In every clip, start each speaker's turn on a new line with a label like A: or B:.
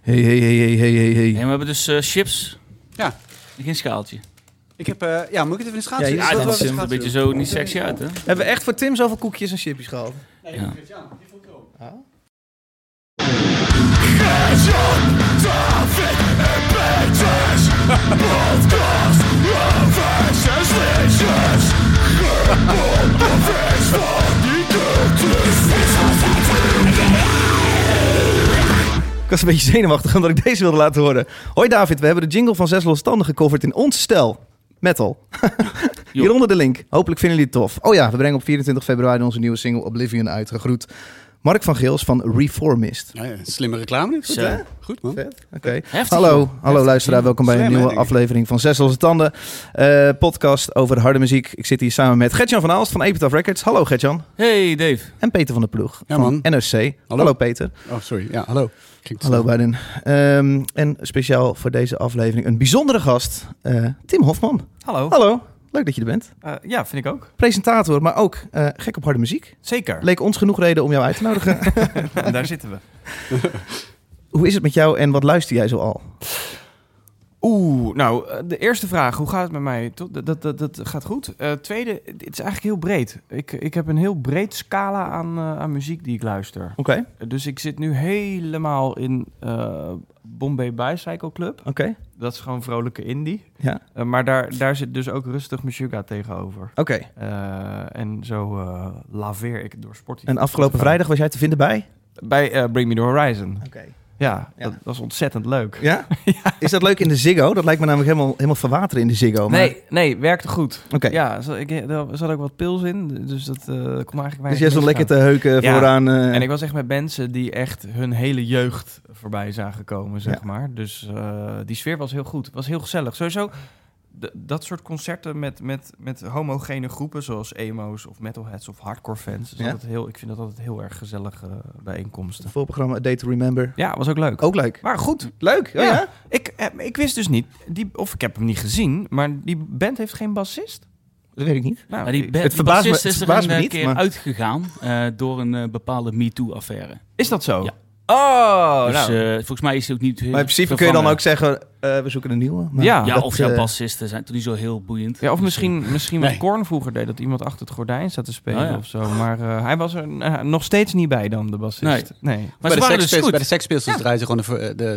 A: Hey, hey, hey, hey, hey, hey, hey.
B: En we hebben dus eh, chips.
C: Ja.
B: In Geen schaaltje.
C: Ik heb, eh, ja, moet ik het even in de schaats
A: Ja,
C: doen?
A: je-
C: Is
B: Ja,
C: dat
A: wel
B: dat
C: wat
A: wat
B: ziet
C: we
B: er
A: een
B: een beetje
C: schaats
B: zo
C: doen?
B: niet sexy uit, hè?
A: Hebben we echt voor Tim zoveel koekjes en chipjes gehad?
B: Ja.
A: Ik was een beetje zenuwachtig omdat ik deze wilde laten horen. Hoi David, we hebben de jingle van Zes Losstanden gecoverd in ons stijl. Metal. Hieronder de link. Hopelijk vinden jullie het tof. Oh ja, we brengen op 24 februari onze nieuwe single Oblivion uit. Gegroet Mark van Geels van Reformist.
C: Ja, ja, slimme reclame. Goed,
B: Zo.
C: hè? Goed man.
A: Oké.
B: Heftig.
A: Hallo,
B: joh.
A: hallo luisteraar. Welkom bij een
C: Slim, hè,
A: nieuwe
C: denk ik.
A: aflevering van Zes Losse Tanden. eh, podcast over harde muziek. Ik zit hier samen met Gertjan van Aalst van Epitaph Records. Hallo Gertjan.
B: Hey Dave.
A: En Peter van der Ploeg
C: Ja,
A: van
C: man.
A: NRC. Hallo, Peter.
C: Oh, sorry. Ja, hallo. Ging te
A: Hallo
C: snel.
A: beiden. Ehm, en speciaal voor deze aflevering een bijzondere gast. eh, Tim Hofman.
D: Hallo.
A: Hallo. Leuk dat je er bent.
D: Eh, ja, vind ik ook.
A: Presentator, maar ook eh, gek op harde muziek.
D: Zeker.
A: Leek ons genoeg reden om jou uit te nodigen.
D: En daar zitten we.
A: Hoe is het met jou en wat luister jij zo al?
D: Oeh, nou, eh, de eerste vraag, hoe gaat het met mij? Toch, Dat, dat, dat, dat gaat goed. Eh, tweede, het is eigenlijk heel breed. Ik, ik heb een heel breed scala aan, eh, aan muziek die ik luister.
A: Oké.
D: Eh, Dus ik zit nu helemaal in eh, Bombay Bicycle Club.
A: Oké.
D: Dat is gewoon vrolijke indie.
A: Ja.
D: Eh, maar daar, daar zit dus ook rustig Meshuggah tegenover.
A: Oké.
D: Eh, en zo eh, laveer ik door Sporty.
A: En afgelopen vrijdag was jij te vinden bij?
D: Bij eh, Bring Me The Horizon.
A: Oké.
D: Ja,
A: Ja.
D: dat was ontzettend leuk.
A: Ja? Is dat leuk in de Ziggo? Dat lijkt me namelijk helemaal, helemaal verwateren in de Ziggo. Oh, maar-
D: Nee, nee, werkte goed.
A: Oké.
D: Ja, zat- ik, er zat ook wat pils in, dus dat eh kon eigenlijk
A: Dus
D: weinig
A: jij stond lekker
D: misgaan.
A: te heuken
D: Ja.
A: vooraan. eh,
D: En ik was echt met mensen die echt hun hele jeugd voorbij zagen komen, zeg
A: Ja.
D: maar. Dus eh, die sfeer was heel goed. Het was heel gezellig. Sowieso, d- dat soort concerten met, met, met homogene groepen, zoals emo's of metalheads of hardcore fans. is
A: Ja.
D: altijd heel, ik vind dat altijd heel erg gezellige eh, bijeenkomsten.
A: Het voorprogramma A Day to Remember.
D: Ja, was ook leuk.
A: Ook leuk.
D: Maar goed,
A: Leuk, ja.
D: Ja.
A: ja.
D: ik, eh, ik wist dus niet, die, of ik heb hem niet gezien, maar die band heeft geen bassist.
A: Dat weet ik niet.
D: Nou,
B: Ja, die, ba-
A: het
B: die
A: verbaast me-
B: bassist
A: het
B: is er
A: verbaast
B: een
A: me
B: eh,
A: niet,
B: keer
A: maar-
B: uitgegaan eh, door een eh, bepaalde MeToo-affaire.
D: Is dat zo?
B: Ja.
D: Oh,
B: dus
D: nou.
B: eh, volgens mij is hij ook niet heel
A: Maar in principe kun je dan
B: vervangen.
A: ook zeggen, eh, we zoeken een nieuwe. Maar
D: Ja.
B: Ja,
A: dat,
B: of jouw
A: eh,
B: bassisten zijn toch niet zo heel boeiend.
D: ja, of misschien, misschien
C: Nee.
D: wat Korn vroeger deed, dat iemand achter het gordijn zat te spelen
B: Oh, ja.
D: of zo. Maar eh, hij was er eh, nog steeds niet bij dan, de bassist.
B: Maar
D: Nee.
C: bij,
B: ze waren
C: de Sex
B: dus
C: Pistols- bij
B: goed.
C: de Sex Pistols draaien ze gewoon de, ver- de, de,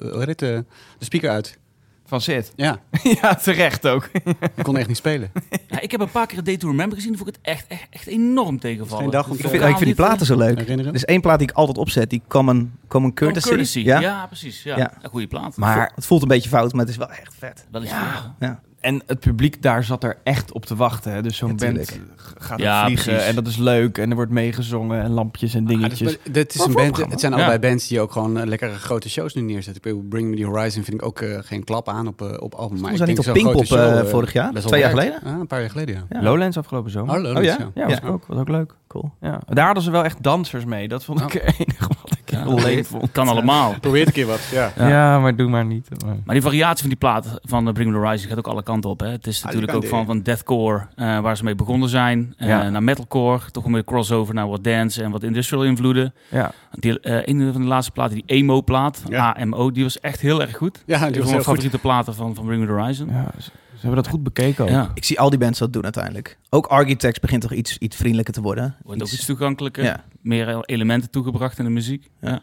C: de, hoe heet het, de, de speaker uit.
D: Van Sid.
C: Ja,
D: ja, terecht ook.
C: ik kon echt niet spelen.
B: Ja, ik heb een paar keer A Day to Remember gezien. Vond ik het echt, echt, echt enorm tegenvallen.
C: Geen dag om
B: Het
C: te-
A: Ik vind,
B: verhaal
A: ik vind die platen zo leuk.
C: Herinneren?
A: Er is één plaat die ik altijd opzet, die Common, common
B: van
A: Courtesy.
B: Oh, Courtesy. Ja? precies. Ja.
A: Ja.
B: Een goede plaat.
A: Maar het voelt een beetje fout, maar het is wel echt vet.
B: Wel is
D: Ja.
B: ja.
D: En het publiek daar zat er echt op te wachten. Hè. Dus zo'n
A: Ja,
D: band
A: tuurlijk.
D: g- gaat
B: Ja,
D: er vliegen
B: precies.
D: en dat is leuk. En er wordt meegezongen en lampjes en
C: Ah, dat is-
D: dingetjes.
C: maar dit is
D: Wat
C: een
D: voor
C: band,
D: programma?
C: het zijn
B: Ja.
C: allebei bands die ook gewoon eh, lekkere grote shows nu neerzetten. Ik bedoel, Bring Me The Horizon vind ik ook eh, geen klap aan op, eh, op album.
A: Toen
C: Maar
A: zijn
C: ik denk
A: niet op
C: zo'n grote
A: Pinkpop
C: show,
A: eh,
C: eh,
A: vorig jaar,
C: best wel
A: twee jaar
C: werkt.
A: geleden.
C: Ah, een paar jaar geleden, ja.
A: Ja.
D: Lowlands afgelopen zomer.
C: Hallo,
A: Oh,
C: dat is,
D: Ja, was,
A: Ja.
D: ik Ook, was ook leuk.
A: Cool.
D: Ja. Daar hadden ze wel echt dansers mee. Dat vond ik
B: Oh.
D: het enige wat ik
B: Ja,
D: heel leuk vond.
B: het kan allemaal.
C: Probeer het een keer wat, ja.
D: Ja. maar doe maar niet. eh, Maar-
B: Maar die variatie van die plaat van eh, Bring Me The Horizon gaat ook alle kanten op. Hè. Het is
C: die
B: natuurlijk
C: Ah, kan
B: ook
C: die.
B: van, van deathcore, eh, waar ze mee begonnen zijn, eh,
D: Ja.
B: naar metalcore. Toch een beetje crossover naar wat dance en wat industrial invloeden.
D: Ja.
B: Die, eh, een van de laatste platen, die emo-plaat,
C: Ja.
B: AMO, die was echt heel erg goed.
C: Ja,
B: Dat is een van
C: die was heel
B: mijn
C: goed.
B: favoriete platen van, van Bring Me The Horizon.
D: Ja, ze, ze hebben dat goed bekeken ook.
B: Ja.
A: Ik zie al die bands dat doen uiteindelijk. Ook Architects begint toch iets, iets vriendelijker te worden.
B: Wordt ook
A: Iets-
B: iets toegankelijker.
A: Ja.
B: Meer elementen toegebracht in de muziek. Ja.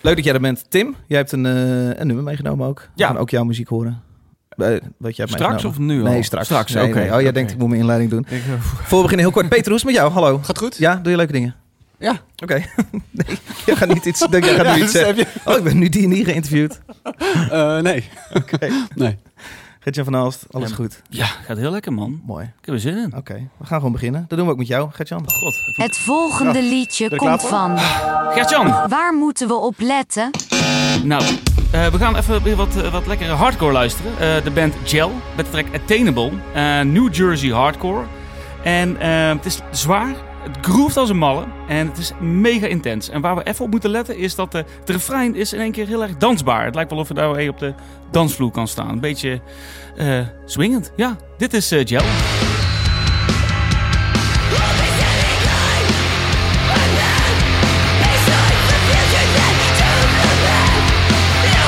A: Leuk dat jij er bent. Tim, jij hebt een, eh, een nummer meegenomen ook. We
D: Ja.
A: gaan ook jouw muziek horen. Eh, wat jij hebt
D: Straks
A: meegenomen.
D: of nu al?
A: Nee, straks.
D: Straks,
A: Nee,
D: oké.
A: nee. Oh, jij
D: Oké.
A: denkt ik moet mijn inleiding doen.
D: Ik, eh,
A: Voor we beginnen heel kort. Peter, hoe is het met jou? Hallo.
C: Gaat goed?
A: Ja, doe je leuke dingen?
C: Ja.
A: Oké. nee, jij gaat niet iets, ik denk, jij gaat nu iets
C: dus
A: zeggen.
C: heb je,
A: Oh, ik ben nu die en die geïnterviewd.
C: eh, nee. nee.
A: Gertjan van Aalst, alles
B: Ja.
A: goed.
B: ja, gaat heel lekker man.
A: Mooi.
B: Ik heb er zin in.
A: Oké, we gaan gewoon beginnen. Dat doen we ook met jou, Gertjan.
B: God. even-
E: Het volgende liedje
C: er
E: komt
C: klaar
E: van.
B: Gert-Jan!
E: Waar moeten we op letten?
B: Nou, eh, we gaan even weer wat, eh, wat lekkere hardcore luisteren. Eh, de band Gel met de track Attainable. eh, New Jersey hardcore. En eh, het is zwaar. Het groeft als een malle. En het is mega intens. En waar we even op moeten letten is dat eh, het refrein is in één keer heel erg dansbaar. Het lijkt wel of je daar even op de dansvloer kan staan. Een beetje eh swingend. Ja, dit is eh, Gel.
F: It's like the future that don't look back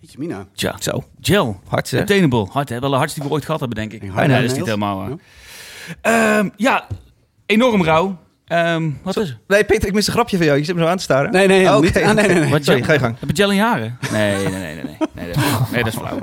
C: China.
B: Tja,
A: Zo,
B: gel.
A: hard zeg.
B: Attainable. Hard, hè? Wel de hardste die we ooit gehad hebben, denk eh, ik.
C: Ja,
B: Bijna,
C: ja,
B: dat is niet
C: ja.
B: helemaal waar. Ehm, ja, enorm rauw. Ehm, wat is het?
A: Nee, Peter, ik mis een grapje van jou. Je zit me zo aan te staren. Oh,
C: Nee, nee,
A: Oké.
C: niet. Ah, nee, nee, nee.
B: Wat
A: Sorry,
B: je-
A: ga je gang.
B: Heb je gel in je haren? Nee, nee, nee, nee. nee. Nee, dat, is- nee, dat is flauw.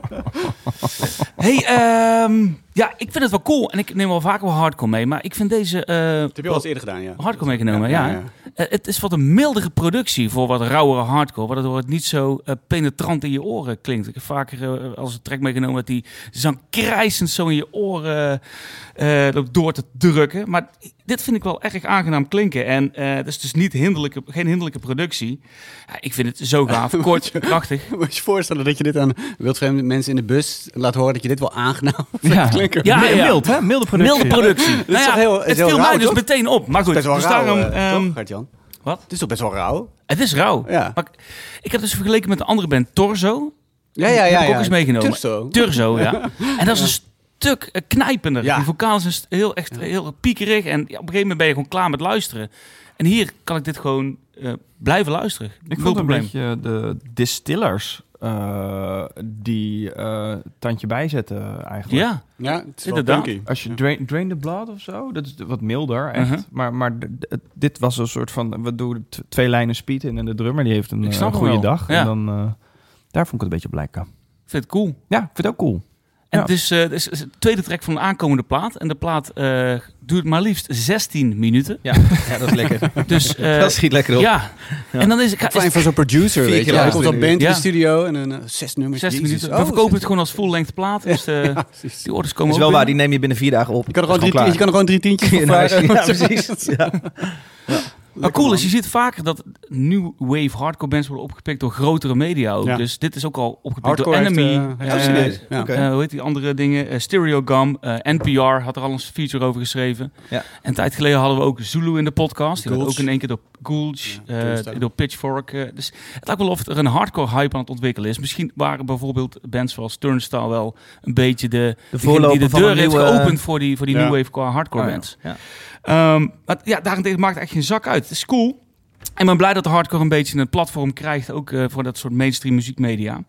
B: hey, ehm, ja, ik vind het wel cool. En ik neem wel vaker wel hardcore mee. Maar ik vind deze eh,
C: Dat heb je al eens eerder gedaan, ja.
B: hardcore meegenomen, ja.
C: Ja, ja.
B: Eh, het is wat een mildere productie voor wat rauwere hardcore. Waardoor het niet zo eh, penetrant in je oren klinkt. Ik heb vaker eh, als een track meegenomen dat die zang krijsend zo in je oren eh, loopt door te drukken. Maar dit vind ik wel erg aangenaam klinken. En eh het is dus niet hinderlijke, geen hinderlijke productie. Ja, ik vind het zo gaaf. Kort, krachtig.
C: Moet je je voorstellen dat je dit aan wildvreemde mensen in de bus laat horen dat je dit wel aangenaam vindt
B: Ja.
C: klinken?
B: Ja,
D: Mi-
B: ja.
D: Ah, Mild, hè? Milde productie.
B: Milde productie. Nou
C: is
B: ja,
C: toch heel- is
B: het
C: heel
B: viel
C: rauw,
B: mij dus
C: toch?
B: meteen op. Maar goed,
C: Best wel
B: dus
C: rauw,
B: daarom,
C: eh,
B: ehm,
C: toch, Gert-Jan?
B: wat?
C: Het is toch best wel rauw?
B: het is rauw.
C: Ja.
B: Maar ik- ik heb dus vergeleken met de andere band Torso.
C: Ja, ja,
B: Heb
C: ja.
B: ik ook
C: ja.
B: eens meegenomen.
C: Turso.
B: Turzo, ja. En dat is een stuk eh, knijpender.
C: Ja.
B: Die vocaal is een st- heel, echt, heel piekerig. En ja, op een gegeven moment ben je gewoon klaar met luisteren. En hier kan ik dit gewoon eh, blijven luisteren.
D: Ik
B: Nul
D: vond een
B: probleem.
D: beetje eh, de distillers eh, die eh tandje bijzetten eigenlijk.
B: Ja,
C: Ja, het is wel
B: Inderdaad.
C: punky.
D: Als je drain, drain the Blood of zo, dat is wat milder echt.
B: Mhm.
D: Maar, maar d- d- het- dit was een soort van, we doen t- twee lijnen speed in en de drummer die heeft een,
B: Ik
D: eh,
B: snap
D: een
B: hem
D: goede
B: wel.
D: dag.
B: Ja.
D: En dan, eh, daar vond ik het een beetje op lijken.
B: ik vind het cool.
D: Ja, ik vind het ook cool.
B: En
D: Ja.
B: het is, eh, het is het is de tweede track van de aankomende plaat. En de plaat eh, duurt maar liefst 16 minuten.
D: Ja,
A: dat is lekker.
B: Dus eh,
A: dat schiet lekker op.
B: ja. En dan is ik,
C: Fijn voor zo'n
A: Vier
C: producer, weet
A: keer
C: je. Dan
A: luisteren
C: komt dat band in
B: Ja.
C: de studio en een eh, zes nummers.
B: 16
C: Jezus.
B: minuten. We
C: Oh,
B: verkopen het
C: zes-
B: gewoon als full-length plaat. Dus eh,
C: Ja, precies.
B: die orders komen
A: Dat is wel
B: ook
A: waar,
B: binnen.
A: die neem je binnen vier dagen op.
C: Je kan er
A: Dat
C: gewoon,
A: is
C: drie, je kan er gewoon drie tientjes voor
A: klaar.
C: vragen.
A: Ja, precies. Ja.
B: Wat cool is, je ziet vaker dat new wave hardcore bands worden opgepikt door grotere media ook.
C: Ja.
B: Dus dit is ook al opgepikt
C: Hardcore
B: door Enemy.
C: heeft, eh, heeft
B: eh,
C: serieus. Ja.
A: Oké.
B: eh, hoe heet die andere dingen? Eh, Stereogum, eh, NPR had er al een feature over geschreven.
A: Ja.
B: En een tijd geleden hadden we ook Zulu in de podcast. Die werd
C: Gulch.
B: ook in één keer door Gulch,
C: Ja,
B: eh,
C: Toonstone.
B: door Pitchfork. eh, dus het lijkt wel of er een hardcore hype aan het ontwikkelen is. Misschien waren bijvoorbeeld bands zoals Turnstile wel een beetje de,
A: De
B: degene
A: voorloper
B: die de
A: van
B: deur
A: een
B: heeft
A: nieuwe- eh, Oh
B: geopend voor die, voor die
C: Ja.
B: new wave qua hardcore
D: Ah, ja.
B: bands.
A: Ja.
B: Ehm, maar ja, daarentegen maakt het echt geen zak uit. Het is cool. En ik ben blij dat de hardcore een beetje een platform krijgt, ook eh, voor dat soort mainstream muziekmedia.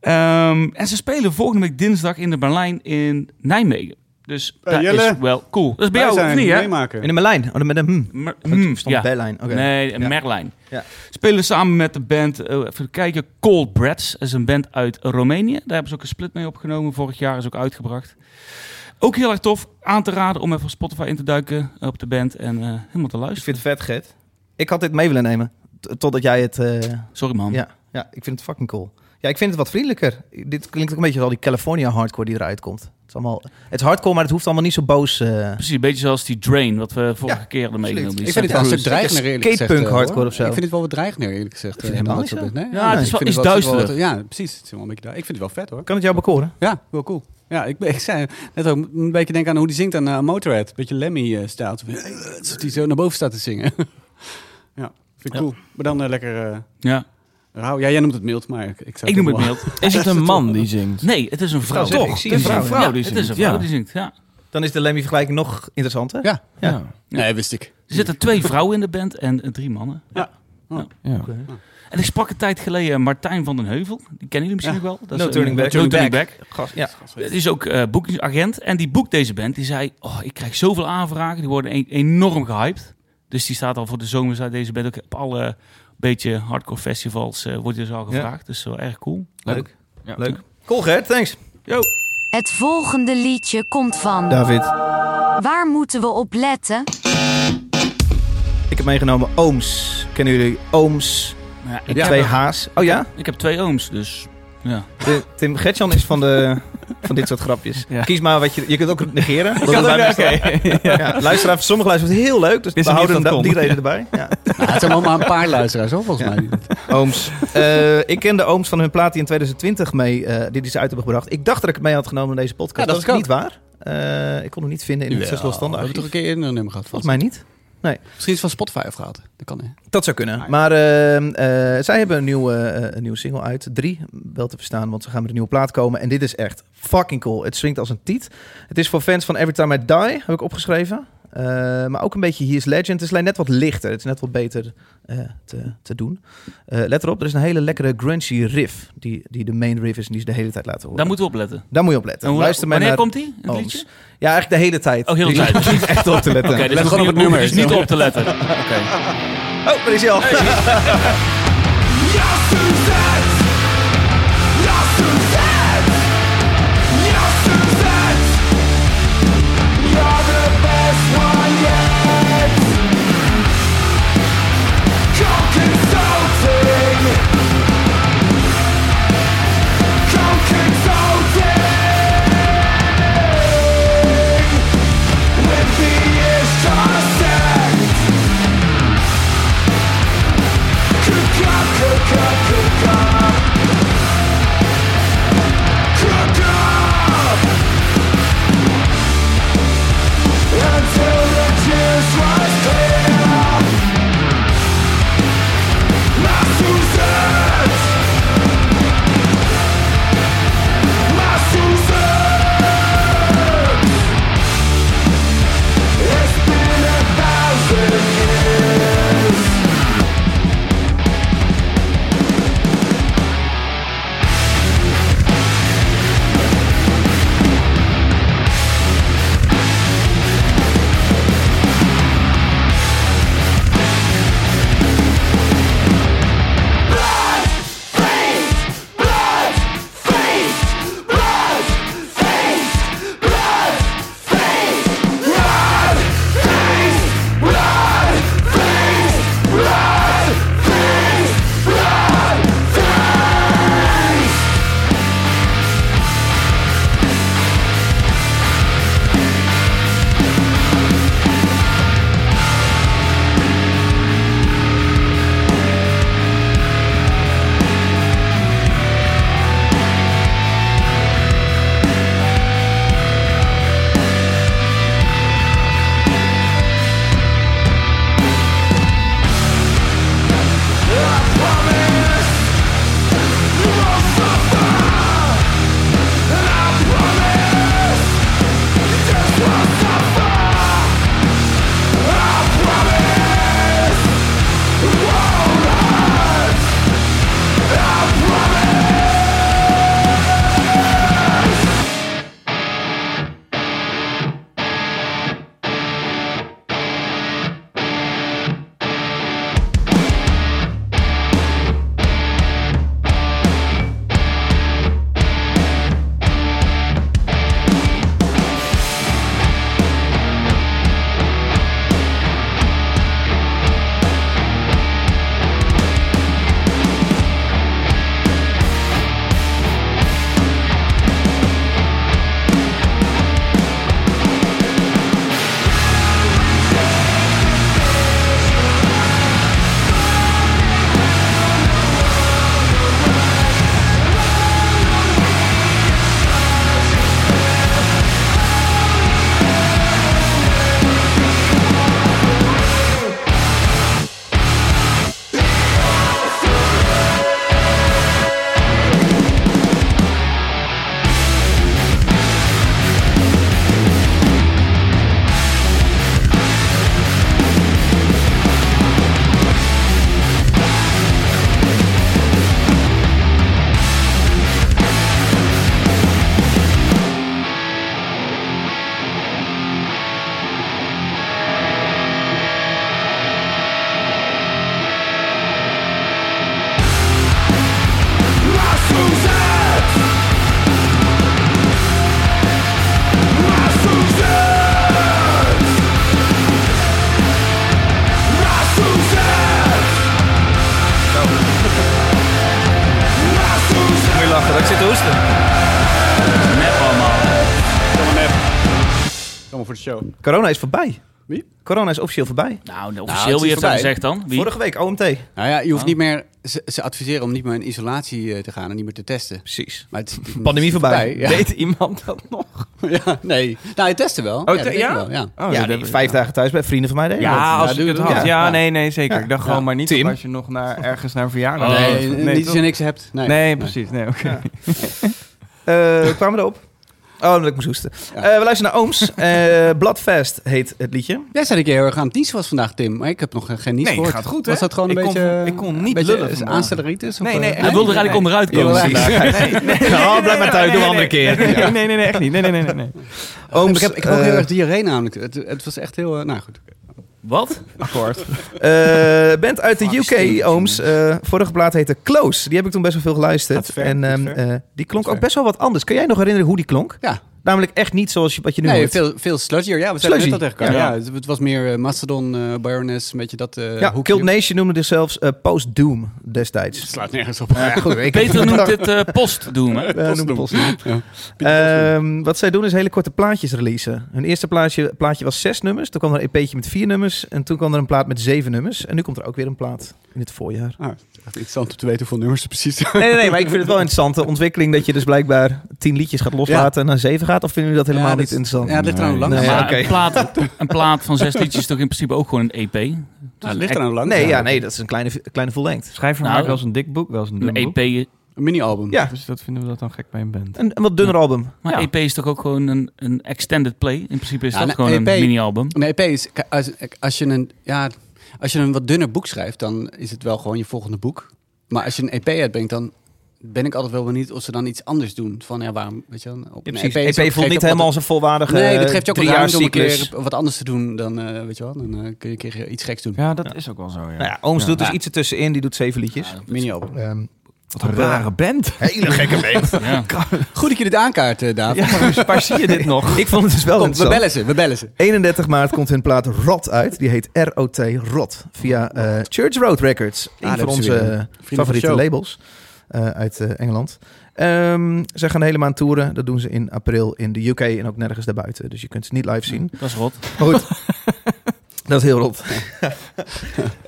B: Ehm, en ze spelen volgende week dinsdag in de Berlijn in Nijmegen. Dus
C: Hey,
B: dat
C: Eh, Jelle.
B: is wel cool. Dat is bij
C: Wij
B: jou, of
C: zijn
B: niet hè?
C: meemaker.
A: In de Merlijn. Oh, dan met een hmm.
B: Mer-
A: Mm,
B: hmm,
A: stond
B: ja.
A: Berlijn. Oké.
B: Nee,
A: Ja.
B: Merlijn.
A: Ja.
B: Spelen samen met de band, eh, even kijken, Cold Breads. Dat is een band uit Roemenië. Daar hebben ze ook een split mee opgenomen. Vorig jaar is ook uitgebracht. Ook heel erg tof. Aan te raden om even op Spotify in te duiken op de band en eh, helemaal te
A: Ik
B: luisteren.
A: vind het vet, Gert. Ik had dit mee willen nemen. t- Totdat jij het... eh,
B: Sorry man.
A: Ja, ja, ik vind het fucking cool. Ja, ik vind het wat vriendelijker. Dit klinkt ook een beetje als al die California hardcore die eruit komt. Het is, allemaal, het is hardcore, maar het hoeft allemaal niet zo boos. eh
B: Precies, een beetje zoals die Drain, wat we vorige
A: Ja,
B: keer
A: absoluut.
B: hadden meegenomen. Die
C: Ik vind het
B: sound-
C: wel een
A: Ja,
C: stuk dreigender, eerlijk gezegd.
A: skatepunk
C: eh, hoor.
A: hardcore of zo.
C: Ik vind het wel wat dreigender, eerlijk gezegd.
A: vind
C: eh,
A: het
C: dat
A: helemaal
C: soort
A: niet
C: dingen.
B: Ja, het is
C: ik
B: wel
C: vind
B: iets
C: het wel-
B: duisterder.
C: Ja, precies. Het is wel een beetje duister. Ik vind het wel vet, hoor.
A: kan het jou bekoren?
C: Ja, wel cool. Ja, ik, ben- ik zei net ook een beetje denken aan hoe die zingt aan eh, Motorhead. Beetje eh, Lemmy-stijl. die zo naar boven staat te zingen. ja, vind ik
B: Ja.
C: cool. Maar dan eh, lekker eh,
B: Ja,
C: rauw. Ja, jij noemt het mild, maar ik, ik zou
B: ik noem het
C: wel-
B: mild.
D: Is het een man die zingt?
B: Nee, het is een vrouw.
A: zeggen,
D: Toch,
A: ik zie
D: het
A: een
D: is een
A: vrouw,
D: vrouw
B: Ja,
D: die
B: het
D: zingt.
B: is een vrouw
D: ja.
B: die zingt. Ja.
A: Dan is de Lemmy vergelijking nog interessanter.
C: Ja.
A: Ja.
D: Ja.
C: Nee, wist ik.
B: Er zitten twee vrouwen in de band en eh, drie mannen.
D: Ja.
B: En ik sprak een tijd geleden Martijn van den Heuvel. Die kennen jullie misschien
C: Ja.
B: nog wel. Dat
A: No
B: is een- eh,
A: Turning Back.
B: No Turning Back.
A: Gast, ja.
B: Het is ook eh boekingsagent. En die boekt deze band. Die zei, oh, ik krijg zoveel aanvragen. Die worden e- enorm gehyped. Dus die staat al voor de zomer. Staat deze band ook op alle beetje hardcore festivals. eh, wordt dus al gevraagd. Dus wel erg cool.
A: Leuk.
D: Ja.
A: Leuk. Cool, Gert. Thanks.
E: Het volgende liedje komt van.
A: David.
E: Waar moeten we op letten?
A: Ik heb meegenomen Ooms. Kennen jullie Ooms?
B: Maar ja,
A: Met
B: ik, heb,
A: twee H's. Oh ja?
B: ik heb twee ooms, dus ja.
A: De- Tim Gertjan is van, de, van dit soort grapjes.
D: Ja.
A: Kies maar wat je... Je kunt ook negeren. Dat het bij me staat. ja. Luisteraar, sommige luisteren het heel leuk. Dus
D: Wist
A: we
D: niet
A: houden
D: dat
A: hem
D: kon.
A: die reden erbij. Ja.
C: Nou, het zijn allemaal maar een paar luisteraars, hoor, volgens mij.
A: Ooms. Eh, ik ken de ooms van hun plaat die in 2020 mee, eh die, die ze uit hebben gebracht. Ik dacht dat ik het mee had genomen in deze podcast.
C: Ja, dat
A: is
C: kan.
A: niet waar. Eh, ik kon hem niet vinden in het
C: Jawel,
A: zes losstandig
C: We hebben toch een
A: archief.
C: keer eerder een nummer gehad.
A: Volgens mij niet.
C: Misschien is het van Spotify afgehaald. Dat kan, hè.
A: Dat zou kunnen.
C: Ah, ja.
A: Maar ehm, eh, zij hebben een nieuwe, eh, een nieuwe single uit. Drie, wel te verstaan, want ze gaan met een nieuwe plaat komen. En dit is echt fucking cool. Het swingt als een tiet. Het is voor fans van Every Time I Die, heb ik opgeschreven. Eh, maar ook een beetje He is Legend. Het is alleen net wat lichter. Het is net wat beter eh, te, te doen. Eh, let erop, er is een hele lekkere grungy riff. Die, die de main riff is en die ze de hele tijd laten horen.
B: Daar moeten we op letten.
A: Daar moet je op letten.
B: En hoe,
A: Luister maar
B: wanneer
A: naar
B: komt die? in Het
A: ons.
B: liedje?
A: Ja, eigenlijk de hele tijd.
B: Oh, heel de
A: Dus je
B: tijd.
A: hoeft niet echt op te letten.
B: Oké, dus
A: Let
B: hoef
A: gewoon op
B: je-
A: het nummer.
B: hoef je Dus niet op te letten. Oké.
A: Oh, daar is hij al. Moet je lachen, dat ik zit te hoesten.
B: Nep allemaal.
C: Kom voor de show.
A: Corona is voorbij.
C: Wie?
A: Corona is officieel voorbij.
B: Nou,
C: het is
B: officieel, wie heeft dat
C: voorbij.
B: gezegd dan? Wie?
A: Vorige week, OMT.
C: Nou ja, je hoeft
D: Ah.
B: Oh.
C: niet meer... Ze, ze adviseren om niet meer in isolatie eh, te gaan en niet meer te testen.
A: Precies.
C: Maar het, is-
A: Pandemie voorbij.
C: Ja.
D: Weet iemand dat nog?
C: Ja, nee. Nou, je testen wel.
D: Oh, te-
C: dat deed ik
D: ja?
C: Wel, ja.
D: Oh,
A: ja,
D: dat-
A: die vijf dagen thuis bij vrienden van mij deden dat.
D: Ja,
C: Ja,
D: als
C: doe
D: ik het
C: het
D: had.
C: wel.
D: Ja,
C: Ja.
D: nee, nee, zeker. Ik dacht gewoon maar niet
A: Tim?
D: als je nog naar, ergens naar een verjaardag
B: Oh.
D: gaat.
C: Nee, niet
D: toch?
C: als je niks hebt. Nee,
D: nee, precies. Nee, oké.
A: Eh, kwamen we erop? Oh, omdat ik moest hoesten.
C: Ja.
A: Eh, we luisteren naar Ooms. Eh Bloodfest heet het liedje.
C: Jij zei dat je heel erg aan het niezen was vandaag, Tim. Maar ik heb nog geen niezen
D: Nee,
C: gehoord.
D: gaat goed, hè?
C: Was dat gewoon een
D: Ik kon-
C: beetje...
D: ik kon niet
C: een beetje
D: lullen vandaag.
C: Aanstelleritis? of,
D: Nee,
C: eh?
D: nee,
B: Hij wilde er eigenlijk onderuit komen.
C: Ja,
B: vandaag.
D: Nee, nee, nee,
A: Oh,
D: nee,
A: blijf maar thuis,
D: nee,
A: doe een andere
D: nee,
A: keer.
D: nee, Nee, nee, nee, echt niet. Nee, nee, nee, nee, nee.
A: Ooms,
C: Ik heb, ik heb ook
A: eh,
C: heel erg diarree namelijk. Het, het was echt heel... eh, nou goed.
B: Wat?
C: Akkoord.
A: eh, band uit de
C: Fuck, stinkt,
A: UK, Ooms. Eh, vorige plaat heette Close. Die heb ik toen best wel veel geluisterd.
D: Gaat ver,
A: en
D: gaat
A: ehm,
D: ver.
A: eh, die klonk
C: Gaat
A: ook best wel wat anders. Kun jij nog herinneren hoe die klonk?
C: Ja.
A: Namelijk echt niet zoals je, wat je nu
C: Nee,
A: hoort.
C: veel, veel sludgier. Ja, we zijn net
A: Sludgy,
C: al tegengekomen.
B: ja.
C: Ja. het- het was meer eh, Mastodon, eh Baroness, een beetje dat eh
A: ja,
C: hoekje.
A: Killed Nation noemde zichzelf eh, Post Doom destijds.
C: Het slaat nergens op.
A: Maar ja, goed, ik
B: Peter noemt dit eh, post doen, hè?
A: Eh, noem het Postdoom.
C: Ja. Eh,
A: Ehm, wat zij doen is hele korte plaatjes releasen. Hun eerste plaatje, plaatje was zes nummers. Toen kwam er een EP'tje met vier nummers. En toen kwam er een plaat met zeven nummers. En nu komt er ook weer een plaat in het voorjaar.
C: Ah, het is echt interessant om te weten hoeveel nummers er precies zijn.
A: Nee, nee, nee, maar ik vind het wel een interessante ontwikkeling... dat je dus blijkbaar tien liedjes gaat loslaten en naar zeven gaat. Of vinden jullie dat helemaal
C: Ja,
A: niet
C: dat is-
A: interessant?
C: Ja, het ligt er aan hoe lang.
A: Nee,
C: het
B: maar
A: oké.
B: een, plaat, een plaat van zes liedjes is toch in principe ook gewoon een EP?
C: is. Het ligt er aan hoe lang.
A: Nee,
C: het
A: ja,
C: is.
A: nee, dat is een kleine, kleine full length.
D: Schrijver
B: Nou,
D: maakt wel eens een dik boek, wel eens een dun
B: Een
D: boek.
B: EP, is-
C: Een mini-album.
A: Ja.
D: Dus dat vinden we dat dan gek bij een band.
A: Een, een wat dunner album.
B: maar
D: Ja.
B: EP is toch ook gewoon een, een extended play? In principe is
C: Ja,
B: dat
C: een
B: gewoon
C: EP
B: een mini-album.
C: Een EP is, k- als, als, je een, ja, als je een wat dunner boek schrijft, dan is het wel gewoon je volgende boek. Maar als je een EP uitbrengt, dan ben ik altijd wel benieuwd of ze dan iets anders doen. Van ja, waarom? Weet je, wel, op
A: Ja,
C: een
A: precies.
C: is
A: EP,
C: E ook gek,
A: voelt niet
C: want
A: helemaal eh,
C: het-
A: zijn volwaardige
C: Nee, dat geeft je ook een ruimte om een
A: driejaarcyclus.
C: keer wat anders te doen. Dan, eh, weet je wel, dan eh, kun je een keer iets geks doen.
D: Ja, dat is ook wel zo, ja.
A: Nou ja, Ooms
D: Ja.
A: doet dus
C: Ja.
A: iets ertussenin. Die doet zeven liedjes.
C: Mini-album.
A: Ehm,
D: Wat een rare band.
A: hele gekke band.
B: Ja.
C: Goed dat je dit aankaart, eh,
A: Ah,
C: David.
D: Ja, waar zie je dit nog?
A: ik vond het dus wel
C: Kom, we
A: interessant.
C: bellen ze, we bellen ze.
A: 31 maart komt hun plaat Rot uit. Die heet ROT Rot. Via eh, Church Road Records. Een
C: daar
A: van
C: hebben ze
A: onze
C: weer.
A: eh,
C: van
A: favoriete
C: de show.
A: labels eh, uit eh, Engeland. Ehm, zij gaan de hele maand toeren. Dat doen ze in april in de UK en ook nergens daarbuiten. Dus je kunt ze niet live zien.
B: Dat is rot.
A: Maar goed, dat is heel rot.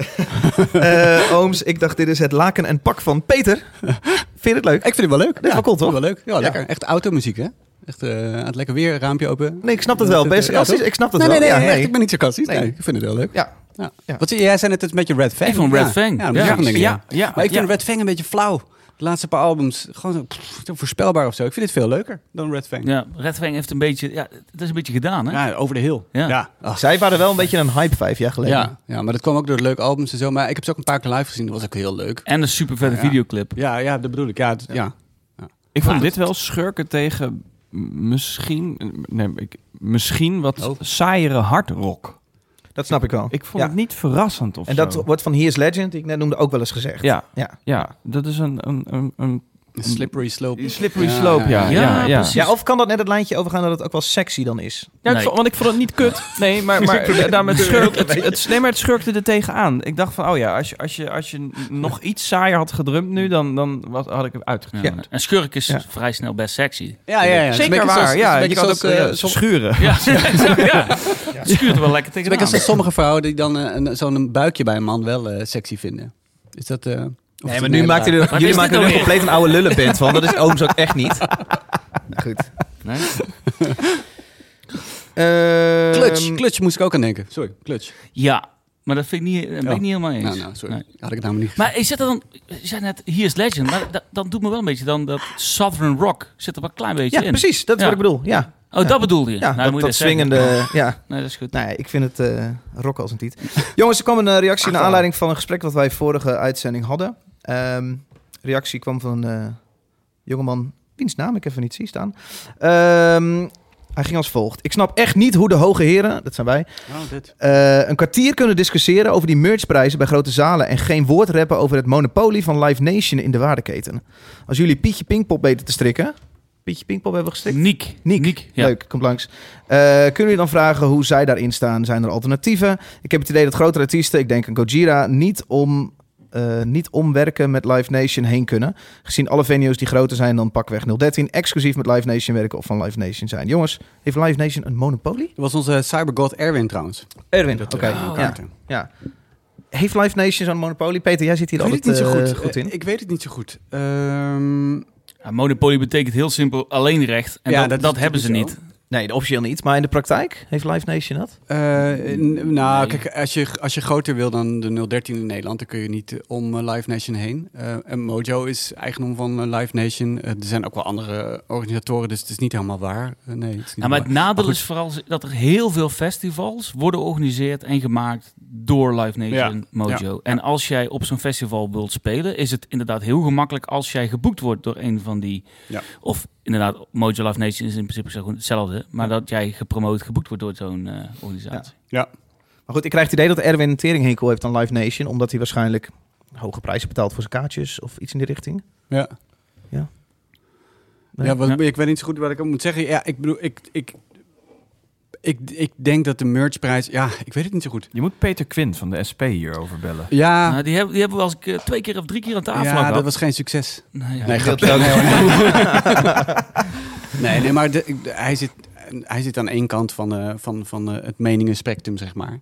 A: Eh, ooms, ik dacht dit is het laken en pak van Peter. Vind je het leuk?
C: Ik vind het wel leuk.
A: is wel cool, toch?
C: Wel leuk. Ja,
A: Ja.
C: lekker. Echt automuziek, hè? Echt eh, aan het lekker weer, raampje open.
A: Nee, ik snap dat wel. Ben je
C: Ja,
A: sarcastisch?
C: toch?
A: Ik snap dat
C: nee,
A: wel.
C: nee, nee,
A: Ja,
C: echt, ik ben niet sarcastisch. Nee.
A: Nee.
C: ik vind het wel leuk.
A: Ja.
C: Ja.
A: Ja.
C: Wat, jij zei net, het is met je Red Fang.
B: Ik vond Red
C: Ja.
B: Fang.
C: Ja,
B: Ja.
C: ja. Dingen, ja.
D: ja.
C: Maar ik vind
D: ja.
C: Red Fang een beetje flauw. De laatste paar albums, gewoon zo, pff, zo voorspelbaar of zo. Ik vind het veel leuker dan Red Fang.
B: Ja, Red Fang heeft een beetje... Ja, het is een beetje gedaan, hè?
C: Ja, over de hill.
B: Ja.
C: Ach,
A: Zij waren wel een beetje een hype vijf jaar geleden.
C: ja. ja, maar dat kwam ook door de leuke albums en zo. Maar ik heb ze ook een paar keer live gezien. Dat was ook heel leuk.
B: En een super vette
C: Ja.
B: videoclip.
C: Ja, ja, dat bedoel ik. Ja, het- ja.
D: Ik vond dit wel schurken tegen m- misschien, nee, ik, misschien wat
C: Oh.
D: saaiere hardrock.
A: Dat snap ik wel.
D: Ik vond
A: Ja.
D: het niet verrassend of
A: En dat
D: zo.
A: wordt van Here's Legend, die ik net noemde, ook wel eens gezegd.
D: Ja,
A: Ja.
D: ja. ja, dat is een, een, een, een
C: Een Slippery slope.
D: slippery slope,
B: ja.
D: ja. ja,
B: Ja,
D: ja,
B: precies.
A: ja, of kan dat net het lijntje overgaan dat het ook wel sexy dan is?
D: Ja, ik
B: Nee.
D: vond- want ik vond het niet kut. Nee, maar, maar, eh, daarom, het, schurk, het, het, nee, maar het schurkte er tegenaan. Ik dacht van, oh ja, als je, als je, als je n- nog iets saaier had gedrumd nu, dan, dan wat, had ik het
B: Ja.
D: uitgekomen.
B: En Schurk is
A: Ja.
B: vrij snel best sexy.
C: Ja, ja, ja. Het is een
D: Zeker
C: beetje
D: waar,
C: zoals-
D: ja.
C: het is een beetje
D: Je kan ook
C: zoals,
D: eh,
C: eh, soms-
D: schuren.
B: Ja, ja. Het schuurt er wel lekker
C: Het is een beetje
B: tegenaan.
C: als sommige vrouwen die dan eh, een- zo'n buikje bij een man wel eh, sexy vinden. Is dat... eh, of is
A: Nee,
C: dat
A: maar
C: een
A: nu
C: hele
A: maakt
C: raar-
A: jullie,
B: jullie
A: jullie
B: is maken
A: maken
B: dit er
A: er
B: nou
A: een
B: een weer?
A: compleet een oude lullenband van. Dat is ooms ook echt niet. Goed.
B: Nee?
A: Ehm,
C: Clutch, clutch moest ik ook aan denken. Sorry, clutch.
B: Ja, maar dat vind ik niet, daar ben
C: Oh.
B: ik niet helemaal eens.
C: Nou, nou, sorry.
B: Nee.
C: Had ik het namelijk niet
B: Maar is dat dan, je zei net, hier is Legend, maar dat, dat doet me wel een beetje dan dat Sovereign Rock zit er wel een klein beetje
A: Ja,
B: in.
A: precies. Dat is
B: Ja.
A: wat ik bedoel. Ja,
B: Oh, dat bedoelde je?
A: ja
B: Nou, dan
A: dat,
B: moet je
A: dat
B: zeggen. Oh,
A: swingende... Ja.
B: Nee, dat is goed.
A: Nou ja, ik vind het eh rock als een tiet. Jongens, er kwam een eh, reactie naar aanleiding van een gesprek wat wij vorige uitzending hadden. Ehm, reactie kwam van een eh, jongeman, wiens naam ik even niet zie staan. Ehm, hij ging als volgt. Ik snap echt niet hoe de hoge heren, dat zijn wij,
C: gezien. Oh, dit.
A: eh, een kwartier kunnen discussiëren over die merchprijzen bij grote zalen en geen woord rappen over het monopolie van Live Nation in de waardeketen. Als jullie Pietje Pinkpop weten te strikken, Pietje Pinkpop hebben we gestrikt?
B: Niek.
A: Niek.
B: ja.
A: Leuk, komt langs. Eh, kunnen jullie dan vragen hoe zij daarin staan? Zijn er alternatieven? Ik heb het idee dat grote artiesten, ik denk een Gojira, niet om... eh, niet omwerken met Live Nation heen kunnen. Gezien alle venues die groter zijn dan pakweg 013... exclusief met Live Nation werken of van Live Nation zijn. Jongens, heeft Live Nation een monopolie?
C: Dat was onze cybergod Erwin trouwens.
A: Erwin, oké.
C: eh,
A: ja.
C: kaarten.
A: Heeft Live Nation zo'n monopolie? Peter, jij zit hier
C: Ik weet
A: altijd
C: het niet zo
A: eh,
C: goed.
A: goed in.
C: Eh, Ik weet het niet zo goed. Ehm,
B: Ja, monopolie betekent heel simpel alleen recht. En
C: Ja,
B: dat,
C: dat
B: dat,
C: is
B: hebben ze niet.
C: natuurlijk
A: Nee, officieel niet. Maar in de praktijk heeft Live Nation dat?
C: Eh, n- nou,
B: Nee.
C: kijk, als je, als je groter wil dan de 013 in Nederland, dan kun je niet eh, om eh, Live Nation heen. Eh, en Mojo is eigendom van eh, Live Nation. Eh, er zijn ook wel andere organisatoren, dus het is niet helemaal waar. Eh, nee, het is niet
B: Nou, maar het
C: helemaal
B: nadeel
C: Maar
B: is vooral dat er heel veel festivals worden georganiseerd en gemaakt door Live Nation
C: Ja.
B: Mojo. En als jij op zo'n festival wilt spelen, is het inderdaad heel gemakkelijk als jij geboekt wordt door een van die.
C: Ja.
B: Of inderdaad, Mojo Live Nation is in principe zo goed hetzelfde, maar dat jij gepromoot geboekt wordt door zo'n eh, organisatie.
A: Maar goed, ik krijg het idee dat Erwin een teringhekel heeft aan Live Nation. Omdat hij waarschijnlijk hoge prijzen betaalt voor zijn kaartjes of iets in die richting.
C: waar. Ja.
A: Ja.
C: Ja,
A: Nee.
C: wat-
B: Ja.
C: ik weet niet zo goed wat ik op moet zeggen. Ja, ik bedoel, ik, ik, ik, ik denk dat de merchprijs... Ja, ik weet het niet zo goed.
D: Je moet Peter Quint van de SP hierover bellen.
C: Ja,
B: Nou, die, hebben, die hebben we als ik twee keer of drie keer aan tafel
C: ja
B: gehad.
C: dat was geen succes.
B: Nee, ja.
C: Nee,
A: ik
C: grapje.
A: wil het
C: Nee,
A: ook.
C: hoor. nee, nee, maar de- ik- de- hij, zit, hij zit aan één kant van, eh, van, van eh, het meningenspectrum, zeg maar.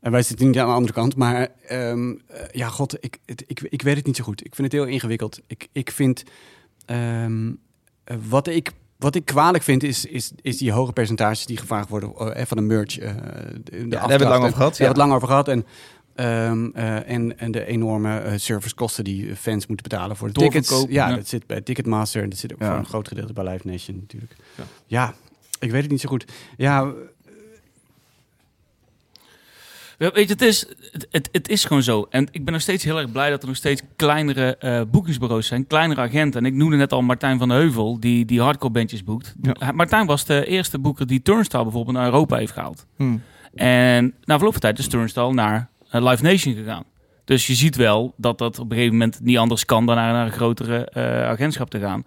C: En wij zitten niet aan de andere kant, maar ehm, eh, ja, god, ik, het- ik, ik weet het niet zo goed. Ik vind het heel ingewikkeld. Ik, ik vind, ehm, eh, wat, ik, wat ik kwalijk vind, is, is, is die hoge percentages die gevraagd worden eh, van de merch. eh, de- de
A: daar
C: afdracht
A: hebben we het lang
C: en-
A: over gehad. Ja.
C: we hebben het lang over gehad. En, ehm, eh, en, en de enorme eh, servicekosten die fans moeten betalen voor de tickets.
B: Doorverkoop,
C: Ja,
B: ja.
C: dat zit bij Ticketmaster en dat zit ook
D: Ja.
C: voor een groot gedeelte bij Live Nation natuurlijk. Ja,
D: Ja.
C: ik weet het niet zo goed. Ja,
B: Ja, Weet je, het is, het, het, het is gewoon zo. En ik ben nog steeds heel erg blij dat er nog steeds kleinere eh, boekingsbureaus zijn, kleinere agenten. En ik noemde net al Martijn van de Heuvel, die, die hardcore bandjes boekt.
D: Ja.
B: Hij- Martijn was de eerste boeker die Turnstile bijvoorbeeld naar Europa heeft gehaald.
A: Hmm.
B: En na verloop van tijd is Turnstile naar eh, Live Nation gegaan. Dus je ziet wel dat dat op een gegeven moment niet anders kan dan naar, naar een grotere eh, agentschap te gaan.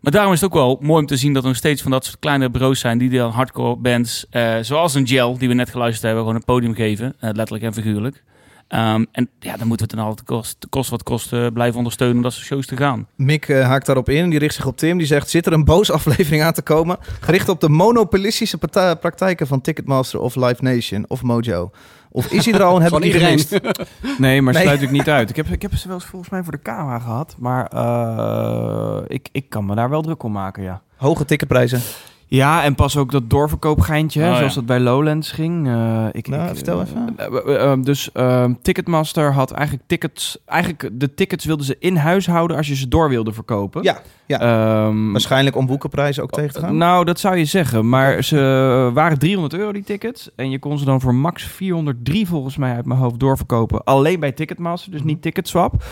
B: Maar daarom is het ook wel mooi om te zien dat er nog steeds van dat soort kleine bureaus zijn die de hardcore bands, eh, zoals een gel die we net geluisterd hebben, gewoon een podium geven, eh, letterlijk en figuurlijk. Ehm, en ja, dan moeten we het dan altijd kost, kost wat kost eh, blijven ondersteunen om dat soort shows te gaan.
A: Mick eh, haakt daarop in. Die richt zich op Tim. Die zegt, zit er een boos aflevering aan te komen? Gericht op de monopolistische parta- praktijken van Ticketmaster of Live Nation of Mojo. Of is hij er al en hebben
C: van
A: we die
C: iedereen.
A: gemist?
D: Nee, maar
A: Nee.
D: sluit ik niet uit. Ik heb, ik heb ze wel eens volgens mij voor de camera gehad. Maar eh, ik, ik kan me daar wel druk om maken, ja.
A: Hoge ticketprijzen.
D: Ja, en pas ook dat doorverkoopgeintje, hè,
B: Oh,
D: zoals
B: ja.
D: dat bij Lowlands ging. Eh, ik,
A: Nou,
D: ik,
A: vertel
D: eh,
A: even.
D: eh, eh, eh, dus ehm, Ticketmaster had eigenlijk tickets... Eigenlijk de tickets wilden ze in huis houden als je ze door wilde verkopen.
A: Ja, ja.
D: Ehm,
A: Waarschijnlijk om boekenprijzen ook tegen te gaan.
D: nou, dat zou je zeggen. Maar ze waren 300 euro die tickets. En je kon ze dan voor max 403 volgens mij uit mijn hoofd doorverkopen. Alleen bij Ticketmaster,
A: Mhm.
D: dus niet Ticketswap.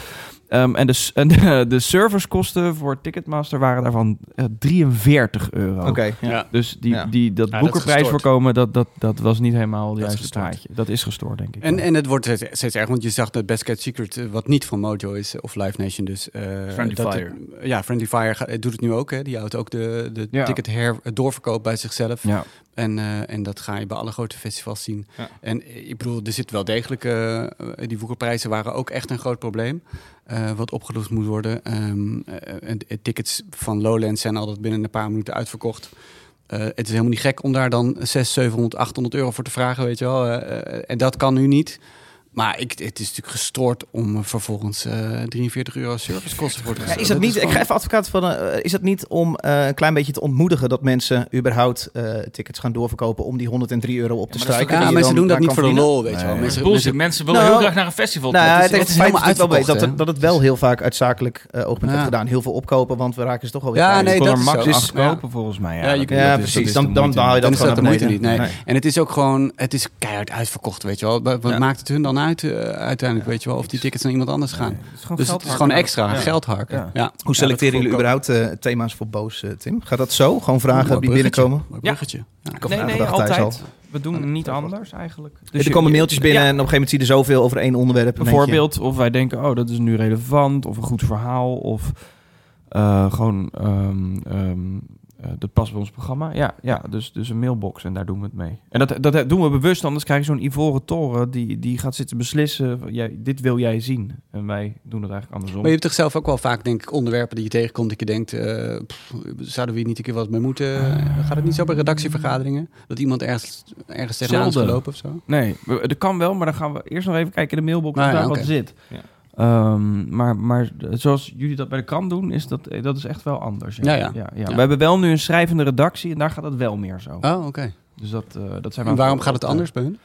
D: Ehm, en de, s- en de, de serverskosten voor Ticketmaster waren daarvan eh, 43 euro.
A: Oké.
B: Ja.
D: Dus die,
A: Ja.
D: die, dat
C: Ja, dat is
D: boekenprijs
C: gestoord.
D: voorkomen, dat, dat, dat was niet helemaal
C: Dat is
D: de juiste
C: gestoord.
D: straatje. Dat is gestoord, denk ik.
C: En, en het wordt steeds, steeds erg, want je zag dat Best Cat Secret, eh, wat niet van Mojo is, eh, of Live Nation dus. eh,
B: Friendly
C: dat het-
B: Fire.
C: ja, Friendly Fire gaat- eh, doet het nu ook. Hè. Die houdt ook de, de
D: Ja.
C: ticket her, doorverkoop bij zichzelf.
D: ja.
C: En, eh, en dat ga je bij alle grote festivals zien.
A: Ja.
C: En eh, ik bedoel, er zit wel degelijk... eh, eh, die woekerprijzen waren ook echt een groot probleem. eh, wat opgelost moet worden. Ehm, eh, en de tickets van Lowlands zijn altijd binnen een paar minuten uitverkocht. Eh, het is helemaal niet gek om daar dan 600, 700, 800 euro voor te vragen, weet je wel. Eh, eh, en dat kan nu niet. Maar ik, het is natuurlijk gestoord om eh, vervolgens eh, 43 euro servicekosten voor te
A: Ja,
C: gaan.
A: is dat niet, ik ga even advocaat van, eh, is dat niet om eh, een klein beetje te ontmoedigen dat mensen überhaupt eh, tickets gaan doorverkopen om die 103 euro op te
B: Ja, maar dat is
A: strijken?
B: toch-
C: Ja,
A: die je dan
C: mensen doen dat
A: daar
C: niet
A: kan
C: voor de
A: verdienen?
C: lol, weet je wel.
D: Nee.
C: Mensen,
B: Bullshit,
C: mensen-
B: mensen willen heel
A: Nou,
B: graag naar een festival.
A: Nou,
B: Dat
A: ja,
B: is-
A: het,
C: het
A: heeft-
C: is
A: feit
C: helemaal
A: natuurlijk wel
C: uitverkocht,
A: beter dat, het- dat het wel heel vaak uit zakelijk eh, oogpunt
C: Ja.
A: heeft gedaan. Heel veel opkopen, want we raken ze toch wel weer
C: Ja,
A: kwijt.
C: nee,
D: je kon
C: dat
D: er
C: is
D: max
C: zo.
D: acht
C: Ja.
D: kopen, volgens mij.
C: Ja, je
D: dat-
C: kunt-
A: ja,
D: dat is- dat
A: precies.
D: is de
A: Dan, dan,
D: moeite
A: haal je dat
C: Dan is
A: gewoon
C: dat
A: naar
C: de moeite niet.
A: beneden.
C: Nee.
A: Nee.
C: En het is ook gewoon, het is keihard uitverkocht, weet je wel. Wat wat
A: Ja.
C: maakt het hun dan uit eh, uiteindelijk, weet je wel, of die tickets naar iemand anders gaan?
D: Nee, het is gewoon
C: Dus
D: geld
C: het is gewoon
D: harken.
C: extra
D: Ja.
C: geld harken. Ja.
D: Ja.
A: Hoe selecteren
C: dat
A: jullie überhaupt eh, thema's voor boos, eh, Tim? Gaat dat zo? Gewoon vragen
C: Mooi
A: die
C: bruggetje.
A: binnenkomen?
C: Mooi bruggetje. Ja.
A: Ik had
D: Nee,
A: nagedacht
D: nee,
A: thuis
D: altijd.
A: al.
D: We doen niet anders eigenlijk. Dus
A: er
D: je-
A: komen mailtjes binnen
D: Ja,
A: en op een gegeven moment zie je er zoveel over één onderwerp. en denk je,
D: bijvoorbeeld, of wij denken, oh, dat is nu relevant, of een goed verhaal, of eh, gewoon, ehm, ehm, eh, dat past bij ons programma. Ja, ja dus, dus een mailbox en daar doen we het mee. En dat, dat doen we bewust, anders krijg je zo'n ivoren toren die, die gaat zitten beslissen, van, jij, dit wil jij zien. En wij doen het eigenlijk andersom.
C: Maar je hebt toch zelf ook wel vaak, denk ik, onderwerpen die je tegenkomt... dat je denkt, eh, pff, zouden we hier niet een keer wat mee moeten?
A: Eh.
C: Gaat het niet zo bij redactievergaderingen? Dat iemand ergens, ergens tegenaan is
D: Zelden.
C: gelopen of zo?
D: Nee, we- dat kan wel, maar dan gaan we eerst nog even kijken in de mailbox
C: Nou
D: of
C: ja,
D: daar wat
C: oké.
D: zit.
A: Ja.
D: Ehm, maar, maar zoals jullie dat bij de krant doen, is dat, eh, dat is echt wel anders.
C: Ja, ja. Ja.
D: We hebben wel nu een schrijvende redactie en daar gaat dat wel meer zo.
C: Oh, oké.
D: Dus dat, eh, dat zijn we
C: En
D: aan
C: waarom
D: voor-
C: gaat het anders bij hun?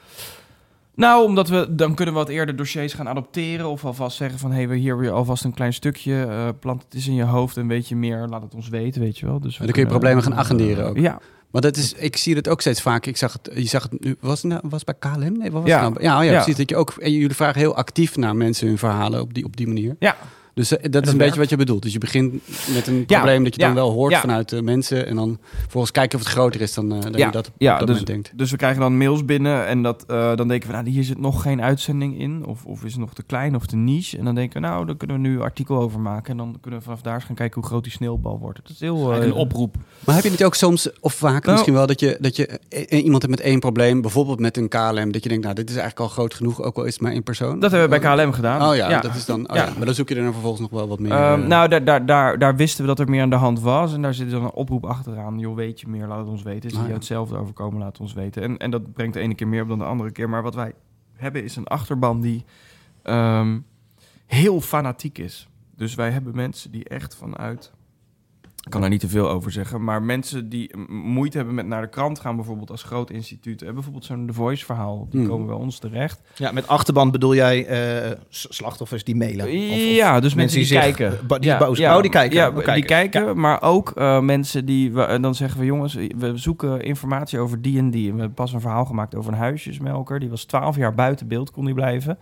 D: Nou, omdat we dan kunnen we wat eerder dossiers gaan adopteren. Of alvast zeggen van hé, hey, we hier weer alvast een klein stukje. eh plant het eens in je hoofd een beetje meer. Laat het ons weten, weet je wel. Dus we
C: En dan kun je
D: kunnen-
C: problemen gaan agenderen ook.
D: Ja,
C: Maar dat is, ik zie dat ook steeds vaak. Ik zag het, je zag het nu, was het nou, was het bij KLM? Nee, wat was
A: Ja.
C: het nou? Ja, oh ja,
D: Ja.
C: precies. Dat je ook, en jullie vragen heel actief naar mensen hun verhalen op die, op die manier.
D: ja,
C: Dus eh, dat, is een
D: werkt.
C: beetje wat je bedoelt. Dus je begint met een probleem dat je dan
D: ja,
C: wel hoort
D: ja.
C: vanuit de mensen. En dan vervolgens kijken of het groter is dan, eh, dan je dat op
D: ja
C: dat
D: dus,
C: moment denkt.
D: dus we krijgen dan mails binnen en dat, eh, dan denken we, nou, hier zit nog geen uitzending in. Of, of is het nog te klein of te niche. En dan denken we, nou, daar kunnen we nu een artikel over maken. En dan kunnen we vanaf daar eens gaan kijken hoe groot die sneeuwbal wordt. Dat is heel... eh,
B: Eigenlijk een oproep.
C: Maar heb je niet ook soms, of vaak
D: Nou.
C: misschien wel, dat je, dat je eh, eh, iemand hebt met één probleem, bijvoorbeeld met een KLM, dat je denkt, nou, dit is eigenlijk al groot genoeg, ook al is het maar één persoon.
D: dat hebben we bij KLM gedaan.
C: Oh ja, dat is dan. Oh, ja.
D: Ja.
C: Maar dan zoek je er dan vervolgens nog wel wat meer.
D: Ehm,
C: eh,
D: nou, daar, daar, daar, daar wisten we dat er meer aan de hand was. En daar zit dan een oproep achteraan. Joh, weet je meer, laat het ons weten.
C: Ah,
D: Is het
C: ja.
D: jou hetzelfde overkomen, laat het ons weten. En, en dat brengt de ene keer meer op dan de andere keer. Maar wat wij hebben is een achterban die ehm, heel fanatiek is. Dus wij hebben mensen die echt vanuit... Ik kan daar niet te veel over zeggen. Maar mensen die m- moeite hebben met naar de krant gaan, bijvoorbeeld als groot instituut. Hebben bijvoorbeeld zo'n The Voice verhaal. Die
C: Hmm.
D: komen bij ons terecht.
A: Ja, met achterban bedoel jij eh, s- slachtoffers die mailen. Of- of-
D: ja, dus mensen die,
A: zich,
D: kijken.
A: eh, ba- die boos- oh, die kijken.
D: Ja,
A: Oh,
D: die
A: kijken.
D: kijken. Maar ook eh, mensen die... we- en dan zeggen we, jongens, we zoeken informatie over die en die. En we hebben pas een verhaal gemaakt over een huisjesmelker. Die was 12 jaar buiten beeld, kon die blijven.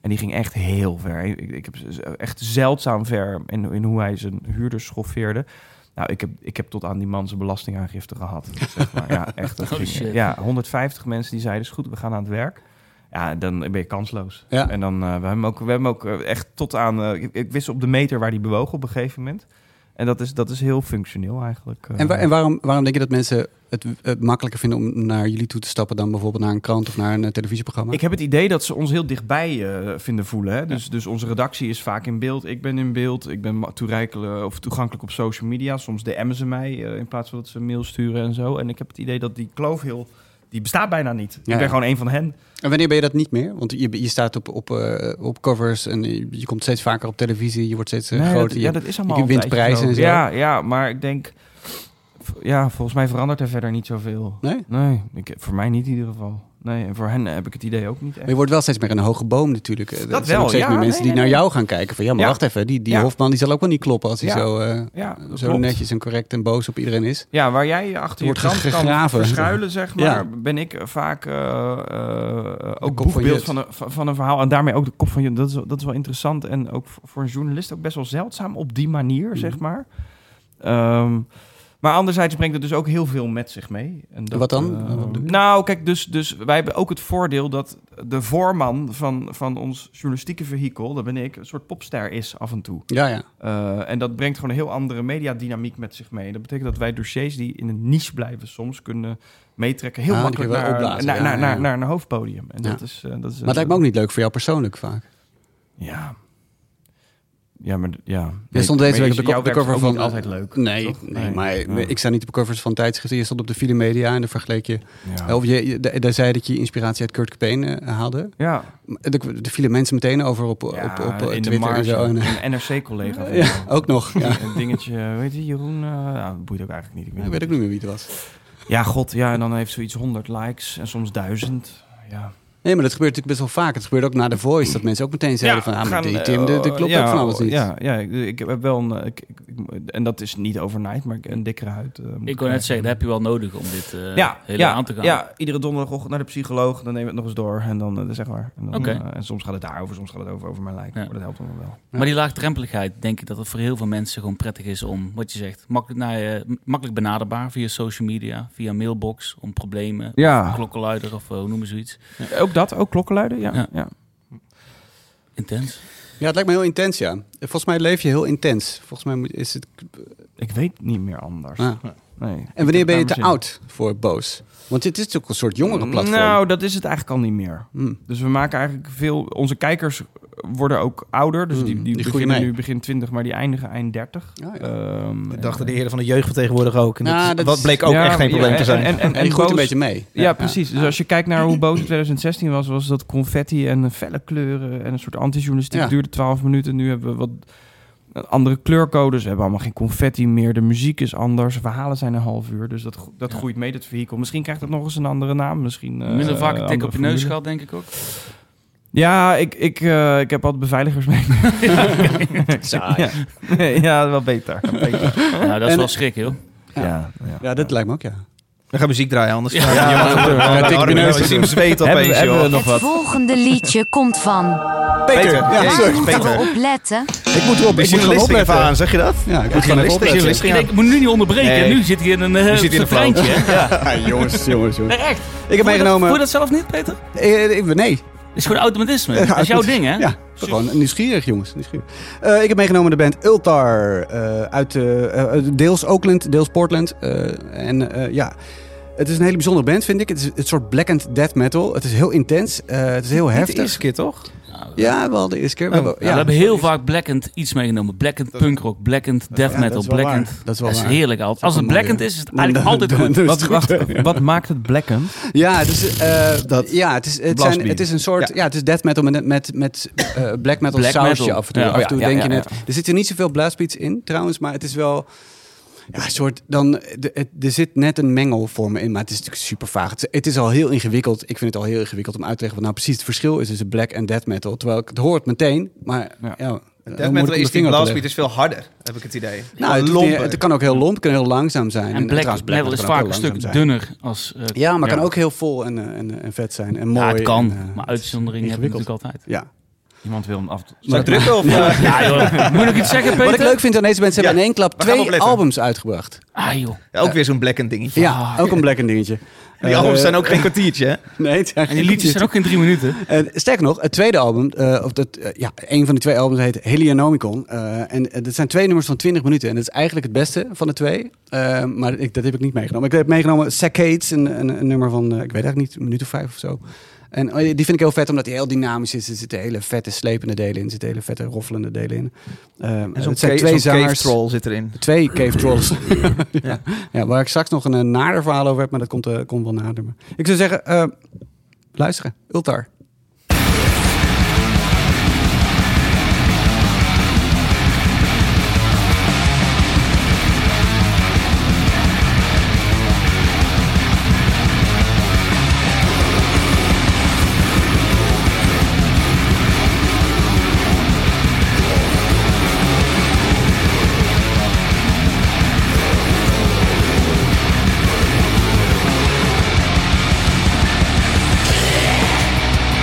D: En die ging echt heel ver. Ik, ik heb z- echt zeldzaam ver in, in hoe hij zijn huurders schoffeerde. Nou, ik heb, ik heb tot aan die man zijn belastingaangifte gehad. Zeg maar. Ja, echt. Dat
B: Oh,
D: ging-
B: shit.
D: ja, 150 mensen die zeiden, is goed, we gaan aan het werk. Ja, dan ben je kansloos.
C: Ja.
D: En dan, eh, we hebben hem ook, we hebben hem ook eh, echt tot aan... eh, ik, ik wist op de meter waar hij bewoog op een gegeven moment. En dat is, dat is heel functioneel eigenlijk. eh.
C: en wa- en waarom, waarom denk je dat mensen het eh, makkelijker vinden om naar jullie toe te stappen dan bijvoorbeeld naar een krant of naar een eh, televisieprogramma?
D: Ik heb het idee dat ze ons heel dichtbij eh, vinden voelen. Hè? Dus, dus onze redactie is vaak in beeld. Ik ben in beeld. Ik ben ma- toereikelijk of toegankelijk op social media. Soms DM'en ze mij eh, in plaats van dat ze een mail sturen en zo. En ik heb het idee dat die kloof heel... Die bestaat bijna niet.
C: Ja.
D: Ik ben gewoon een van hen.
C: En wanneer ben je dat niet meer? Want je, je staat op, op, eh, op covers en je, je komt steeds vaker op televisie, je wordt steeds eh,
D: Nee,
C: groter.
D: dat-
C: je-
D: ja, dat is allemaal
C: je
D: al
C: wint
D: een tijdje
C: prijzen en
D: zo.
C: zo.
D: Ja, ja, maar ik denk... v- Ja, volgens mij verandert er verder niet zoveel.
C: Nee?
D: Nee, ik, voor mij niet in ieder geval. Nee, en voor hen heb ik het idee ook niet
C: Maar
D: echt.
C: je wordt wel steeds meer een hoge boom natuurlijk. Er zijn
D: wel,
C: ook steeds
D: ja,
C: meer mensen
D: nee,
C: die
D: nee,
C: naar
D: nee.
C: jou gaan kijken. Van ja, maar
D: Ja.
C: wacht even, die, die
D: Ja.
C: Hofman die zal ook wel niet kloppen als hij
D: Ja.
C: zo, eh,
D: Ja, dat
C: zo
D: klopt.
C: netjes en correct en boos op iedereen is.
D: Ja, waar jij je achter je
C: Wordt
D: krant kan
C: gegraven.
D: verschuilen, zeg maar,
C: Ja.
D: ben ik vaak eh, eh, ook
C: kop van
D: boegbeeld
C: Jut.
D: van, een, van van een verhaal. En daarmee ook de kop van je. Dat is, dat is wel interessant en ook voor voor een journalist ook best wel zeldzaam op die manier,
C: Mhm.
D: zeg maar. Ehm, maar anderzijds brengt het dus ook heel veel met zich mee. En dat,
C: Wat dan?
D: eh,
C: Wat bedoel je?
D: nou, kijk, dus, dus wij hebben ook het voordeel dat de voorman van, van ons journalistieke vehikel, dat ben ik, een soort popster is af en toe.
C: Ja, ja.
D: Uh, en dat brengt gewoon een heel andere mediadynamiek met zich mee. Dat betekent dat wij dossiers die in een niche blijven soms kunnen meetrekken. Heel
C: Ah, die
D: makkelijk
C: kun je
D: naar,
C: wel opblazen,
D: naar,
C: ja,
D: naar,
C: ja, ja.
D: naar, naar een hoofdpodium. En
C: Ja.
D: dat is, eh, dat is,
C: Maar het lijkt me ook niet leuk voor jou persoonlijk vaak.
D: Ja. Ja, maar d- ja.
C: Je
D: Nee,
C: stond
D: maar
C: deze week op de,
D: jouw
C: co- de
D: werk is
C: cover
D: ook
C: van...
D: niet altijd leuk.
C: Nee,
D: toch?
C: nee,
D: Nee.
C: maar
D: Ja.
C: ik sta niet op de covers van tijdschriften. Je stond op de file media en daar vergeleek je...
D: Ja.
C: Of je, je- da- daar zei je dat je inspiratie uit Kurt Cobain eh, haalde.
D: Ja.
C: Maar Er, er vielen mensen meteen over op, op,
D: Ja,
C: op, op, eh,
D: in de
C: Twitter en
D: marge.
C: zo. En,
D: Een NRC-collega.
C: eh, ja, ook nog. Ja.
D: Een dingetje, weet je, Jeroen... eh nou, dat boeit ook eigenlijk niet. Ik weet
C: Ik weet ook niet meer wie het was.
D: Ja, god, ja. En dan heeft zoiets 100 likes en soms 1000. Ja.
C: Nee, maar dat gebeurt natuurlijk best wel vaak. Het gebeurt ook na The Voice. Dat mensen ook meteen zeiden van... Ah, maar die Tim, dat dat klopt
D: eh, ja,
C: ook van alles niet.
D: Ja, ja ik, ik heb wel een... eh, Ik, ik- ik- en dat is niet overnight, maar ik- een dikkere huid. eh, moet
B: Ik kon net
D: krijgen.
B: zeggen, dat heb je wel nodig om dit eh
D: ja,
B: hele
D: ja,
B: aan te gaan.
D: Ja, iedere donderdagochtend naar de psycholoog. Dan nemen we het nog eens door. En dan, eh, zeg maar. En, dan,
B: Oké.
D: eh, en soms gaat het daarover, soms gaat het over, over mijn lijk.
B: Ja.
D: Maar dat helpt allemaal wel.
B: Maar die laagdrempeligheid, denk ik dat het voor heel veel mensen gewoon prettig is om, wat je zegt, makkelijk, naar je- makkelijk benaderbaar via social media, via mailbox, om problemen,
D: Ja,
B: klokkenluider of eh, hoe noemen ze iets.
D: ook dat. Ook klokkenluiden, ja.
B: Ja.
D: ja.
B: Intens.
C: Ja, het lijkt me heel intens, ja. Volgens mij leef je heel intens. Volgens mij moet- is het...
D: Ik weet niet meer anders.
C: ah.
D: Nee. Ik
C: En
D: heb
C: wanneer
D: het
C: ben je
D: naar
C: te
D: mijn
C: oud voor boos? Want dit is natuurlijk een soort
D: zin.
C: jongerenplatform.
D: Nou, dat is het eigenlijk al niet meer.
C: Hm.
D: Dus we maken eigenlijk veel... Onze kijkers worden ook ouder. Dus
C: Mm,
D: die, die,
C: die groeien
D: beginnen
C: mee.
D: nu begin 20, maar die eindigen eind 30.
C: Ja, ja.
D: Ehm,
A: Dat
D: en-
A: dachten de heren van de jeugd vertegenwoordig ook. En
C: Nou,
A: dat,
C: dat
A: wat
C: is-
A: bleek ook
D: Ja,
A: echt geen
D: ja,
A: probleem te
D: en-
A: zijn.
D: En, en,
C: En je
D: en
C: groeit een
D: boos-
C: beetje mee.
D: Ja, precies. Dus als je kijkt naar hoe boos het 2016 was, was dat confetti en felle kleuren en een soort antijournalistiek.
C: Ja.
D: duurde 12 minuten. Nu hebben we wat andere kleurcodes. We hebben allemaal geen confetti meer. De muziek is anders. Verhalen zijn een half uur. Dus dat, gro- dat
B: Ja.
D: groeit mee, dat vehikel. Misschien krijgt het nog eens een andere naam. Misschien, eh,
B: Minder vaak een tik
D: andere
B: op je neus
D: formule.
B: gehad, denk ik ook.
D: Ja, ik, ik, eh, ik heb altijd beveiligers mee.
C: Saai.
D: Ja. Nee, ja, wel beter. Wel beter.
B: Nou, dat is
C: En-
B: wel schrik, joh.
C: Ja.
D: Ja, ja.
C: Ja, dat lijkt me ook, ja.
A: We gaan muziek draaien, anders.
B: Ja.
A: Ja,
D: Ja,
A: jongen.
D: ja,
A: Ja,
C: tik op je
A: Armin,
C: neus.
A: we zien hem zweet
D: Hebben we-
A: opeens,
D: hebben we
A: joh.
D: nog
E: Het
D: wat?
E: volgende liedje komt van.
A: Peter,
C: Ja,
A: Jezus,
E: Daar
C: sorry,
E: moeten we op letten.
A: Ik moet erop,
C: Ik
A: ik moet gewoon
C: moet gewoon
A: opletten
C: opletten.
A: aan, zeg je dat?
C: Ja, ik
A: moet gewoon
C: moet gewoon even
A: even
C: opletten.
A: opletten.
B: Ik, denk, ik moet nu niet onderbreken.
A: Nee.
B: Nu zit hij in een
A: Nu
B: eh
A: zit hij in een
B: refreintje, hè? Ja.
C: jongens, jongens, jongens.
B: Nee, echt.
C: Ik heb
B: Voel je dat- Voel je
C: meegenomen...
B: dat zelf niet, Peter?
C: Eh, eh, Nee,
B: Dat is gewoon automatisme. dat is jouw
C: goed.
B: ding, hè?
C: Ja, gewoon nieuwsgierig, jongens. Nieuwsgierig. Eh, ik heb meegenomen de band Ultar. eh, uit, eh, eh, deels Oakland, deels Portland. Eh, en eh, ja, het is een hele bijzondere band, vind ik. Het is een soort blackened death metal. Het is heel intens. eh, het is heel
A: Heftig.
C: heftig.
A: Eerste keer, toch?
B: Nou,
C: Ja, wel de eerste keer. We
A: Oh,
C: hebben,
B: Ja, we hebben heel vaak blackend iets meegenomen. Blackend punkrock, blackend death
A: ja, dat
B: metal,
A: is wel
B: blackend...
A: waar.
C: Dat is wel
B: Dat is
C: waar.
B: heerlijk altijd. Als
C: wel
B: het
C: mooi,
B: blackend
C: ja.
B: is, is het eigenlijk altijd goed.
C: Dan is
D: Wat,
C: het goed.
D: wacht, wat maakt het blacken?
C: Ja, het is, eh,
A: Dat-
C: ja, het is, het zijn,
D: Blasbeat.
C: het is een soort. Ja.
A: Ja.
C: het is death metal met, met, met eh, black metal
B: Black
C: sausje
B: metal.
C: af en toe.
B: Ja.
C: af en toe
D: Ja, ja,
C: denk
D: ja,
C: je
D: ja.
C: net. Er zitten niet zoveel blastbeats in trouwens, maar het is wel. Ja, een soort dan. de- het- Er zit net een mengelvorm in, maar het is natuurlijk super vaag. Het, is- het is al heel ingewikkeld. Ik vind het al heel ingewikkeld om uit te leggen wat nou precies het verschil is tussen black en death metal. Terwijl ik het hoor het meteen, maar. Ja.
D: Ja.
C: dan moet ik
A: Death
C: om
A: metal
C: de
A: is die
C: vinger op
A: blastbeat
C: te leggen.
A: is veel harder, heb ik het eh, idee.
C: Nou, het, doet niet- het kan ook heel lomp, kan heel langzaam zijn.
B: En
C: trouwens,
B: black metal is
C: kan ook
B: vaak
C: heel
B: een stuk
C: langzaam zijn.
B: dunner als... eh,
C: Ja, maar
B: ja.
C: kan ook heel vol en, eh, en, eh, en vet zijn. En mooi.
B: ja, het kan,
C: en, eh,
B: maar uitzonderingen heb je
C: ingewikkeld.
B: natuurlijk altijd.
C: Ja.
D: Iemand wil hem af.
A: Zou ik drukken of... eh,
B: Ja, joh. Moet ik iets zeggen, Peter?
C: Wat ik leuk vind aan deze mensen, ze
A: Ja,
C: hebben in één klap
A: we gaan
C: twee
A: opletten.
C: albums uitgebracht.
B: Ah, joh.
A: ja, ook weer zo'n blackened dingetje.
C: Ja, ook een black and dingetje. Eh,
A: En die albums zijn ook geen kwartiertje, hè?
C: Nee, het zijn
B: En
C: geen
B: die liedjes zijn ook in drie minuten.
C: En Eh, sterker nog, het tweede album, eh, of dat, eh, ja, een van die twee albums heet Helianomicon. Eh, en eh, dat zijn twee nummers van 20 minuten. En dat is eigenlijk het beste van de twee. Eh, maar ik, dat heb ik niet meegenomen. Ik heb meegenomen Saccades, een, een, een nummer van, eh, ik weet eigenlijk niet, een minuut of vijf of zo. En eh, die vind ik heel vet, omdat die heel dynamisch is. Er zitten hele vette slepende delen in. Er zitten hele vette roffelende delen in. Eh,
A: En zo'n
C: het zijn
A: ca-
C: twee
A: zo'n cave
C: zangers.
A: troll zit erin.
C: Twee cave trolls. ja. Ja, waar ik straks nog een eh, nader verhaal over heb, maar dat komt, eh, komt wel nader. Maar Ik zou zeggen, eh, luisteren. Ultar.
F: Thank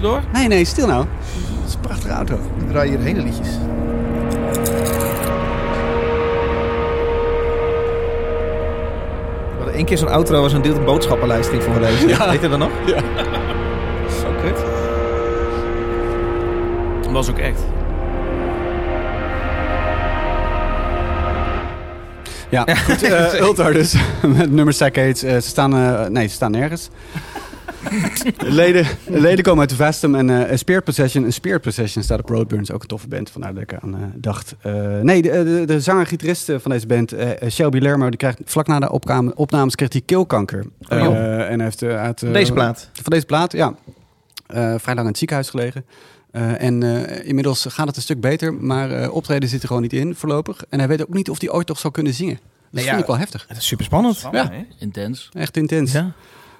B: door.
C: Nee, nee, stil nou. Dat is een prachtige auto.
A: We draaien hier hele liedjes. We hadden één keer zo'n outro was een dude een boodschappenlijst die voorlezen. Weet je dat nog? Ja. Zo kut.
B: Dat was ook echt.
C: Ja, goed. eh, Ultar dus. Met nummer Sackades. Eh, ze staan... eh, nee, ze staan nergens. leden, leden komen uit Vastum en eh Spirit Possession. En Spirit Possession staat op Roadburns. Ook een toffe band. Vandaar dat ik aan eh, dacht. Eh, nee, de, de, de zanger-gitarist eh, van deze band, eh, eh, Shelby Lermo, die krijgt vlak na de opkame- opnames kreeg hij keelkanker.
A: Oh.
C: Eh, en hij heeft eh, uit... eh,
A: Deze plaat.
C: van deze plaat, ja. Eh, vrij lang in het ziekenhuis gelegen. Eh, en eh, inmiddels gaat het een stuk beter, maar eh, optreden zit er gewoon niet in voorlopig. En hij weet ook niet of hij ooit toch zou kunnen zingen. Dat
A: Nee,
C: vond
A: ja.
C: ik wel heftig.
A: Het is super spannend.
D: Spannend,
C: Ja.
D: hè?
B: Intens. Oh,
C: Echt intens. Ja,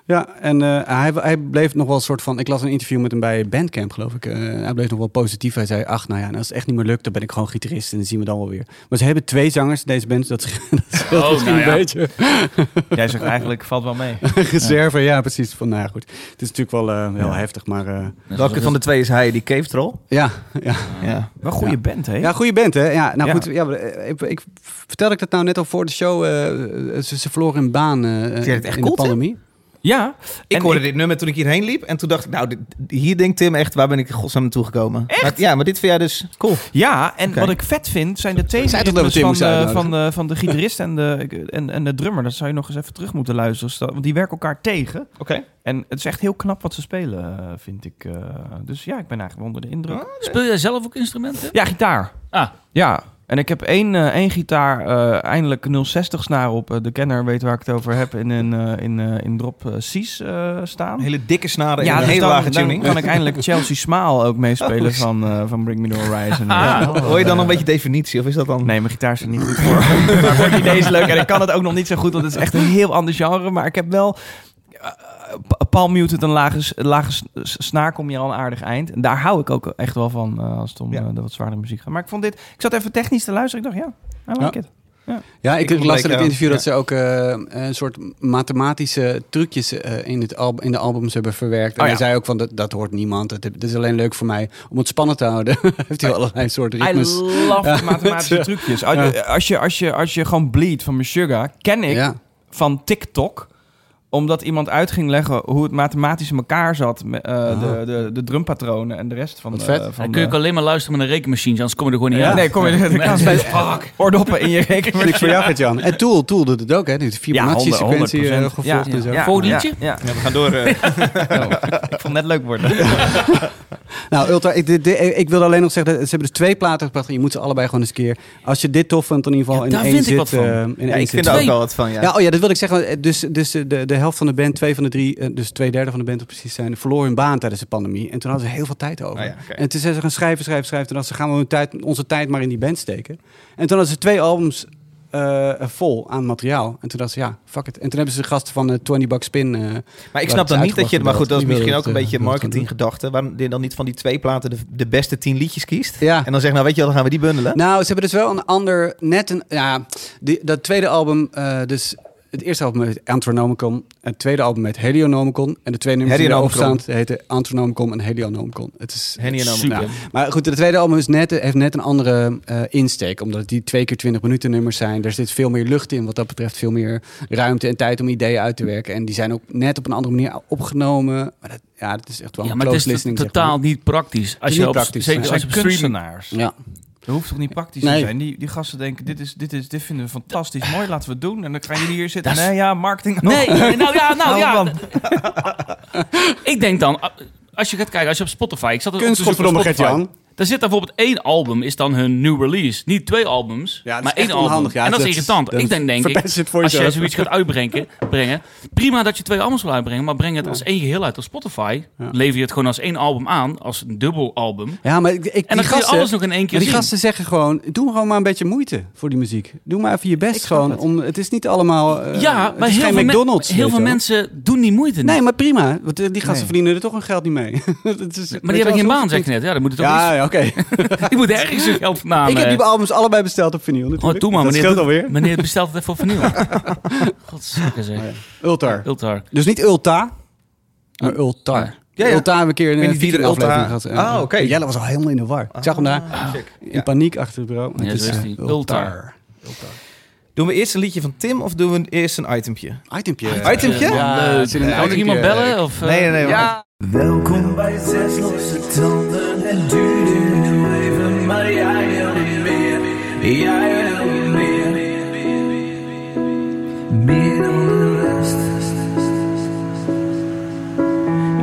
A: Ja.
C: en eh, hij, hij bleef nog wel een soort van... Ik las een interview met hem bij Bandcamp, geloof ik. Eh, hij bleef nog wel positief. Hij zei, ach, nou ja, en als het echt niet meer lukt, dan ben ik gewoon gitarist. En dan zien we dan wel weer. Maar ze hebben twee zangers in deze band. Dat scheelt
B: Oh,
C: misschien
B: nou ja.
C: een beetje.
D: Jij zegt eigenlijk, valt wel mee.
C: Reserve, ja, precies. Van, nou ja, goed. Het is natuurlijk wel eh, heel heftig, maar... eh,
A: Welke van de twee is hij? Die cave troll?
C: ja, ja.
A: Ja.
D: Wel goede
C: Ja.
D: band, hè?
C: Ja, goede band, hè? Ja, nou
D: Ja.
C: goed. Ja, maar, eh, ik, ik, vertelde ik dat nou net al voor de show? eh, ze, ze verloren een baan eh,
A: Vind je dat echt
C: in
A: cool,
C: de
A: Tim?
C: pandemie.
D: Ja.
A: Ik
D: En
A: hoorde dit nummer toen ik hierheen liep. En toen dacht ik, nou, dit- hier denkt Tim echt, waar ben ik in godsnaam naartoe gekomen? Maar- ja, maar dit vind jij dus cool.
D: Ja, en
A: Oké.
D: wat ik vet vind, zijn de
C: zei toch dat we
D: tegenritmes
C: Tim
D: van,
C: moesten
D: de-
C: uitnodigen?
D: van, de, van de gitarist en de, en, en de drummer. Dat zou je nog eens even terug moeten luisteren. sta- Want die werken elkaar tegen.
A: Oké.
D: En het is echt heel knap wat ze spelen, eh, vind ik. eh. dus ja, ik ben eigenlijk onder de indruk.
B: Speel jij zelf ook instrumenten?
D: Ja, gitaar.
B: Ah.
D: Ja. En ik heb één, eh, één gitaar, eh, eindelijk 060 snaar op. Eh, de kenner weet waar ik het over heb. In, een eh, in, eh, in drop eh, C's eh, staan.
A: Een hele dikke snaren en
D: dus
A: een hele
D: dan-
A: lage
D: dan
A: tuning.
D: kan ik eindelijk Chelsea Smile ook meespelen van, eh, van Bring Me The Horizon. Ja.
A: Ah, Hoor je dan een beetje definitie? Of is dat dan...
D: Nee, mijn gitaar is er niet goed voor. maar voor het idee is leuk. En ik kan het ook nog niet zo goed, want het is echt een heel ander genre. Maar ik heb wel... eh, pa- palm muted, een lage, s- lage s- s- snaar kom je al een aardig eind. En daar hou ik ook echt wel van eh, als het om
A: Ja.
D: eh, de wat zwaardere muziek gaat. Maar ik vond dit... Ik zat even technisch te luisteren. Ik dacht, ja, I like
C: Ja.
D: it.
C: Ja, ik,
A: Ik
C: las
A: ontbreek
C: in het
A: jou.
C: interview dat ze ook eh, een soort mathematische trucjes eh, in, het al in de albums hebben verwerkt. En
D: Oh, ja.
C: hij zei ook van, dat, dat hoort niemand. Het, het is alleen leuk voor mij om het spannend te houden. Heeft hij allerlei soorten
D: Oh, I
C: ritmes.
D: love mathematische trucjes. Als, je- als, je, als, je, als je gewoon bleed van mijn sugar, ken ik
C: Ja,
D: van TikTok omdat iemand uit ging leggen hoe het mathematisch in elkaar zat. me- eh, de, de, de drumpatronen en de rest van
C: Ah. Wat
D: de...
C: vet.
D: Van
B: Dan kun je
D: de-
B: ook alleen maar luisteren met een rekenmachine, anders kom je er gewoon niet
D: Ja.
B: uit.
D: Nee, kom je dat kan
B: Nee.
D: niet. Oordoppen in je rekening.
C: niks voor jou, Gert-Jan. En Tool, Tool doet het ook, hè? Die Fibonacci-sequentie eh,
D: 100%.
C: gevolgd
D: Ja,
C: en zo.
D: ja,
B: Vogeltje?
D: Ja,
A: Ja, we gaan door. eh.
D: ja. ik vond het net leuk worden.
C: Nou, Ultra, ik, dit- dit- ik wilde alleen nog zeggen, dat ze hebben dus twee platen gebracht. en Je moet ze allebei gewoon eens een keer, als je dit tof vindt, dan in ieder geval
B: Ja,
C: in
B: daar
C: één
B: vind ik
C: zit.
B: wat van.
C: eh, in
A: Ja, ik
C: één zit.
A: vind daar ook
B: Twee.
A: wel wat van, ja.
C: Ja, oh ja, dat wil ik zeggen. Eh, Dus, dus de, de, de helft van de band, twee van de drie, eh, dus twee derde van de band om precies te zijn, verloor hun baan tijdens de pandemie. En toen hadden ze heel veel tijd over.
A: Oh ja, oké.
C: En toen zijn ze gaan schrijven, schrijven, schrijven. Toen dachten ze, gaan we hun tijd, onze tijd maar in die band steken. En toen hadden ze twee albums eh, vol aan materiaal. En toen dachten ze, ja, fuck it. En toen hebben ze de gasten van eh, 20 Bucks Spin... eh,
A: Maar ik snap
C: Waar het
A: dan
C: is
A: niet dat je... Maar goed, dat is
C: uitgebracht,
A: misschien ook
C: inderdaad.
A: een beetje
C: Die wil het, eh,
A: marketinggedachte. Waarom je dan niet van die twee platen de, de beste tien liedjes kiest?
C: ja.
A: En dan zegt, nou weet je wel, dan gaan we die bundelen.
C: Nou, ze hebben dus wel een ander, net een, ja, die, dat tweede album, eh, dus het eerste album met Antronomicon, het tweede album met Helionomicon en de twee nummers die erop
A: Helionomicon.
C: staan heten Antronomicon en Helionomicon. Het is
A: Helionomicon.
C: Nou, maar goed, de tweede album is net, heeft net een andere eh, insteek, omdat het die twee keer 20 minuten nummers zijn. Er zit veel meer lucht in, wat dat betreft, veel meer ruimte en tijd om ideeën uit te werken. En die zijn ook net op een andere manier opgenomen. Maar dat, ja, dat is echt wel
B: Ja,
C: een
B: maar het
C: close
B: is
C: listening. zeg
B: totaal
C: maar.
B: niet praktisch. Als
C: is
B: je
C: niet
B: op,
C: praktisch,
B: Zeker
C: nee.
B: als
D: zijn
B: je op streaming...
D: kunstenaars.
C: Ja.
D: Dat hoeft toch niet praktisch te
C: Nee.
D: zijn? Die, die gasten denken, dit, is, dit, is, dit vinden we fantastisch, mooi, laten we het doen. En dan gaan jullie hier zitten. Nee, ja, marketing. ook.
B: Nee, nou ja, nou
D: Hou
B: ja.
D: van.
B: Ik denk dan, als je gaat kijken, als je op Spotify... Ik zat het op te
C: Kunst,
B: zoeken op
C: godverdomme,
B: Spotify.
C: Gert-Jan.
B: Daar zit dan bijvoorbeeld één album, is dan hun new release. Niet twee albums,
C: Ja, dat is
B: maar
C: echt
B: één album.
C: onhandig. Ja,
B: en dat,
C: dat-
B: is irritant.
C: dat
B: ik denk, denk ik,
C: verpest je het voor
B: als jij
C: jezelf.
B: zoiets gaat uitbrengen, brengen, prima dat je twee albums wil uitbrengen, maar breng het als één geheel uit op Spotify.
C: Ja.
B: Lever je het gewoon als één album aan, als een dubbel album.
C: Ja, maar ik, ik,
B: En
C: die
B: dan kun je
C: gasten,
B: alles nog in één keer
C: Maar die
B: zien.
C: gasten zeggen gewoon, doe gewoon maar een beetje moeite voor die muziek. Doe maar even je best gewoon. Om, het is niet allemaal... eh,
B: ja,
C: het
B: maar
C: is
B: heel,
C: geen
B: veel, men-
C: McDonald's.
B: heel
C: weet
B: veel
C: je wel.
B: mensen doen die moeite niet.
C: Nee, maar prima. Want eh, die gasten
D: Nee.
C: verdienen er toch hun geld niet mee. Het is-
B: maar
C: weet
B: die
C: je wel,
B: hebben geen
C: zo
B: baan,
C: is het
B: zeg
C: niet.
B: ik net. Ja, dan moet het ook
C: Ja, ja, oké.
B: iets- die moet ergens hun geld vandaan.
C: ik heb
B: eh.
C: die albums allebei besteld op vinyl natuurlijk.
B: Oh, doe maar,
C: Dat
B: meneer.
C: scheelt alweer.
B: Meneer bestelt het even opnieuw. Godzakken zeg.
C: Ultar.
B: Ultar.
C: Dus niet Ulta, maar Ultar.
A: Ja, ja.
C: Ulta hebben we een keer
A: weet
C: een
A: niet wie er
C: Viking aflevering
A: Ulta-
C: gehad. En,
A: Ah,
C: eh,
A: oké.
C: Jelle was al helemaal in de war. ik zag hem daar
A: Ah, sick.
C: in
A: Ja.
C: paniek achter het bureau. Maar
B: Ja,
C: het
B: zo is
C: is, eh,
B: die. Ultar.
A: Doen we eerst een liedje van Tim of doen we eerst een itempje?
C: Itempje.
B: Eh,
A: Itempje?
C: Ja,
B: Leuk.
C: het zit in een
B: Kan ik iemand
C: itempje.
B: bellen? Of, eh,
A: Nee, nee,
B: ja.
F: Welkom bij zes losse tanden. Het duurde heel even, maar jij wil meer. Jij wil meer. Meer dan de rest.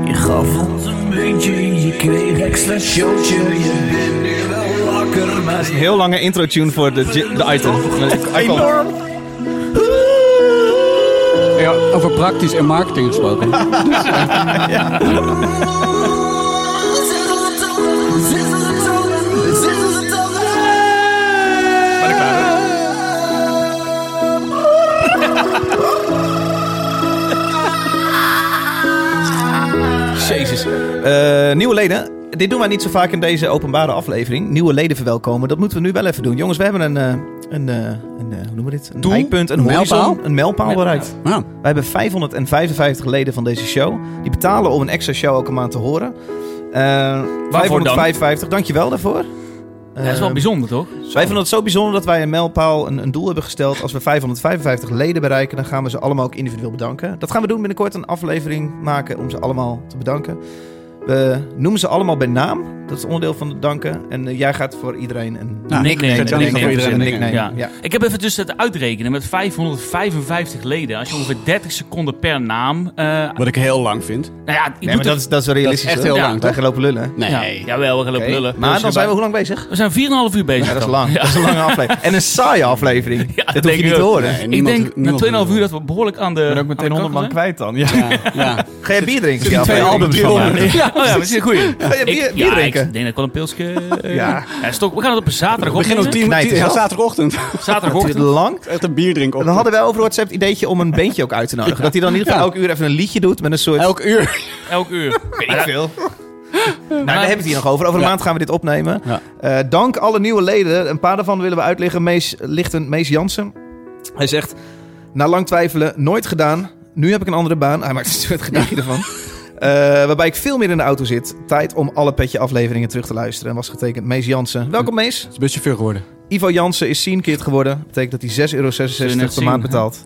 F: Je gaf ons een muntje, je kreeg extra showtje. Je bent nu wel wakker, maar
A: Een heel lange intro tune voor de, gi- de item. Maar ik- ik kom.
F: enorm.
C: Ja, over praktisch en marketing gesproken.
A: Jezus. Eh, nieuwe leden. Dit doen wij niet zo vaak in deze openbare aflevering. Nieuwe leden verwelkomen. Dat moeten we nu wel even doen. Jongens, we hebben een, eh, een, eh, een eh, hoe noemen we dit? Een
C: Doel?
A: eikpunt, een
C: Een
A: horizon,
C: mijlpaal?
A: een mijlpaal bereikt.
C: Nou,
A: We hebben 555 leden van deze show. Die betalen om een extra show elke maand te horen. Eh, 555, dankjewel daarvoor. Eh,
B: Dat is wel bijzonder, toch?
A: Dus Wij vinden het zo bijzonder dat wij een mijlpaal, een, een doel hebben gesteld. Als we 555 leden bereiken, dan gaan we ze allemaal ook individueel bedanken. Dat gaan we doen binnenkort, een aflevering maken om ze allemaal te bedanken. We noemen ze allemaal bij naam. Dat is onderdeel van het danken. En eh, jij gaat voor iedereen een
C: Nou,
B: Nickname.
C: ik zou
B: Nickname.
C: zeggen voor iedereen
A: verzinnen.
C: een nickname.
A: Ja.
B: Ja. Ik heb even dus het uitrekenen met 555 leden. Als je ongeveer 30 seconden per naam... eh, nou
C: Wat ik heel lang vind.
B: ja, je
A: Nee, maar
B: moet
A: dat
B: er-
A: is, dat is wel
C: Dat is
A: realistisch.
C: echt
A: hoor.
C: heel
B: Ja,
C: lang,
A: Wij
C: toch?
A: gaan lopen lullen. hè?
B: ja,
C: Nee.
B: jawel, we gaan lopen
A: Oké.
B: lullen.
A: Maar dan zijn we hoe lang bezig?
B: We zijn 4,5 uur bezig.
A: Ja, dat is
B: dan.
A: lang. Dat is een lange aflevering. En een saaie aflevering.
B: Ja,
A: dat
B: denk
A: hoef je
B: ik
A: niet te
B: ook.
A: horen.
C: Nee,
B: Ik
C: niemand-
B: denk na
C: niemand-
B: 2,5 uur dat we behoorlijk aan de...
D: Ik ben ook meteen 100 man kwijt dan. Ja.
C: Ja, ja.
A: Ga je bier drinken?
D: twee
A: Ja,
D: albums
A: bier
D: van
A: drinken.
D: maken.
B: Ja, oh ja, dat is een goeie.
A: Ga je bier,
B: Ik,
A: bier
B: ja, ik
A: drinken?
B: denk dat ik wel een pilsje... eh,
A: Ja.
B: ja, stok, we gaan het op een zaterdag
C: We beginnen om
B: opnemen.
C: tien
A: Knijt
C: tien-
A: het
C: ja,
A: wel.
C: zaterdagochtend.
A: Het
B: Zaterdagochtend.
A: lang.
C: Echt een bierdrink
A: Dan hadden wij over WhatsApp het ideetje om een bandje ook uit te nodigen. Dat hij dan in ieder geval
C: Ja.
A: elke uur even een liedje doet met een soort...
C: Elk uur.
B: Elk uur.
A: Weet ik veel. Nou, daar hebben we het hier nog over. Over een
C: Ja.
A: maand gaan we dit opnemen.
C: Ja.
A: Eh, dank alle nieuwe leden. Een paar daarvan willen we uitleggen. Mees, lichten Mees Jansen. Hij zegt, na lang twijfelen, nooit gedaan. Nu heb ik een andere baan. Hij maakt een soort gedichtje ervan. Eh, waarbij ik veel meer in de auto zit. Tijd om alle petje afleveringen terug te luisteren. En was getekend Mees Jansen. Welkom Mees.
C: Het is buschauffeur geworden.
A: Ivo Jansen is Seenkid geworden. Betekent dat hij 6,66 euro
B: Zul je net
A: per
B: zien,
A: maand
B: hè?
A: betaalt.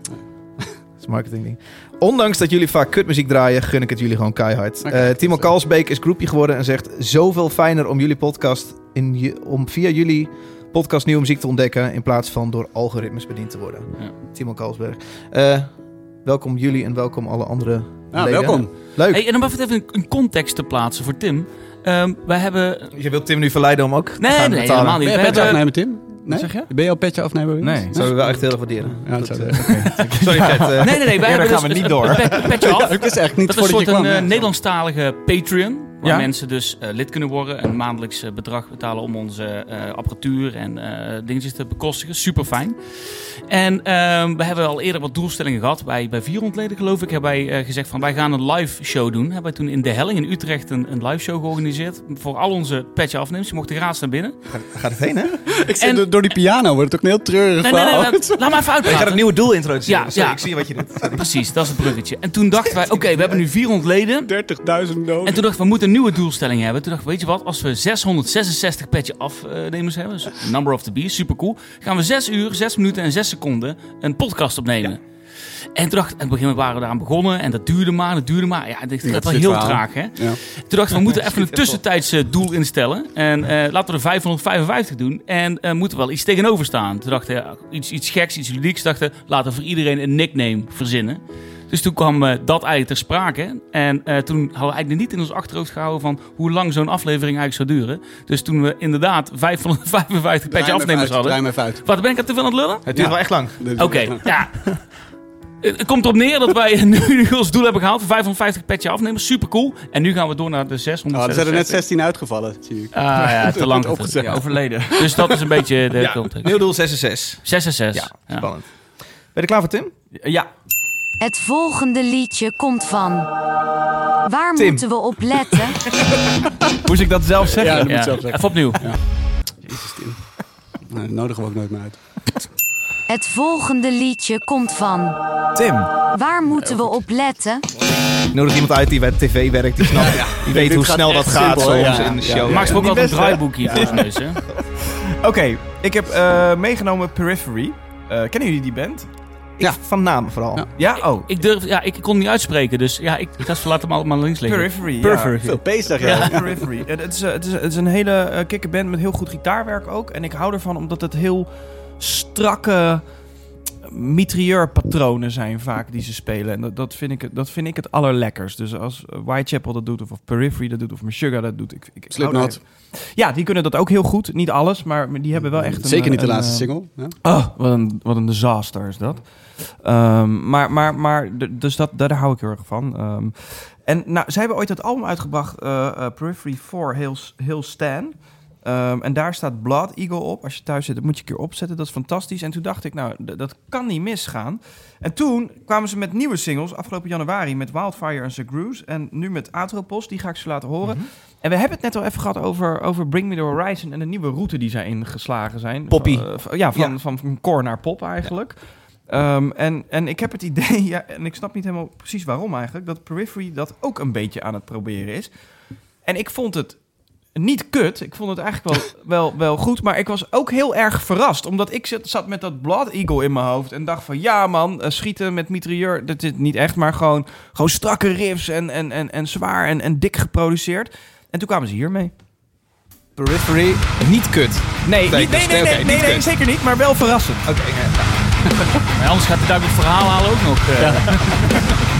A: Dat is marketingding. Ondanks dat jullie vaak kutmuziek draaien, gun ik het jullie gewoon keihard.
C: Maar
A: Eh,
C: kijk,
A: Timo
C: dat is, eh,
A: Kalsbeek is groepje geworden en zegt... Zoveel fijner om jullie podcast in je, om via jullie podcast nieuwe muziek te ontdekken... in plaats van door algoritmes bediend te worden.
B: Ja.
A: Timo Kalsberg. Eh, welkom jullie en welkom alle andere
C: Ja,
A: leden.
C: welkom.
A: Leuk.
B: Hey, en om even een- een context te plaatsen voor Tim. Ehm, wij hebben...
A: Je wilt Tim nu verleiden om ook te
B: Nee,
A: gaan
B: nee,
A: betalen.
B: helemaal niet.
C: Ben je
B: We
C: petje
B: hebben-
C: afnemen, Tim? Nee?
D: zeg je?
C: Ben je al petje afnemen? Wim?
D: Nee.
A: Dat zouden we wel echt heel erg waarderen.
C: Ja, dat zou
A: eh,
C: ik-
A: Sorry, Jet. eh,
B: Nee, nee, nee. Wij
D: Eerder
B: hebben
D: gaan
B: dus
D: we niet
B: een-
D: door.
B: een pet- een petje af.
C: Het is echt niet
B: Dat is een
C: voordat je
B: soort
C: kwam.
B: een, eh,
C: hè?
B: Nederlandstalige Patreon. Waar
D: Ja.
B: mensen dus eh, lid kunnen worden. Een maandelijks eh, bedrag betalen om onze eh, apparatuur en eh, dingetjes te bekostigen. Super fijn. En ehm, we hebben al eerder wat doelstellingen gehad. Bij, bij vier ontleden geloof ik hebben wij eh, gezegd van wij gaan een live show doen. Hebben wij toen in De Helling in Utrecht een, een live show georganiseerd. Voor al onze petje afnemers. Je mocht gratis naar binnen.
A: Gaat het heen, hè?
C: Ik zit
B: en-
C: door- door die piano wordt het ook een heel treurig
B: Nee, nee, nee,
C: verhaal.
B: laat- laat maar even
A: Ik ga
B: uitpraten.
A: het nieuwe doel introduceren.
B: Ja,
A: Sorry,
B: ja.
A: ik zie wat je doet.
B: Precies, dat is het bruggetje. En toen dachten wij, oké, we hebben nu 400 leden.
C: 30.000
B: En
C: noden.
B: toen dachten we, we moeten een nieuwe doelstelling hebben. Toen dachten we, weet je wat, als we 666 petje afnemers hebben, dus number of the beast, super cool, gaan we 6 uur, 6 minuten en 6 seconden een podcast opnemen. En toen dacht ik, in het begin waren we daaraan begonnen en dat duurde maar, dat duurde maar. Ja, dit gaat
C: dat
B: wel
C: is
B: heel
C: dit verhaal.
B: traag, hè?
C: Ja.
B: Toen dachten we, we moeten even een tussentijds eh, doel instellen. En eh, laten we er 555 doen. En eh moeten we wel iets tegenover staan. Toen dachten we, ja, iets, iets geks, iets ludieks. Dachten we, laten we voor iedereen een nickname verzinnen. Dus toen kwam eh, dat eigenlijk ter sprake. En eh, toen hadden we eigenlijk niet in ons achterhoofd gehouden van hoe lang zo'n aflevering eigenlijk zou duren. Dus toen we inderdaad 555 petje afnemers
C: Draai
B: hadden.
C: me even uit.
B: Wat ben ik er te veel aan het lullen?
A: Het duurt
C: Ja.
A: wel echt lang.
C: Dit is-
B: Oké, ja. Het het komt erop neer dat wij nu ons doel hebben gehaald. 550 petje afnemers, super cool. En nu gaan we door naar de
C: Oh,
B: 600.
C: er zijn er net 16 uitgevallen, zie ik.
B: Ah ja, te lang
C: Wordt
B: opgezet.
C: opgezet.
D: Ja, overleden.
B: Dus dat is een beetje de context.
A: Nieuw doel 6 en 6.
B: 6 en 6.
A: Ja, spannend. Ben je klaar voor Tim?
D: Ja.
E: Het volgende liedje komt van. Waar
A: Tim.
E: moeten we op letten?
D: Moest ik dat zelf zeggen?
C: Ja, dat moet
B: Ja.
C: ik zelf zeggen.
B: Even opnieuw.
C: Jezus, Tim. Nou, dat nodigen we ook nooit meer uit.
E: Het volgende liedje komt van.
D: Tim.
E: Waar moeten we op letten?
A: Nodig iemand uit die bij de tv werkt, die, snapt, die weet
C: Dit
A: hoe
C: gaat
A: snel
C: echt
A: dat gaat
C: simpel,
A: soms
C: ja.
A: in de
C: Ja,
A: show.
C: ja.
B: Max ook
D: Die
B: al een
D: beste.
B: draaiboek hier voor zijn neus, hè?
D: Oké, ik heb eh, meegenomen Periphery. Eh, kennen jullie die band?
A: Ik- Van naam vooral.
C: Ja.
D: Ja, oh.
B: Ik, durf, ja, ik kon hem niet uitspreken, dus ja, ik, ik had laat hem allemaal links liggen.
D: Periphery. ja.
B: Periphery.
F: Veel bezig, ja.
D: Ja, Periphery. Eh, Het is, eh, het, is, het is een hele eh, kikke band met heel goed gitaarwerk ook. En ik hou ervan omdat het heel strakke mitrailleurpatronen zijn vaak die ze spelen. En dat, dat, vind, ik, het- dat vind ik het allerlekkers. Dus als eh, Whitechapel dat doet, of, of Periphery dat doet, of Meshuggah dat doet. Ik, ik, ik hou
C: Slipknot.
D: daar- Ja, die kunnen dat ook heel goed. Niet alles, maar die hebben wel echt een...
C: Zeker niet de
D: een,
C: laatste
D: eh,
C: single. Ja.
D: Oh, wat een, wat een disaster is dat. Ehm, maar, maar, maar, d- dus dat, daar hou ik heel erg van. Ehm, en nou, zij hebben ooit het album uitgebracht, eh, eh, Periphery 4, heel, heel Stan. Ehm, en daar staat Blood Eagle op. Als je thuis zit, dat moet je een keer opzetten. Dat is fantastisch. En toen dacht ik, nou, d- dat kan niet misgaan. En toen kwamen ze met nieuwe singles afgelopen januari met Wildfire en The Cruise. En nu met Atropos, die ga ik ze laten horen. En we hebben het net al even gehad over, over Bring Me The Horizon en de nieuwe route die zij ingeslagen zijn.
A: Poppy.
D: Van, eh, van- ja, van, van, van core naar pop eigenlijk. Ehm, en, en ik heb het idee, ja, en ik snap niet helemaal precies waarom eigenlijk, dat Periphery dat ook een beetje aan het proberen is. En ik vond het niet kut. Ik vond het eigenlijk wel, wel, wel goed. Maar ik was ook heel erg verrast. Omdat ik zit, zat met dat Blood Eagle in mijn hoofd. En dacht van, ja man, eh, schieten met mitrailleur. Dat is niet echt, maar gewoon, gewoon strakke riffs. En, en, en, en zwaar en, en dik geproduceerd. En toen kwamen ze hiermee.
A: Periphery, niet kut.
D: Nee,
A: Nee,
D: niet- nee,
A: dus- nee,
D: nee, nee,
A: oké,
D: nee,
A: niet
D: nee,
A: kut.
D: zeker niet. Maar wel verrassend.
A: Oké, ja.
B: Maar anders gaat hij daar ook het verhaal halen ook nog. eh.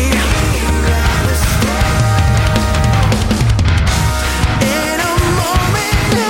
G: In a moment of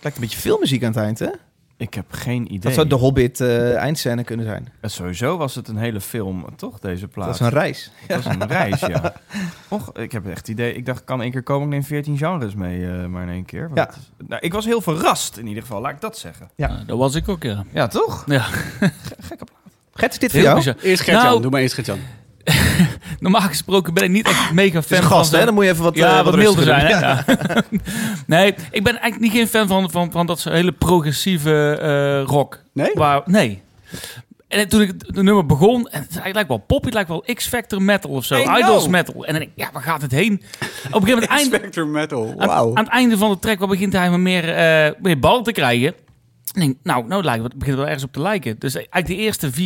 A: Lijkt een beetje filmmuziek aan het eind, hè?
D: Ik heb geen idee.
A: Dat zou de Hobbit eh, eindscène kunnen zijn.
D: Eh, Sowieso was het een hele film, toch, deze plaat?
A: Dat is een reis.
D: Het was een reis, ja. Och, ik heb echt het idee. Ik dacht, ik kan één keer komen, ik neem 14 genres mee, eh, maar in één keer. Want
A: Ja.
D: het is- nou, ik was heel verrast, in ieder geval, laat ik dat zeggen.
A: Ja.
B: Eh, dat was ik ook, ja.
D: Ja, toch?
B: Ja.
A: Gert, is dit voor
B: Heel
A: jou?
B: bizar.
C: Eerst Gert-Jan,
B: Nou-
C: doe maar eerst Gert-Jan.
B: Normaal gesproken ben ik niet echt mega
A: Het is
B: fan
A: een gast,
B: van...
A: hè?
B: zo'n-
A: Dan moet je even wat, eh,
B: ja, wat, milder
A: rustiger
B: zijn.
A: doen.
B: Hè? Ja. nee, ik ben eigenlijk niet geen fan van, van, van dat soort hele progressieve eh, rock.
C: Nee?
B: Waar, nee. En toen ik het nummer begon, en het, is- het lijkt wel poppy, het lijkt wel X-Factor metal of zo.
D: I know.
B: Idols metal. En dan denk ik, ja, waar gaat het heen? Op een gegeven moment eind,
C: Spectrum Metal,
B: aan,
C: wauw.
B: aan het einde van de track waar begint hij maar meer, eh meer bal te krijgen. Ik denk, nou, nou lijkt het, het begint wel ergens op te lijken. Dus eigenlijk de eerste 4,5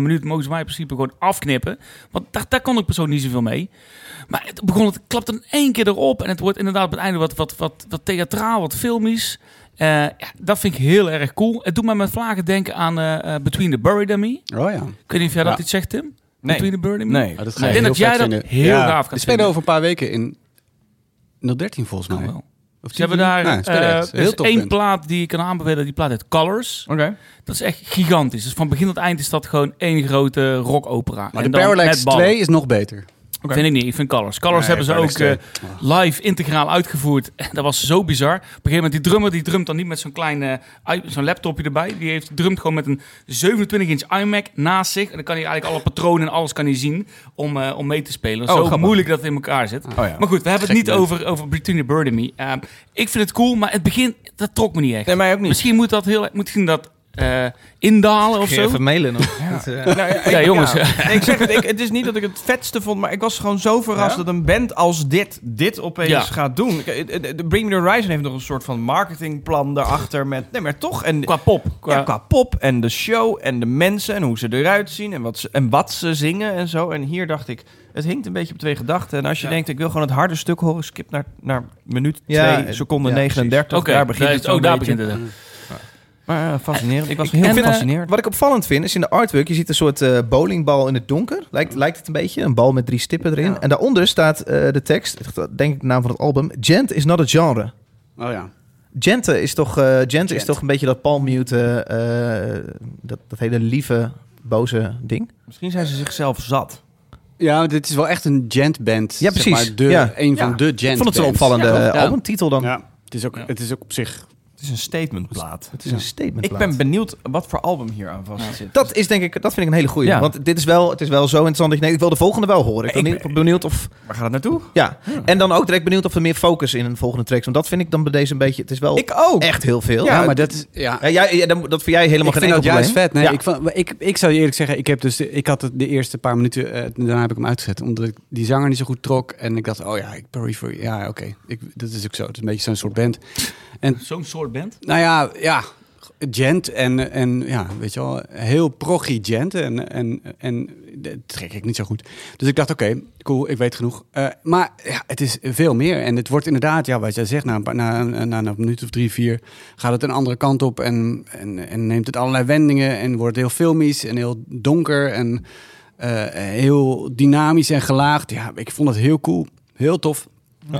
B: minuut mogen ze mij in principe gewoon afknippen. Want daar, daar kon ik persoonlijk niet zoveel mee. Maar het begon, het klapt in één keer erop. En het wordt inderdaad op het einde wat, wat, wat, wat theatraal, wat filmisch. Eh, ja, dat vind ik heel erg cool. Het doet mij met vlagen denken aan eh, eh, Between the Buried and Me. Ik
C: Oh ja.
B: weet niet of jij dat
C: Ja.
B: iets zegt, Tim?
D: Nee.
B: Between the Buried and Me?
D: Nee.
C: Ah, dat
B: Ik denk dat jij dat heel gaaf gaat
C: vinden.
B: vinden.
C: spelen over een paar weken in 013 volgens
B: Nou
C: mij.
B: wel.
C: Of
B: Ze hebben
C: 10?
B: daar
C: Nee,
B: eh,
C: spelen echt.
B: er is
C: Heel tof
B: één
C: band.
B: plaat die ik kan aanbevelen. Die plaat heet Colors.
D: Oké.
B: Dat is echt gigantisch. Dus van begin tot eind is dat gewoon één grote rockopera.
C: Maar
B: En
C: de
B: dan
C: Parallax
B: met ballen.
C: 2 is nog beter.
D: Oké.
B: Vind ik niet. Ik vind Colors. Colors
C: Nee,
B: hebben ze ook
C: Parallax
B: eh, live integraal uitgevoerd. En dat was zo bizar. Op een gegeven moment, die drummer die drumt dan niet met zo'n klein eh, i- zo'n laptopje erbij. Die heeft, drumt gewoon met een 27-inch iMac naast zich. En dan kan hij eigenlijk alle patronen en alles kan hij zien om, eh, om mee te spelen.
D: Oh,
B: zo
D: grappig.
B: moeilijk dat het in elkaar zit.
D: Oh ja.
B: Maar goed, we hebben
C: Gek
B: het niet
C: band.
B: over, over Between the Bird and Me. Eh, ik vind het cool, maar het begin, dat trok me niet echt.
D: Nee, mij ook niet.
B: Misschien moet dat heel, moet misschien dat eh, indalen of
A: Kun je
B: zo.
A: even mailen nog. Dat, eh,
D: Nou, ja, ik-
B: Ja, jongens.
D: Nee, ik zeg het, ik, het is niet dat ik het vetste vond, maar ik was gewoon zo verrast
C: Ja?
D: dat een band als dit, dit opeens
B: Ja.
D: gaat doen. Ik- eh, eh, de Bring Me The Horizon heeft nog een soort van marketingplan daarachter met, nee, maar toch. En,
B: Qua pop. Qua,
D: Ja, qua pop en de show en de mensen en hoe ze eruit zien en wat ze, en wat ze zingen en zo. En hier dacht ik, het hinkt een beetje op twee gedachten. En als je
B: Ja.
D: denkt, ik wil gewoon het harde stuk horen, skip naar, naar minuut 2
A: Ja,
D: seconden
A: ja,
D: 39.
B: Oké,
D: daar begint het
B: ook
D: zo'n
B: daar
D: beetje. Mm.
B: begint het. eh.
D: Maar eh, fascinerend. Ik was
B: En,
D: heel
B: eh,
D: gefascineerd.
A: Wat ik opvallend vind is in de artwork, je ziet een soort eh, bowlingbal in het donker. Lijkt, lijkt het een beetje, een bal met drie stippen erin.
D: Ja.
A: En daaronder staat eh, de tekst, denk ik de naam van het album, Gent is not a genre.
C: Oh ja.
A: Gente is toch, eh gent is
C: Gent.
A: toch een beetje dat palmmute, eh dat, dat hele lieve, boze ding.
D: Misschien zijn ze zichzelf zat.
C: Ja, maar dit is wel echt een gent band.
A: Ja,
C: zeg
A: precies.
C: maar, de,
A: Ja.
C: Een van
D: Ja.
C: de gent
A: Ik vond het een
C: bands.
A: opvallende
C: Ja,
A: eh,
C: ja.
A: albumtitel dan.
C: Ja, het is ook,
B: Ja.
C: het is ook op zich.
D: Het is een statementplaat.
A: Het is een statement.
D: Ik ben benieuwd wat voor album hier aan vast zit.
A: dat is denk ik, dat vind ik een hele goeie.
D: Ja.
A: Want dit is wel, het is wel zo interessant dat je denkt, ik wil de volgende wel horen. Ik ben
D: Ik
A: benieuwd- benieuwd of,
D: Waar gaat het naartoe?
A: ja. En dan ook direct benieuwd of er meer focus in een volgende track is. Want dat vind ik dan bij deze een beetje, het is wel
D: Ik ook.
A: echt heel veel.
C: Ja,
A: Ja,
C: maar dat is. Ja,
A: Ja, jij- ja, dan- dat voor jij helemaal
C: ik
A: geen
C: vind
A: enkel
C: dat juist
A: probleem.
C: vet. Nee,
A: Ja.
C: ik, vond- ik, ik zou je eerlijk zeggen, ik, heb dus de, ik had het de eerste paar minuten, eh, daarna heb ik hem uitgezet. Omdat ik die zanger niet zo goed trok. En ik dacht, oh ja, ik Periphery, ja oké. Ik- Dat is ook zo. Het is een beetje zo'n soort band.
B: Zo'n soort band.
C: Nou ja, ja. Gent en, en ja, weet je wel, heel proggy gent en, en, en dat trek ik niet zo goed. Dus ik dacht, oké, cool, ik weet genoeg. Eh, maar ja, het is veel meer en het wordt inderdaad, ja, wat jij zegt, na een, paar- na, een- na een minuut of drie, vier gaat het een andere kant op en, en, en neemt het allerlei wendingen en wordt heel filmisch en heel donker en eh, heel dynamisch en gelaagd. Ja, ik vond het heel cool, heel tof.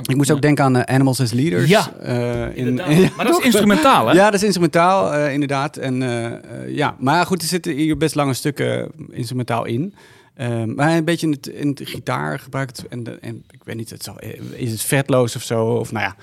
C: Ik moest ook denken aan eh, Animals as Leaders.
B: Ja,
C: eh, in,
B: Inderdaad. Maar dat is instrumentaal, hè?
C: ja, dat is instrumentaal, eh, inderdaad. En, eh, eh, ja. Maar goed, er zitten hier best lange stukken instrumentaal in. Ehm, maar een beetje in het, in het gitaar gebruikt. En, de- en ik weet niet, het zal, eh, is het vetloos of zo? Of nou ja,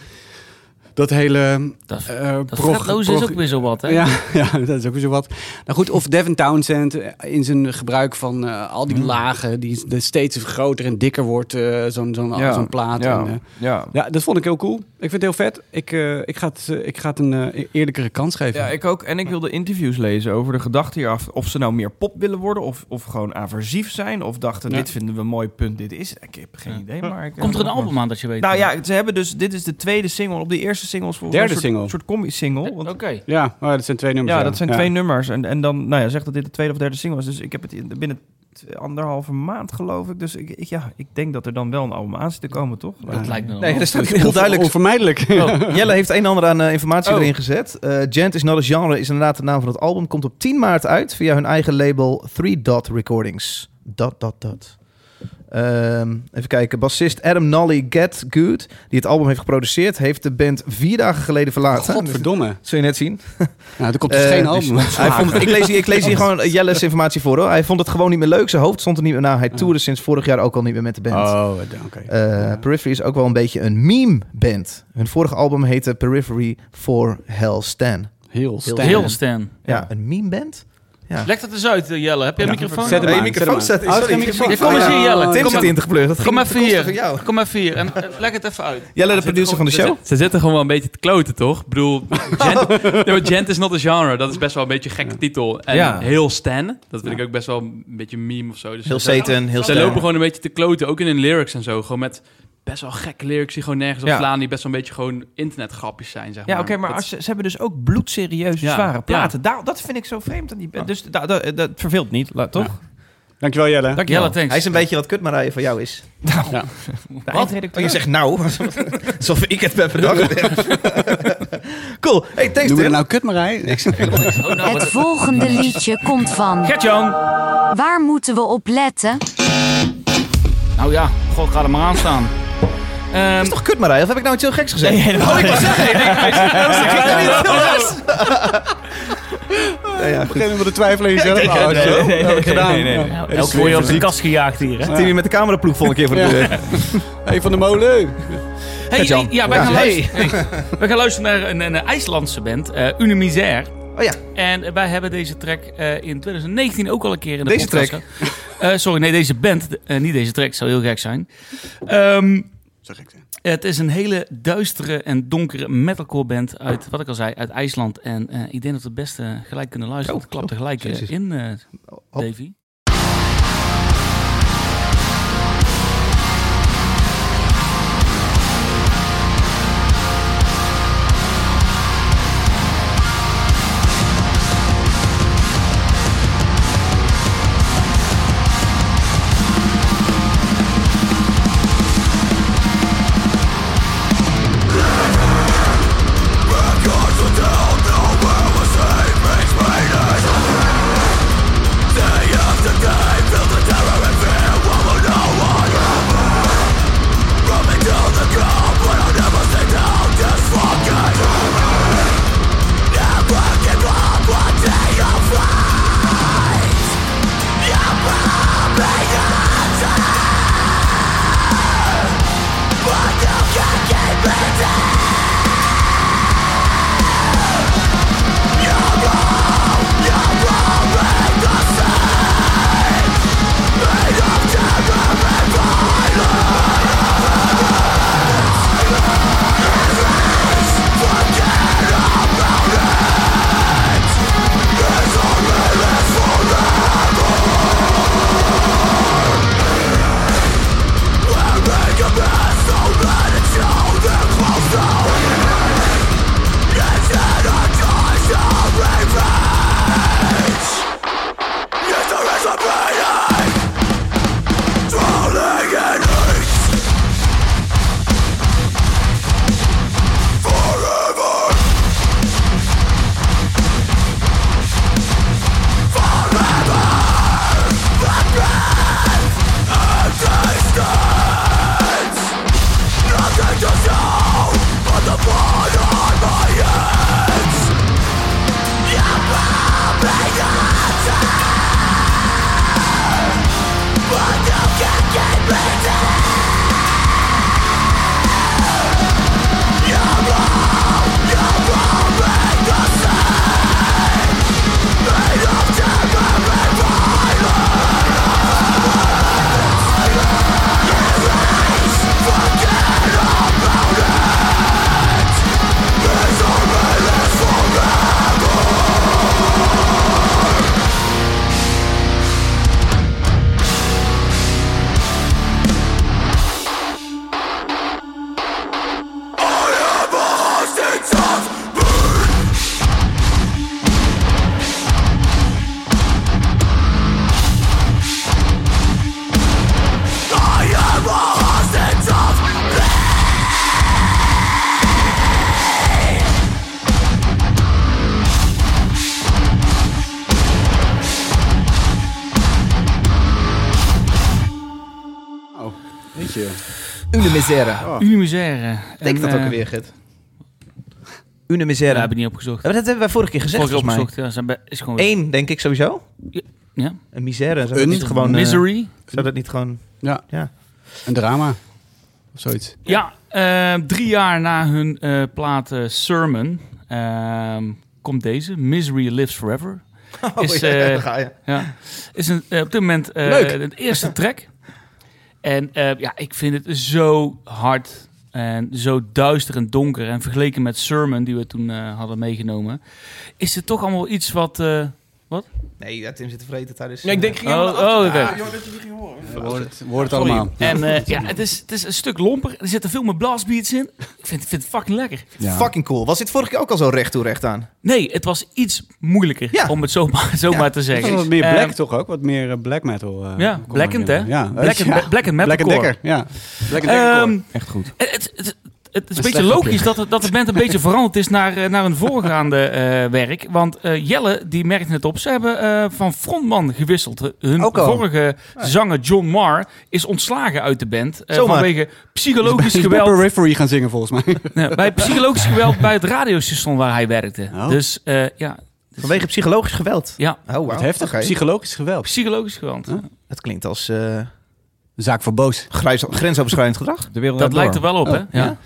C: dat hele...
B: Dat, dat
C: eh prog-
B: vetloos is
C: prog-
B: ook weer zo wat, hè?
C: ja, ja, dat is ook weer zo wat. Nou goed, of Devin Townsend eh, in zijn gebruik van eh, al
D: Hmm.
C: die lagen... die s- de steeds groter en dikker wordt, eh, zo'n zo'n
D: Ja,
C: zo'n plaat.
D: ja,
C: En, eh,
D: ja.
C: ja, dat vond ik heel cool. Ik vind het heel vet. Ik, eh, ik, ga, het, eh, ik ga het een eh, eerlijkere kans geven.
D: Ja, ik ook. En ik wilde interviews lezen over de gedachte hieraf. Of ze nou meer pop willen worden of, of gewoon aversief zijn. Of dachten,
C: Ja.
D: dit vinden we een mooi punt, dit is het. Ik heb geen idee, maar... Ik,
B: Komt er een album aan dat je weet?
D: Nou ja, ze hebben dus... Dit is de tweede single. Op de eerste single was volgens mij
C: Derde
D: een soort,
C: single.
D: soort combi-single.
B: Eh, Oké.
D: want-
C: Ja, oh, dat zijn twee nummers.
D: Ja, dat zijn twee nummers. En, en dan, nou ja, zeg dat dit de tweede of derde single is. Dus ik heb het in, binnen t- anderhalve maand, geloof ik. Dus ik, ik- ja, ik denk dat er dan wel een album aan zit te komen, toch?
B: Dat lijkt me wel.
A: Nee, dat staat
C: Onver-
A: heel duidelijk.
C: Onvermijdelijk.
A: Jelle heeft een en ander aan eh, informatie
D: Oh.
A: erin gezet. Eh, Gent is not a genre is inderdaad de naam van het album. Komt op 10 maart uit via hun eigen label 3 Dot Recordings. Dot, dot, dot. Ehm, even kijken. Bassist Adam Nolly Get Good, die het album heeft geproduceerd, heeft de band vier dagen geleden verlaten. Dus
C: Godverdomme.
A: Zul je net zien.
C: Nou, er komt dus
A: Eh,
C: geen
A: dus-
C: album.
A: Hij vond het- ik, lees hier, ik lees hier gewoon Jelle's informatie voor. Hoor. Hij vond het gewoon niet meer leuk. Zijn hoofd stond er niet meer na. Hij toerde sinds vorig jaar ook al niet meer met de band.
C: Oh, oké.
A: Eh, Periphery is ook wel een beetje een meme-band. Hun vorige album heette Periphery for Hell Stan.
C: Heel sterk.
B: Heel Stan.
A: Ja, een meme-band? Ja.
B: Lek dat eens uit, eh, Jelle. Heb je een microfoon?
C: Zet hem
A: Nee,
C: aan,
A: microfoon
C: zet
A: staat
C: hem aan.
A: sorry,
C: Oh,
A: ik heb
C: geen
A: microfoon.
B: microfoon. Ja, kom eens hier, Jelle.
A: Tim
B: Kom
A: zit
B: maar-
A: ingepleurd. Dat
B: Kom
A: ging
B: even
A: ten koste
B: hier.
A: van jou.
B: Kom even hier. En, eh, lek het even uit.
A: Jelle, de producer van de show.
G: Ze zitten gewoon wel een beetje te kloten, toch? Ik bedoel, gent, Nee, maar gent is not a genre. Dat is best wel een beetje een gekke titel. En
D: Ja.
G: heel Stan, dat vind ik ook best wel een beetje een meme of zo. Dus
A: Heel
G: ze,
A: Satan, heel
G: ze
A: Stan.
G: lopen gewoon een beetje te kloten, ook in hun lyrics en zo. Gewoon met best wel gekke lyrics die gewoon nergens op
D: Ja.
G: slaan. Die best wel een beetje gewoon internetgrapjes zijn, zeg
D: Ja,
G: maar.
D: oké, maar
G: Dat-
D: als, ze ze hebben dus ook bloedserieus
G: Ja,
D: zware
G: ja.
D: platen. Daar, dat vind ik zo vreemd aan die band. Dus da- da- dat verveelt niet, la- toch?
C: Dankjewel, Jelle.
D: Dank je
B: Jelle,
D: wel.
B: thanks.
A: Hij is een beetje wat kutmarije van jou is.
D: De eindredacteur.
A: Oh, je zegt nou. Alsof ik het ben bedacht. cool. Hey, thanks
C: Noem
A: Tim.
C: je dat nou kut, Marij?
B: Nou,
E: Het volgende liedje komt van.
B: Gert-Jan!
E: Waar moeten we op letten?
B: Nou ja, god, ga er maar aan staan. Ehm,
A: is toch kutmarije? Of heb ik nou iets heel geks gezegd?
B: Oh, ik was zeggen.
A: Ja, ja, goed.
C: Geen om te twijfelen aan jezelf. Oh,
D: nee,
C: zo.
D: nee,
C: Dat heb ik
D: nee,
C: gedaan.
D: nee, nee, nee.
C: Ja.
B: Elke word je op de kast gejaagd hier, hè?
A: Tim hier met de cameraploeg volgende keer voor de
C: Ja.
A: deur.
C: Hey, van de molen.
B: Hey,
A: Gert-Jan.
B: ja, wij
A: Ja.
B: gaan, luisteren, hey, wij gaan luisteren naar een, een IJslandse band, eh Unimisair.
A: Oh ja.
B: En wij hebben deze track eh, in 2019 ook al een keer in de
A: Deze
B: podcast
A: track?
B: gehad. Eh, sorry, nee, deze band. eh, niet deze track, zou heel gek zijn. Ehm,
C: Zeg ik.
B: het is een hele duistere en donkere metalcore band uit, wat ik al zei, uit IJsland. En eh, ik denk dat we het beste gelijk kunnen luisteren.
A: Oh,
B: het klapt
A: oh,
B: er gelijk eh,
A: jezus.
B: in, eh,
A: Hop.
B: Davy.
C: Weet je.
A: Une misère.
B: Une misère.
A: Ah. Denk dat ook weer, Gert. Une misère.
B: eh, Daar heb ik niet opgezocht.
A: Ja, maar dat hebben wij vorige keer gezegd,
B: Vorige keer
A: volgens mij.
B: opgezocht. Ja, zijn bij- is gewoon...
A: Eén, denk ik sowieso.
B: Ja.
A: Een misère. Zou dat
C: Een
A: niet gewoon... eh,
B: Misery.
A: zou dat niet gewoon...
C: Een drama. Of zoiets.
B: Ja, eh, drie jaar na hun eh, plaat eh, Sermon ehm, komt deze. Misery Lives Forever. Is,
A: ja,
B: eh,
A: daar ga je.
B: Ja. Is een, eh, op dit moment eh,
C: Leuk.
B: het eerste track. En eh, ja, ik vind het zo hard en zo duister en donker. En vergeleken met Sermon, die we toen eh, hadden meegenomen, is het toch allemaal iets wat. eh,
A: Nee, ja, Tim zit te vreten tijdens... eh,
D: Nee, ik denk
B: oh, oh, oké.
C: Hoor het, hoor het allemaal.
B: En eh, ja, het is, het is een stuk lomper. Er zitten veel meer blastbeats in. Ik vind, ik vind het fucking lekker.
C: Ja.
A: Fucking cool. Was dit vorige keer ook al zo recht toe recht aan?
B: Nee, het was iets moeilijker,
A: Ja.
B: om het zo maar, zo
A: Ja,
B: maar te
C: Dat is
B: zeggen.
C: wat meer black
B: Ehm,
C: toch ook? Wat meer eh, black metal. eh,
B: ja,
C: kom
B: blackend,
C: maar
B: hè?
C: in. Ja,
B: Black and,
C: ja.
B: black and
C: Black and
B: metalcore.
C: Decker, ja. Black and Decker.
B: Ehm,
D: Echt goed.
B: het, het, het, het is een beetje
C: slecht
B: logisch dat, het- dat de band een beetje veranderd is naar, eh, naar hun voorgaande eh, werk. Want eh, Jelle, die merkte het op, ze hebben eh, van frontman gewisseld. Hun
A: Ook al.
B: vorige zanger John Marr is ontslagen uit de band. eh,
A: Zomaar.
B: vanwege
C: Is
B: psychologisch
C: bij- is bij
B: dus geweld.
C: Periphery gaan zingen volgens mij.
B: Nee, bij psychologisch geweld bij het radiostation waar hij werkte.
C: Oh.
B: Dus eh, ja,
A: Vanwege psychologisch geweld.
B: ja,
A: Oh, wow.
C: Wat heftig. Psychologisch geweld.
B: psychologisch geweld.
C: Huh?
A: Het klinkt als eh,
C: Zaak voor boos.
A: grijs- grensoverschrijdend gedrag.
D: De wereld
B: Dat
D: draait
B: lijkt er
D: door.
C: Oh.
B: wel op, hè? Ja.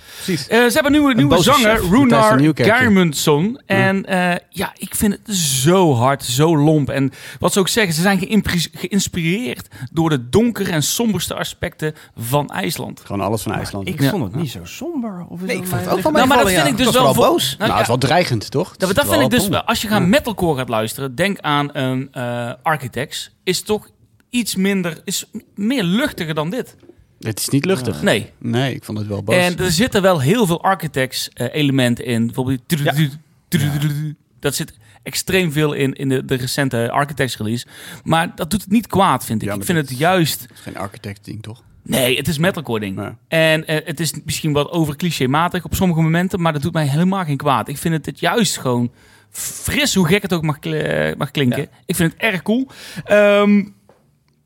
B: Eh,
C: Precies.
B: ze hebben een nieuwe, nieuwe
A: boze
B: zanger,
A: chef,
C: Matthijs
B: Runar
C: van Nieuwkerk.
B: Germundsson. En eh, ja, ik vind het zo hard, zo lomp. En wat ze ook zeggen, ze zijn geïmpri- geïnspireerd door de donkere en somberste aspecten van IJsland.
C: Gewoon alles van IJsland. Nou,
D: Ik
B: Ja.
D: vond het niet zo somber. Of is
A: Nee,
D: dat
A: ik vond het
D: mijn-
A: ook van mij
B: Nou, maar dat
A: vallen, ja.
B: vind ik dus
A: was
B: wel
A: vooral
B: voor-
A: boos.
C: nou,
B: ja,
C: het is wel dreigend, toch?
B: dat, dat vind ik dus wel. Als je gaan metalcore gaat luisteren, denk aan een eh, Architects. Is toch iets minder, is meer luchtiger dan dit.
C: Het is niet luchtig.
B: Nee.
C: Nee, ik vond het wel boos.
B: En er zitten wel heel veel architects-elementen in. Bijvoorbeeld. die
A: Ja.
B: tudu- tudu- tudu- tudu. Dat zit extreem veel in, in de, de recente architects-release. Maar dat doet het niet kwaad, vind ik.
C: Ja,
B: ik
C: maar
B: vind
C: dit-
B: het juist.
C: Geen architect-ding, toch?
B: Nee, het is metalcore-ding.
C: Ja.
B: En eh, het is misschien wat over clichématig op sommige momenten. Maar dat doet mij helemaal geen kwaad. Ik vind het, het juist gewoon fris, hoe gek het ook mag, kl- eh, mag klinken. Ik vind het erg cool. Ehm,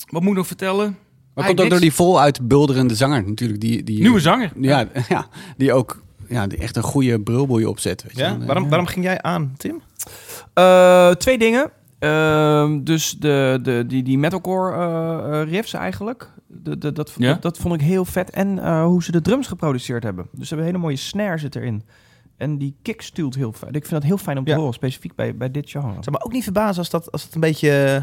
B: wat moet ik nog vertellen? Hij
C: Maar komt ook
B: niks.
C: door die voluit bulderende zanger natuurlijk. Die, die,
B: Nieuwe zanger.
C: Ja, ja, die ook ja, die echt een goede brulboei opzet. Weet je
A: Ja?
C: wel. Eh,
A: Waarom, waarom ging jij aan, Tim?
D: Eh, twee dingen. Ehm, dus de, de, die, die metalcore eh, eh, riffs eigenlijk. De, de, dat,
B: Ja.
D: dat, dat vond ik heel vet. En eh, hoe ze de drums geproduceerd hebben. Dus ze hebben een hele mooie snare zit erin. En die kick stuurt heel fijn. Ik vind dat heel fijn om te
A: Ja.
D: horen, specifiek bij, bij dit genre.
A: Zou me ook niet verbazen als dat, als het een beetje eh,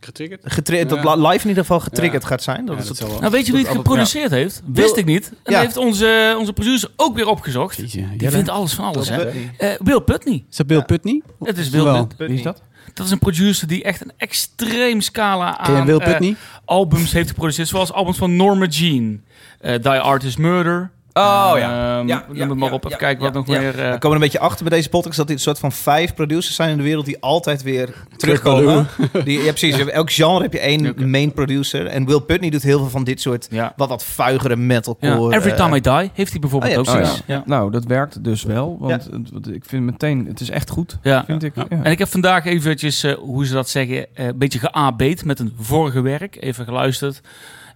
C: Getriggerd?
A: getriggerd,
C: Ja.
A: dat live in ieder geval getriggerd
C: Ja.
A: gaat zijn. Dat
C: Ja,
A: is
C: dat
A: het
C: zal wel.
B: Nou, weet je wie het
A: Dat altijd-
B: geproduceerd heeft? Wist
A: Wil-
B: ik niet. En
A: Ja.
B: heeft onze, onze producer ook weer opgezocht.
C: Jeetje,
B: Die
C: Jelle.
B: vindt alles van alles, hè?
A: dat-
B: Eh, Will Putney.
C: Is dat Bill Putney?
B: Het is
C: Of
B: Will
C: wel?
B: Putney.
D: Wie is dat?
B: Dat is een producer die echt een extreem scala
C: Ken je
B: aan
C: Will
B: eh,
C: Putney?
B: albums heeft geproduceerd. Zoals albums van Norma Jean, eh, Die Artist Murder.
D: Oh, ja.
B: Ehm,
D: Ja,
B: noem
D: ja,
B: het maar
D: ja,
B: op. Even
D: ja,
B: kijken wat
D: ja,
B: nog
D: ja.
B: meer... eh,
A: We komen een beetje achter bij deze podcast dat dit een soort van vijf producers zijn in de wereld die altijd weer terugkomen. Die, ja, precies. Elk genre heb je één
B: Oké.
A: main producer. En Will Putney doet heel veel van dit soort
B: ja.
A: wat wat vuigere
B: Ja.
A: metalcore.
B: Every
A: eh,
B: Time I Die heeft hij bijvoorbeeld
A: Oh ja,
B: ook.
A: precies.
B: zo. Ja.
D: Nou, dat werkt dus wel. Want het- want ik vind meteen, het is echt goed.
B: Ja.
D: Vind ik.
C: Ja.
D: ja.
B: En ik heb vandaag eventjes, eh, hoe ze dat zeggen, eh, een beetje geabeet met een vorige werk. Even geluisterd.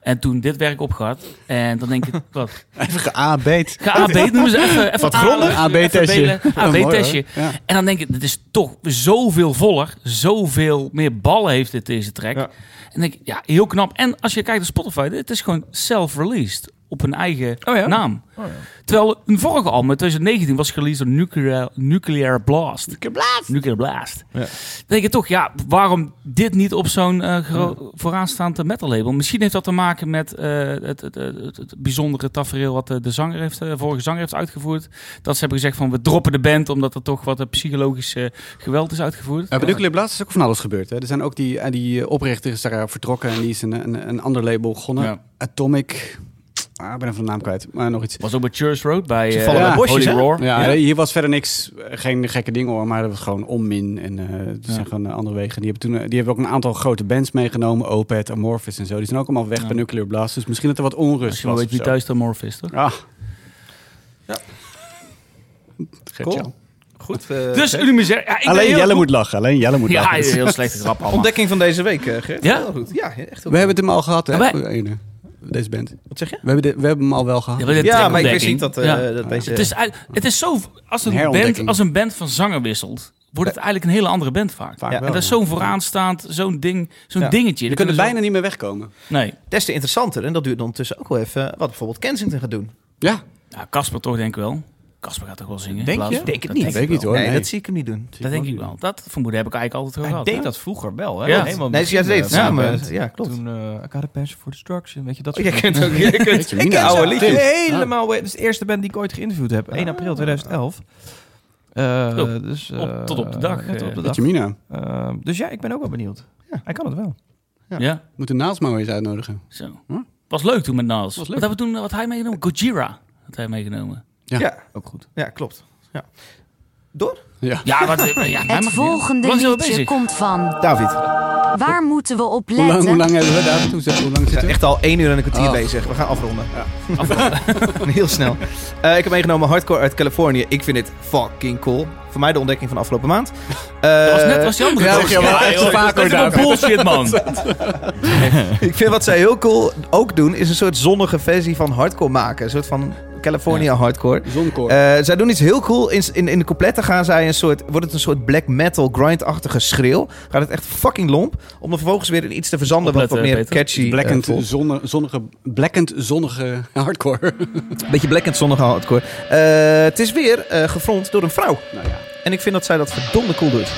B: En toen dit werk opgehad. En dan denk ik, wat?
C: Even geabeet.
B: Geabeet noemen ze even. even
A: Wat
B: aan-
A: grondig?
B: even
C: AB-testje.
B: belen. AB-testje.
C: Ja.
B: En dan denk ik, dit is toch zoveel voller. Zoveel meer ballen heeft dit deze track.
D: Ja.
B: En dan denk ik, ja, heel knap. En als je kijkt naar Spotify, dit is gewoon self-released. Op een eigen
D: Oh ja?
B: naam.
D: Oh ja.
B: Terwijl een vorige album, uit 2019, was gereleased door Nuclear, Nuclear Blast. Nuclear Blast! Nuclear Blast.
D: Ja.
B: Dan denk je toch, ja, waarom dit niet op zo'n eh, gro- vooraanstaand eh, metal label? Misschien heeft dat te maken met eh, het, het, het, het- het bijzondere tafereel wat eh, de zanger heeft, eh, vorige zanger heeft uitgevoerd. Dat ze hebben gezegd van, we droppen de band omdat er toch wat eh, psychologisch eh, geweld is uitgevoerd.
C: Ja, bij Nuclear Blast is ook van alles gebeurd. Hè. Er zijn ook die, eh, die eh, oprichter is daar vertrokken en die is een, een, een ander label begonnen.
B: Ja.
C: Atomic. Ah, ik ben even de naam kwijt, maar nog iets.
B: Was ook bij Church Road, bij
A: Ze
B: eh,
A: vallen
C: bij
A: bosjes,
B: Holy
A: hè?
B: Roar.
C: Ja, hier was verder niks, eh, geen gekke dingen hoor, maar dat was gewoon onmin en eh het zijn gewoon eh, andere wegen. Die hebben, toen, eh, die hebben ook een aantal grote bands meegenomen, Opeth, Amorphis en zo. Die zijn ook allemaal weg
B: Ja.
C: bij Nuclear Blast, dus misschien dat er wat onrust
B: Als je
C: was.
B: maar weet
C: of
B: wie
C: zo.
B: thuis de Morph is, toch?
C: Ah.
A: Ja.
C: Gert-Jan.
A: Cool. Goed. eh,
B: Dus
A: Gert.
B: Unimisère. Ja, ik ben
C: Alleen
B: heel
C: Jelle
B: goed-
C: moet lachen, alleen Jelle moet
B: Ja,
C: lachen.
B: heel slechte grap allemaal.
A: ontdekking van deze week, eh, Gert.
B: Ja?
A: Heel goed. Ja, echt heel
C: We hebben het hem al gehad, hè?
B: Ja, wij-
C: Voor de ene. deze band. We
A: Wat zeg je?
C: hebben, de- we hebben hem al wel gehad.
B: Ja, maar dit-
A: Ja, maar ik
B: Ontdekking.
A: wist niet dat, eh,
B: Ja.
A: dat deze...
B: Het is, uit- het is zo... Als
C: Een
B: een, band,
C: herontdekking.
B: als een band van zanger wisselt, wordt het eigenlijk een hele andere band vaak.
C: Vaak
A: Ja,
C: wel,
B: En dat is
C: ja.
B: zo'n vooraanstaand, zo'n ding, zo'n
C: Ja.
B: dingetje.
C: Je
B: Dat
C: kunt er
B: kunnen
C: bijna niet meer wegkomen.
B: ze- Nee.
A: Des te interessanter. En dat duurt dan tussen ook wel even... Wat bijvoorbeeld Kensington gaat doen.
C: Ja,
B: Nou, Casper toch denk ik wel. Casper gaat toch wel zingen?
H: Denk
B: in plaats
H: je?
B: van-
A: Denk het
B: dat
A: niet.
B: Denk
C: weet ik
B: ik
C: niet
B: wel.
C: hoor.
A: nee,
C: nee.
A: dat zie ik hem niet doen.
B: Dat denk ik wel. Dat vermoeden heb ik eigenlijk altijd
H: Hij
B: gehad.
H: deed
B: hè.
H: dat vroeger wel, hè?
B: Ja.
C: Oh,
H: Helemaal
A: Nee, ze ja, ze deed het
H: begin,
A: samen.
H: eh,
A: Het- Ja, klopt.
H: Toen eh I got a passion for destruction, weet je, dat
A: Oh,
H: soort
A: jij
H: dingen.
A: kent ook... jij kent-
C: Weet je,
A: Ik ken
C: Mina.
A: oude
C: Ja.
A: liedjes.
H: Helemaal, we- dat is de eerste band die ik ooit geïnterviewd heb. 1 april 2011. Eh,
B: Zo,
H: dus,
B: op-
H: eh,
B: tot op de dag,
H: ja, tot op de dag.
C: Jamina,
H: Eh, dus ja, ik ben ook wel benieuwd.
A: Ja.
H: Hij kan het wel.
B: Ja.
C: moet de naald maar weer eens uitnodigen.
B: Zo.
C: Hm?
B: Was leuk toen met Nas.
C: Was
B: Wat,
C: leuk.
B: hebben we toen, wat had hij meegenomen? Gojira had hij meegenomen.
C: Ja.
A: Ja,
H: Ook goed.
A: ja, klopt. Ja.
C: Ja.
B: Ja, wat, eh, ja, mij
E: Het
B: mag-
E: volgende
B: Lang zijn we
E: liedje
B: bezig.
E: komt van.
A: David,
E: Waar moeten we op
C: Hoe lang, hoe
E: letten?
C: lang hebben we daar? Hoe, hoe lang
A: we
C: zitten
A: zijn
C: we?
A: echt al één uur en een kwartier
C: Oh.
A: bezig. We gaan afronden. Heel snel. Eh, ik heb meegenomen Hardcore uit Californië. Ik vind dit fucking cool. Voor mij de ontdekking van de afgelopen maand.
B: Dat was
A: Eh,
B: net was die andere.
C: Ja,
B: toch?
C: dat is wel echt
B: joh,
C: vaker
B: dat is wel
C: daar.
B: bullshit, man.
A: Ik vind wat zij heel cool ook doen, is een soort zonnige versie van hardcore maken. Een soort van California hardcore.
C: Zonkoor.
A: Eh, zij doen iets heel cool. In, in, in de coupletten gaan zij een soort, wordt het een soort black metal grind-achtige schreeuw. Gaat het echt fucking lomp. Om dan vervolgens weer in iets te verzanden wat wat meer
B: Opletten, Peter.
A: catchy
C: Blackend,
A: eh, voelt.
C: zonne- zonnige, blackend zonnige hardcore.
A: Beetje blackend zonnige hardcore. Eh, het is weer eh gefront door een vrouw.
C: nou ja.
A: En ik vind dat zij dat verdomde cool doet.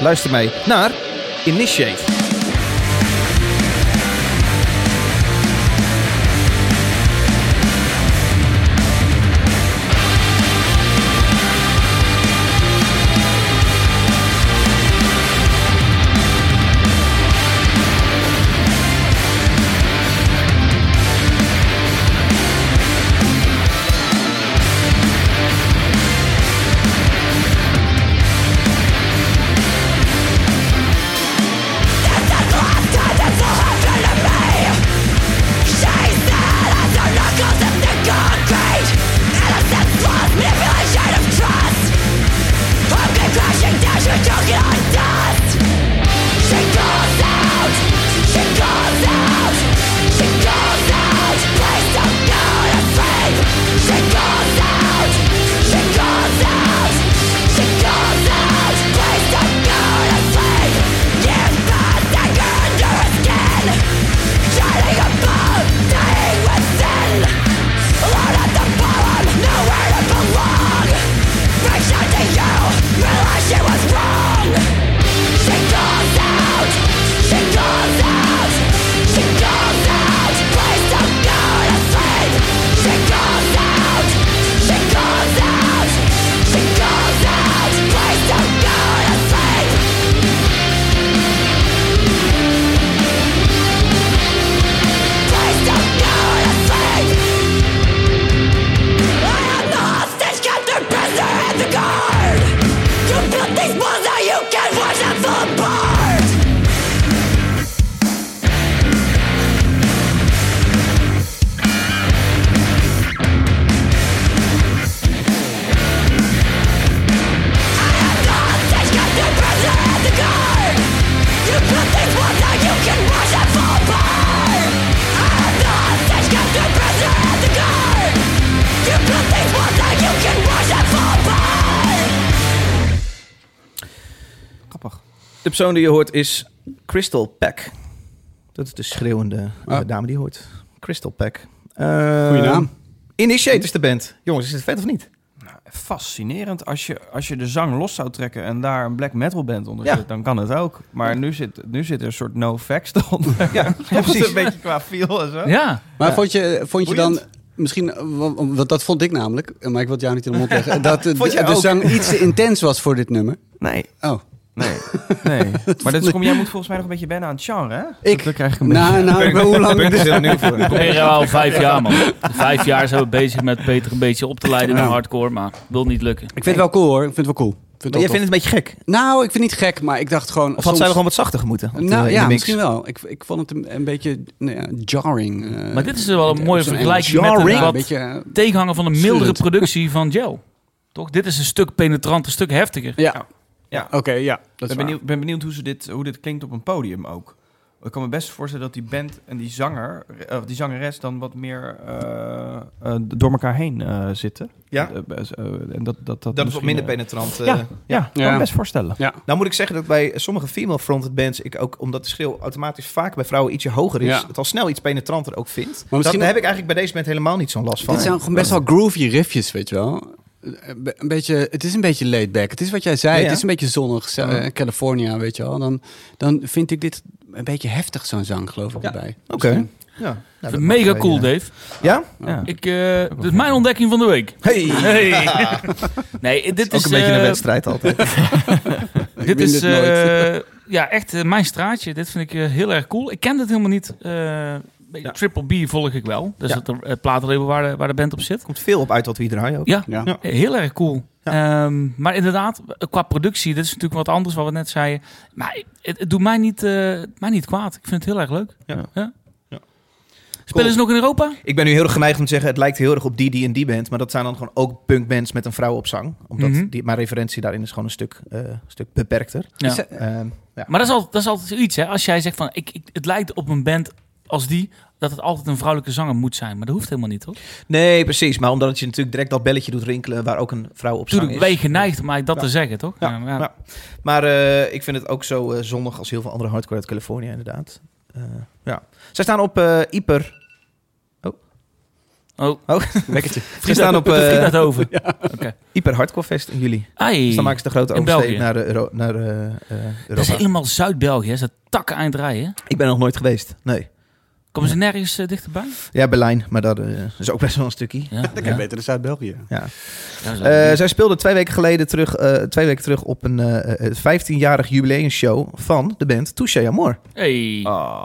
A: Luister mee naar Initiate.
H: Grappig.
A: De persoon die je hoort is Crystal Peck. Dat is de schreeuwende eh,
C: Ah.
A: dame die je hoort. Crystal Peck. Eh,
C: Goeie naam.
A: Initiate is de band. Jongens, is het vet of niet?
H: Nou, fascinerend. Als je, als je de zang los zou trekken en daar een black metal band onder
A: Ja.
H: zit, dan kan het ook. Maar nu zit, nu zit er een soort no facts onder.
A: Ja,
H: Precies.
A: precies.
H: Een beetje qua feel en zo.
B: Ja.
C: Maar vond je, vond je dan misschien, eh, wa- want dat vond ik namelijk, eh, maar ik wil het jou niet in de mond leggen, dat de,
A: Vond jij
C: de, de
A: ook?
C: zang iets te intens was voor dit nummer?
H: Nee.
C: Oh,
H: Nee. nee. maar dat is, kom, jij moet volgens mij nog een beetje wennen aan het genre, hè?
C: Ik?
H: Dan krijg ik een beetje...
C: nou, nou, hoe lang?
A: is heel nieuw voor.
B: Proberen we al vijf jaar, man. Vijf jaar zijn we bezig met Peter een beetje op te leiden naar hardcore, maar wil niet lukken.
C: Ik vind het wel cool hoor, ik vind het wel cool. Ik vind
A: Maar
C: het
A: jij
C: wel
A: vindt het een beetje gek?
C: tof. Nou, ik vind het niet gek, maar ik dacht
A: Of
C: gewoon...
A: had zij
C: soms-
A: wel gewoon wat zachter moeten? op de- in
C: Nou
A: de
C: ja,
A: mix?
C: misschien wel. Ik, ik vond het een, een beetje nou ja, jarring. eh,
B: Maar dit is wel een
C: op
B: mooie
C: zo'n
B: vergelijking
C: Engels.
B: met een
C: Ja,
B: wat
C: een beetje, eh,
B: tegenhanger van een mildere
C: Schurend.
B: productie van Gel. Toch? Dit is een stuk penetranter, een stuk heftiger.
C: ja,
H: Ja.
C: oké, ja. Dat is
H: Ik ben benieuwd, ben benieuwd hoe, ze dit, hoe dit klinkt op een podium ook.
D: Ik kan me best voorstellen dat die band en die zanger, eh, of die zangeres, dan wat meer eh, eh, door elkaar heen eh, zitten.
A: Ja.
D: Eh, eh, eh, en dat,
A: Dat is
D: dat, dat,
A: wat
D: misschien,
A: minder
D: eh,
A: penetrant. eh,
D: ja, ja, kan
C: Ja.
D: me best voorstellen.
A: Nou moet ik zeggen dat bij sommige female fronted bands ik ook, omdat de schreeuw automatisch vaak bij vrouwen ietsje hoger is,
C: Ja.
A: het al snel iets penetranter ook vindt.
C: Maar
A: dat,
C: misschien-
A: daar heb ik eigenlijk bij deze band helemaal niet zo'n last van.
C: Dit zijn gewoon best wel groovy riffjes, weet je wel. Een be- een beetje, het is een beetje laid back. Het is wat jij zei.
A: Ja, ja.
C: Het is een beetje zonnig. Ze- eh, California, weet je wel. Dan, dan vind ik dit een beetje heftig, zo'n zang, geloof ik,
G: Ja.
C: erbij.
A: Oké.
C: Misschien.
A: Ja, nou, dat mag
B: Mega
A: wel,
B: cool,
A: ja.
B: Dave.
A: Ja?
D: Ja.
B: Ik, eh, dit is mijn ontdekking van de week.
A: Hey.
B: Hey. Nee, dit
A: Ook
B: is...
A: een beetje een
B: eh,
A: wedstrijd altijd.
B: Dit
C: win
B: is
C: dit nooit.
B: eh, ja, echt eh, mijn straatje. Dit vind ik eh, heel erg cool. Ik ken dit helemaal niet. eh, Triple B volg ik wel. Dus
A: Ja.
B: dat het eh, platenlabel waar de, waar de band op zit.
A: Er komt veel op uit wat we hier draaien ook.
B: Ja,
C: Ja.
A: Ja.
B: eh, heel erg cool. Ehm, maar inderdaad, qua productie, dit is natuurlijk wat anders wat we net zeiden. Maar het, het doet mij niet, eh, mij niet kwaad. Ik vind het heel erg leuk.
A: Ja. Ja.
B: Spelen ze nog in Europa?
A: Ik ben nu heel erg geneigd om te zeggen, het lijkt heel erg op die, die en die band. Maar dat zijn dan gewoon ook punkbands met een vrouw op zang. Omdat
B: Mhm.
A: die, mijn referentie daarin is gewoon een stuk, eh, een stuk beperkter.
B: Ja.
C: Is- eh,
A: Ehm, ja.
B: Maar dat is altijd, dat is altijd zoiets, hè? Als jij zegt van, ik, ik, het lijkt op een band als die, dat het altijd een vrouwelijke zanger moet zijn. Maar dat hoeft helemaal niet, toch?
A: Nee, precies. Maar omdat het je natuurlijk direct dat belletje doet rinkelen waar ook een vrouw op zang
B: Tuurlijk,
A: is.
B: ben je geneigd om mij dat
A: Ja.
B: te zeggen, toch?
A: Ja.
B: Ja, maar ja.
A: Ja. Maar eh, ik vind het ook zo eh, zonnig als heel veel andere hardcore uit Californië, inderdaad. Eh, ja. Zij staan op eh Ieper.
B: Oh,
A: Lekkertje. Zij
B: Frida,
A: staan op eh
B: Frida over. Ja.
A: Ieper Hardcore Fest in juli. Dus dan maken ze de grote
B: In
A: oversteek
B: België.
A: naar, eh, Euro- naar eh, eh,
B: dat is
A: Europa.
B: helemaal Zuid-België, hè? Is dat takken aan het rijden?
A: Ik ben nog nooit geweest. Nee.
B: Komen ze nergens eh, dichterbij?
A: Ja, Berlijn, maar dat eh, is ook best wel een stukje.
B: Ja,
C: dat
B: ja.
C: kan beter dan Zuid-België.
A: Ja.
B: Ja, zo.
A: Eh, zij speelde twee weken geleden terug, eh, twee weken terug op een eh, eh, 15-jarig jubileumshow van de band Touche Amour.
B: hey.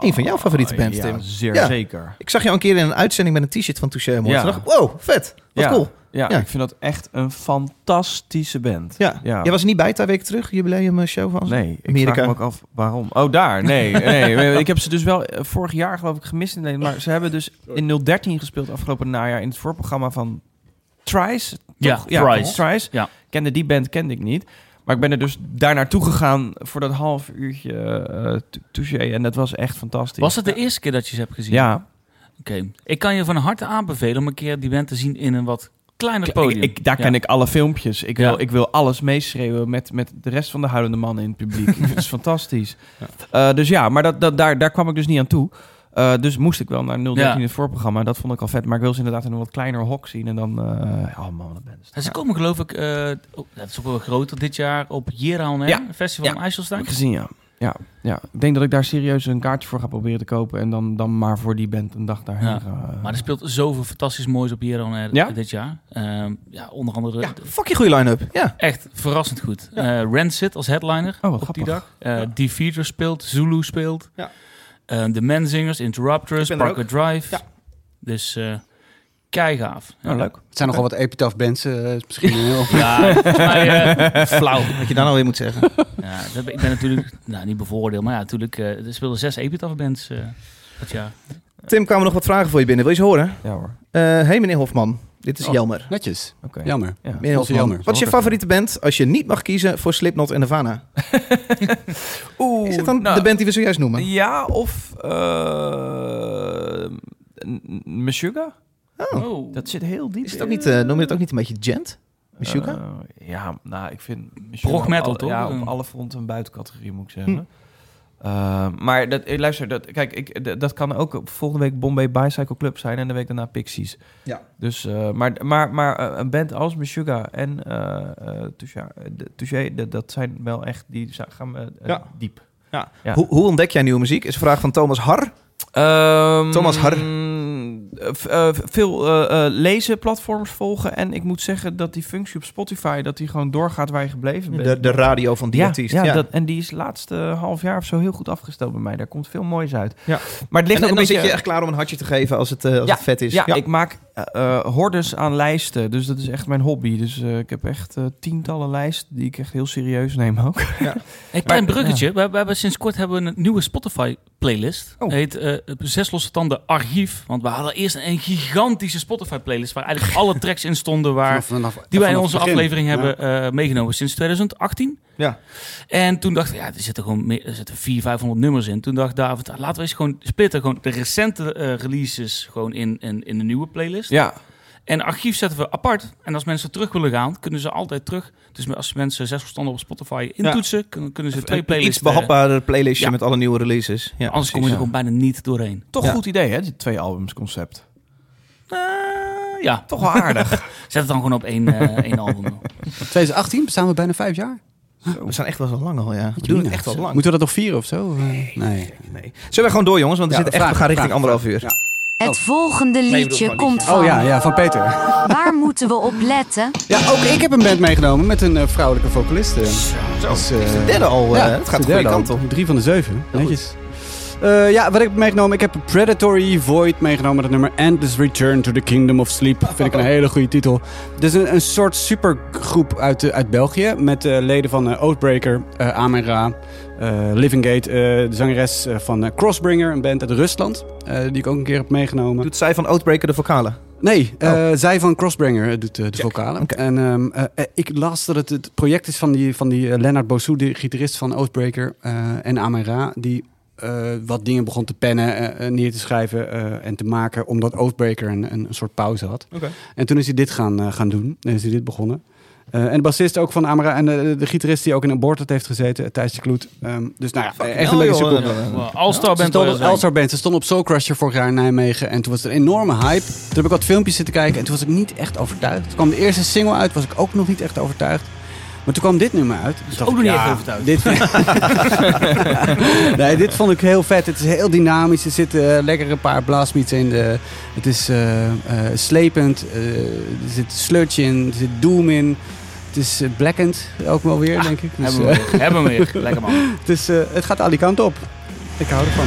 A: Een van jouw favoriete bands,
D: ja,
A: Tim.
D: Zeer
A: Ja.
D: zeker.
A: Ik zag jou een keer in een uitzending met een t-shirt van Touche Amour.
D: Ja.
A: Toen dacht ik, wow, vet. Wat
D: Ja.
A: cool.
D: Ja,
A: Ja.
D: ik vind dat echt een fantastische band.
A: Ja.
D: Ja.
A: Jij was er niet bij twee weken terug, jubileumshow van ze?
D: Nee, ik
A: Amerika.
D: vraag me ook af waarom. Oh, daar. Nee, nee. Ik heb ze dus wel eh, vorig jaar geloof ik gemist in Nederland. Maar ze hebben dus in 013 gespeeld afgelopen najaar in het voorprogramma van Trice.
B: Ja,
D: toch?
B: Thrice.
D: van Thrice.
B: Ja.
D: Kende die band, kende ik niet. Maar ik ben er dus daar naartoe gegaan voor dat half uurtje eh, t- touché. En dat was echt fantastisch.
B: Was het de eerste keer dat je ze hebt gezien?
D: Ja.
B: Oké. Ik kan je van harte aanbevelen om een keer die band te zien in een wat kleiner podium.
D: Ik, ik- daar ken
B: Ja.
D: ik alle filmpjes. Ik,
B: Ja.
D: wil, ik wil alles meeschreeuwen met, met de rest van de huilende mannen in het publiek. Ik vind het fantastisch. Eh, dus ja, maar dat, dat, daar, daar kwam ik dus niet aan toe. Eh, dus moest ik wel naar 013
B: Ja.
D: in het voorprogramma. Dat vond ik al vet. Maar ik wil ze inderdaad in een wat kleiner hok zien. En dan... eh, oh man, dat ben ik.
B: En ze komen geloof ik, eh, oh, dat is ook wel groter dit jaar, op Jeroen, hè?
D: Ja.
B: Festival
D: Ja.
B: in IJsselstein.
D: Heb ik gezien, ja. Ja, ja. Ik denk dat ik daar serieus een kaartje voor ga proberen te kopen. En dan, dan maar voor die band een dag daarheen eh.
B: Ja.
D: gaan.
B: Maar er speelt zoveel fantastisch moois op Jeroen hè,
D: Ja?
B: dit jaar. Ehm, ja, onder andere
A: Ja, fucking goede line-up. Ja.
B: Echt verrassend goed. Eh, Rancid als headliner
D: Oh, wat
B: op die
D: grappig.
B: dag. Eh Die Feeder speelt, Zulu speelt.
A: Ja.
B: Eh, de Menzingers, Interrupters,
A: Ik ben er
B: Parker Drive.
A: Ja.
B: Dus eh keigaaf.
D: Nou, leuk.
C: Het zijn nogal wat epitaph bands eh, misschien. heel-
B: Ja, volgens mij, eh, flauw.
A: Wat je dan alweer moet zeggen.
B: Ja, dat ben- ik ben natuurlijk nou, niet bevoordeeld, maar ja, natuurlijk, eh, er speelden zes Epitaph bands eh dat jaar.
A: Tim, kwamen nog wat vragen voor je binnen. Wil je ze horen?
D: Ja hoor.
A: Eh hey meneer Hofman, dit is
C: Oh.
A: Jelmer.
C: Netjes.
D: Oké.
C: Jammer.
D: Ja.
A: Meneer
C: Dat is
A: Hofman,
C: jammer.
A: wat is je favoriete band als je niet mag kiezen voor Slipknot en Nirvana?
D: Oeh,
A: Is het dan
D: nou,
A: de band die we zojuist noemen?
D: Ja, of... eh N- N- Meshuggah?
A: Oh.
B: Oh.
D: Dat zit heel diep.
A: Is het ook niet, eh, noem je het ook niet een beetje gent? Meshuggah?
D: Eh, ja, nou, ik vind... Meshuggah
B: Prog metal,
D: op
B: toch?
D: alle- Ja, op alle fronten een buitencategorie, moet ik
A: Hm.
D: zeggen. Eh, maar dat, eh, luister, dat, kijk, ik, d- dat kan ook volgende week Bombay Bicycle Club zijn en de week daarna Pixies.
A: Ja.
D: Dus, eh, maar maar, maar eh, een band als Meshuggah en eh eh, Touché, de- Touché, dat- dat zijn wel echt, die za- gaan eh, eh,
A: Ja.
D: diep. Ja.
A: Hoe, hoe ontdek jij nieuwe muziek? Is een vraag van Thomas Har.
D: Ehm,
A: Thomas Har.
D: Har. eh, veel eh, eh, lezen, platforms volgen. En ik moet zeggen dat die functie op Spotify... dat die gewoon doorgaat waar je gebleven bent.
A: De, de radio van die
D: ja,
A: artiest.
D: ja, Dat, en die is laatste eh, half jaar of zo heel goed afgesteld bij mij. Daar komt veel moois uit.
A: Ja.
D: Maar het ligt
A: en, en dan
D: ook
A: zit
D: een beetje...
A: je echt klaar om een hartje te geven als het, eh, als het vet is.
D: Ja, ik maak eh, eh, hordes aan lijsten. Dus dat is echt mijn hobby. Dus eh, ik heb echt eh, tientallen lijsten die ik echt heel serieus neem ook.
B: Een klein
D: Maar-
B: bruggetje. We, we hebben sinds kort hebben we een nieuwe Spotify-playlist.
D: Oh.
B: Heet eh, Zes Losse Tanden Archief. Want we hadden eerst een gigantische Spotify-playlist... waar eigenlijk alle tracks in stonden waar,
C: Vanaf- vanaf-
B: die wij in
C: vanaf
B: onze
C: het begin.
B: aflevering
C: Ja.
B: hebben eh, meegenomen sinds 2018.
A: Ja.
B: En toen dacht ik, ja, er zitten gewoon meer, er zitten 400, 500 nummers in. Toen dacht David, ah, laten we eens gewoon splitten. Gewoon de recente eh, releases gewoon in, in, in de nieuwe playlist.
D: Ja,
B: En archief zetten we apart. En als mensen terug willen gaan, kunnen ze altijd terug. Dus als mensen zes verstanden op Spotify intoetsen, kunnen, kunnen ze twee
A: Een
B: playlists...
A: iets behapbaarder playlistje
B: Ja.
A: met alle nieuwe releases. Ja,
B: eh, Anders kom je er
A: precies.
B: gewoon bijna niet doorheen.
D: toch
A: Ja.
D: goed idee hè, dit twee albums concept.
B: Eh, ja,
D: Toch wel aardig.
B: zet het dan gewoon op één, eh, één album.
C: 2018 bestaan we bijna vijf jaar.
A: We zijn echt wel zo lang al, ja. We doen het echt wel lang.
C: Moeten we dat nog vieren of zo? Eh, Nee.
A: Nee. Zullen we gewoon door, jongens? Want we,
C: Ja,
A: zitten echt, we
C: vraag,
A: gaan richting
C: vraag,
A: anderhalf uur.
C: vraag.
E: Het volgende
A: bedoel
E: liedje
A: gewoon
E: komt
A: liedje.
E: van.
C: Oh ja, ja, van Peter.
E: Waar moeten we op letten?
C: Ja, ook ik heb een band meegenomen met een eh, vrouwelijke vocaliste.
A: Zo,
C: Dus,
A: het is de
C: eh,
A: derde al. eh, het
C: de
A: gaat de
C: derde
A: goede kant
C: al.
A: op.
C: Drie van de zeven. Netjes. Eh, ja, wat heb ik meegenomen? Ik heb Predatory Void meegenomen. Dat nummer Endless Return to the Kingdom of Sleep. Vind ik een hele goede titel. Dus een, een soort supergroep uit, eh, uit België. Met eh, leden van eh, Oathbreaker, eh Amen Ra, eh, Living Gate. eh, de zangeres eh, van eh, Crossbringer, een band uit Rusland. eh, die ik ook een keer heb meegenomen.
A: Doet zij van Outbreaker de vocalen?
C: Nee, eh, zij van Crossbringer eh, doet eh, de vocalen.
A: oké.
C: En ehm, eh, eh, ik las dat het het project is van die, van die eh, Lennart Bossou, de gitarist van Oathbreaker eh, en Amara, die eh, wat dingen begon te pennen, eh, eh, neer te schrijven eh, en te maken, omdat Oathbreaker een, een, een soort pauze had.
A: Oké.
C: En toen is hij dit gaan, eh, gaan doen, en is hij dit begonnen. Eh, en de bassist ook van Amara en eh, de gitarist die ook in een Aborted heeft gezeten, eh, Thijs de Kloet. Ehm, dus nou ja, echt een beetje supercool.
B: All-star
C: Ze
B: bent
C: stonden op Elstar Band. Ze stonden op Soulcrusher vorig jaar in Nijmegen. En toen was er een enorme hype. Toen heb ik wat filmpjes zitten kijken. En toen was ik niet echt overtuigd. Toen kwam de eerste single uit. Was ik ook nog niet echt overtuigd. Maar toen kwam dit nummer uit. Toen dacht
B: ook
C: ik,
B: nog niet
C: ja,
B: echt overtuigd.
C: Dit nee, dit vond ik heel vet. Het is heel dynamisch. Er zitten eh, lekker een paar blastbeats in. De, het is eh, eh, slepend. Eh, er zit sludge in. Er zit doom in. Het is eh, blackend ook wel weer, denk ik. Dus,
B: Ah, Hebben we
C: eh,
B: hem weer. Hebben we hem weer. Lekker man.
C: het, is, eh, het gaat al die kanten op. Ik hou ervan.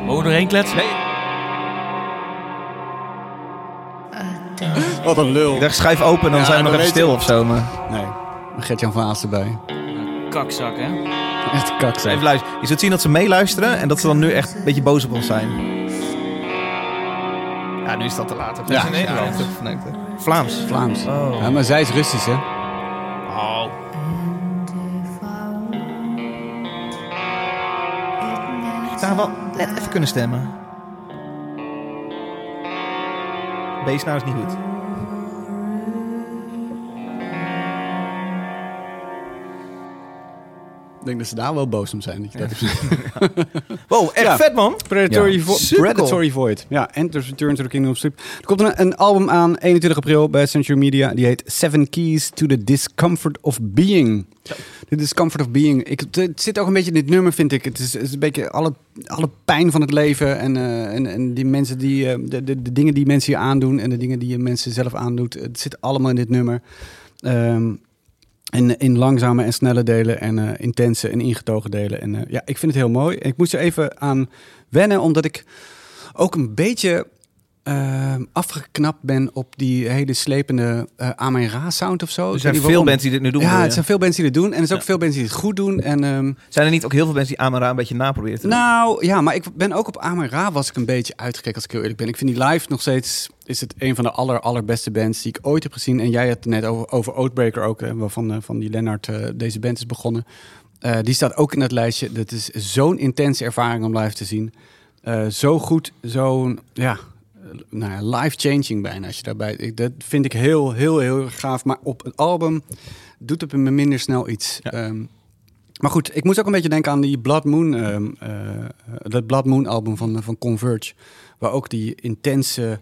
B: gewoon doorheen kletsen.
C: Wat een lul.
A: Ik dacht, schuif open, dan
C: Ja,
A: zijn we nog
C: dan
A: even
C: weet
A: stil of zo. Maar...
C: Nee, Gert-Jan van Aas erbij.
B: Kakzak, hè?
C: Echt kak
A: Even luisteren. Je zult zien dat ze meeluisteren en dat ze dan nu echt een beetje boos op ons zijn. Ja, nu is dat te laat. Dat
C: Ja.
A: is in Nederland.
C: Ja.
A: Verneukt, hè? Vlaams.
C: Vlaams. Ja, maar zij is Russisch, hè?
B: Oh.
A: Daar wel net even kunnen stemmen. Beest nou is niet goed.
C: Ik denk dat ze daar wel boos om zijn. Dat je dat
A: Wow, echt
C: Ja.
A: vet man.
C: Predatory,
A: Ja.
C: Vo-
A: Super
C: Predatory Void. Ja, Enter's Return to the Kingdom of Sleep. Er komt een, een album aan, 21 april, bij Century Media. Die heet Seven Keys to the Discomfort of Being. De Discomfort of Being. Ik, het- het zit ook een beetje in dit nummer, vind ik. Het is, het is een beetje alle, alle pijn van het leven. En, eh, en, en die mensen die, eh, de, de, de dingen die mensen je aandoen. En de dingen die je mensen zelf aandoet. Het zit allemaal in dit nummer. Ehm, in, in langzame en snelle delen en eh, intense en ingetogen delen. En eh, ja, ik vind het heel mooi. Ik moest er even aan wennen, omdat ik ook een beetje ehm, afgeknapt ben op die hele slepende eh aan mijn ra sound of zo.
A: Er
C: Ik
A: zijn
C: weet
A: veel
C: niet waarom.
A: mensen die dit nu doen.
C: Ja,
A: bedoel
C: het
A: je?
C: zijn veel mensen die dit doen. En er zijn ook veel mensen die het goed doen. En, ehm,
A: Zijn er niet ook heel veel mensen die Amara een beetje naproberen te doen?
C: nou, ja, maar ik ben ook op Amara was ik een beetje uitgekeken als ik heel eerlijk ben. Ik vind die live nog steeds is het een van de aller allerbeste bands die ik ooit heb gezien. En jij had het net over, over Oatbreaker ook, hè, waarvan eh, van die Lennart eh, deze band is begonnen. Eh, die staat ook in dat lijstje. Dat is zo'n intense ervaring om live te zien. Eh, zo goed, zo'n ja, eh, nou ja, life-changing bijna. Als je daarbij, ik, dat vind ik heel, heel, heel erg gaaf. Maar op een album doet het me minder snel iets. Ehm, maar goed, ik moest ook een beetje denken aan die Blood Moon, ehm, eh, dat Blood Moon album van, van Converge. Waar ook die intense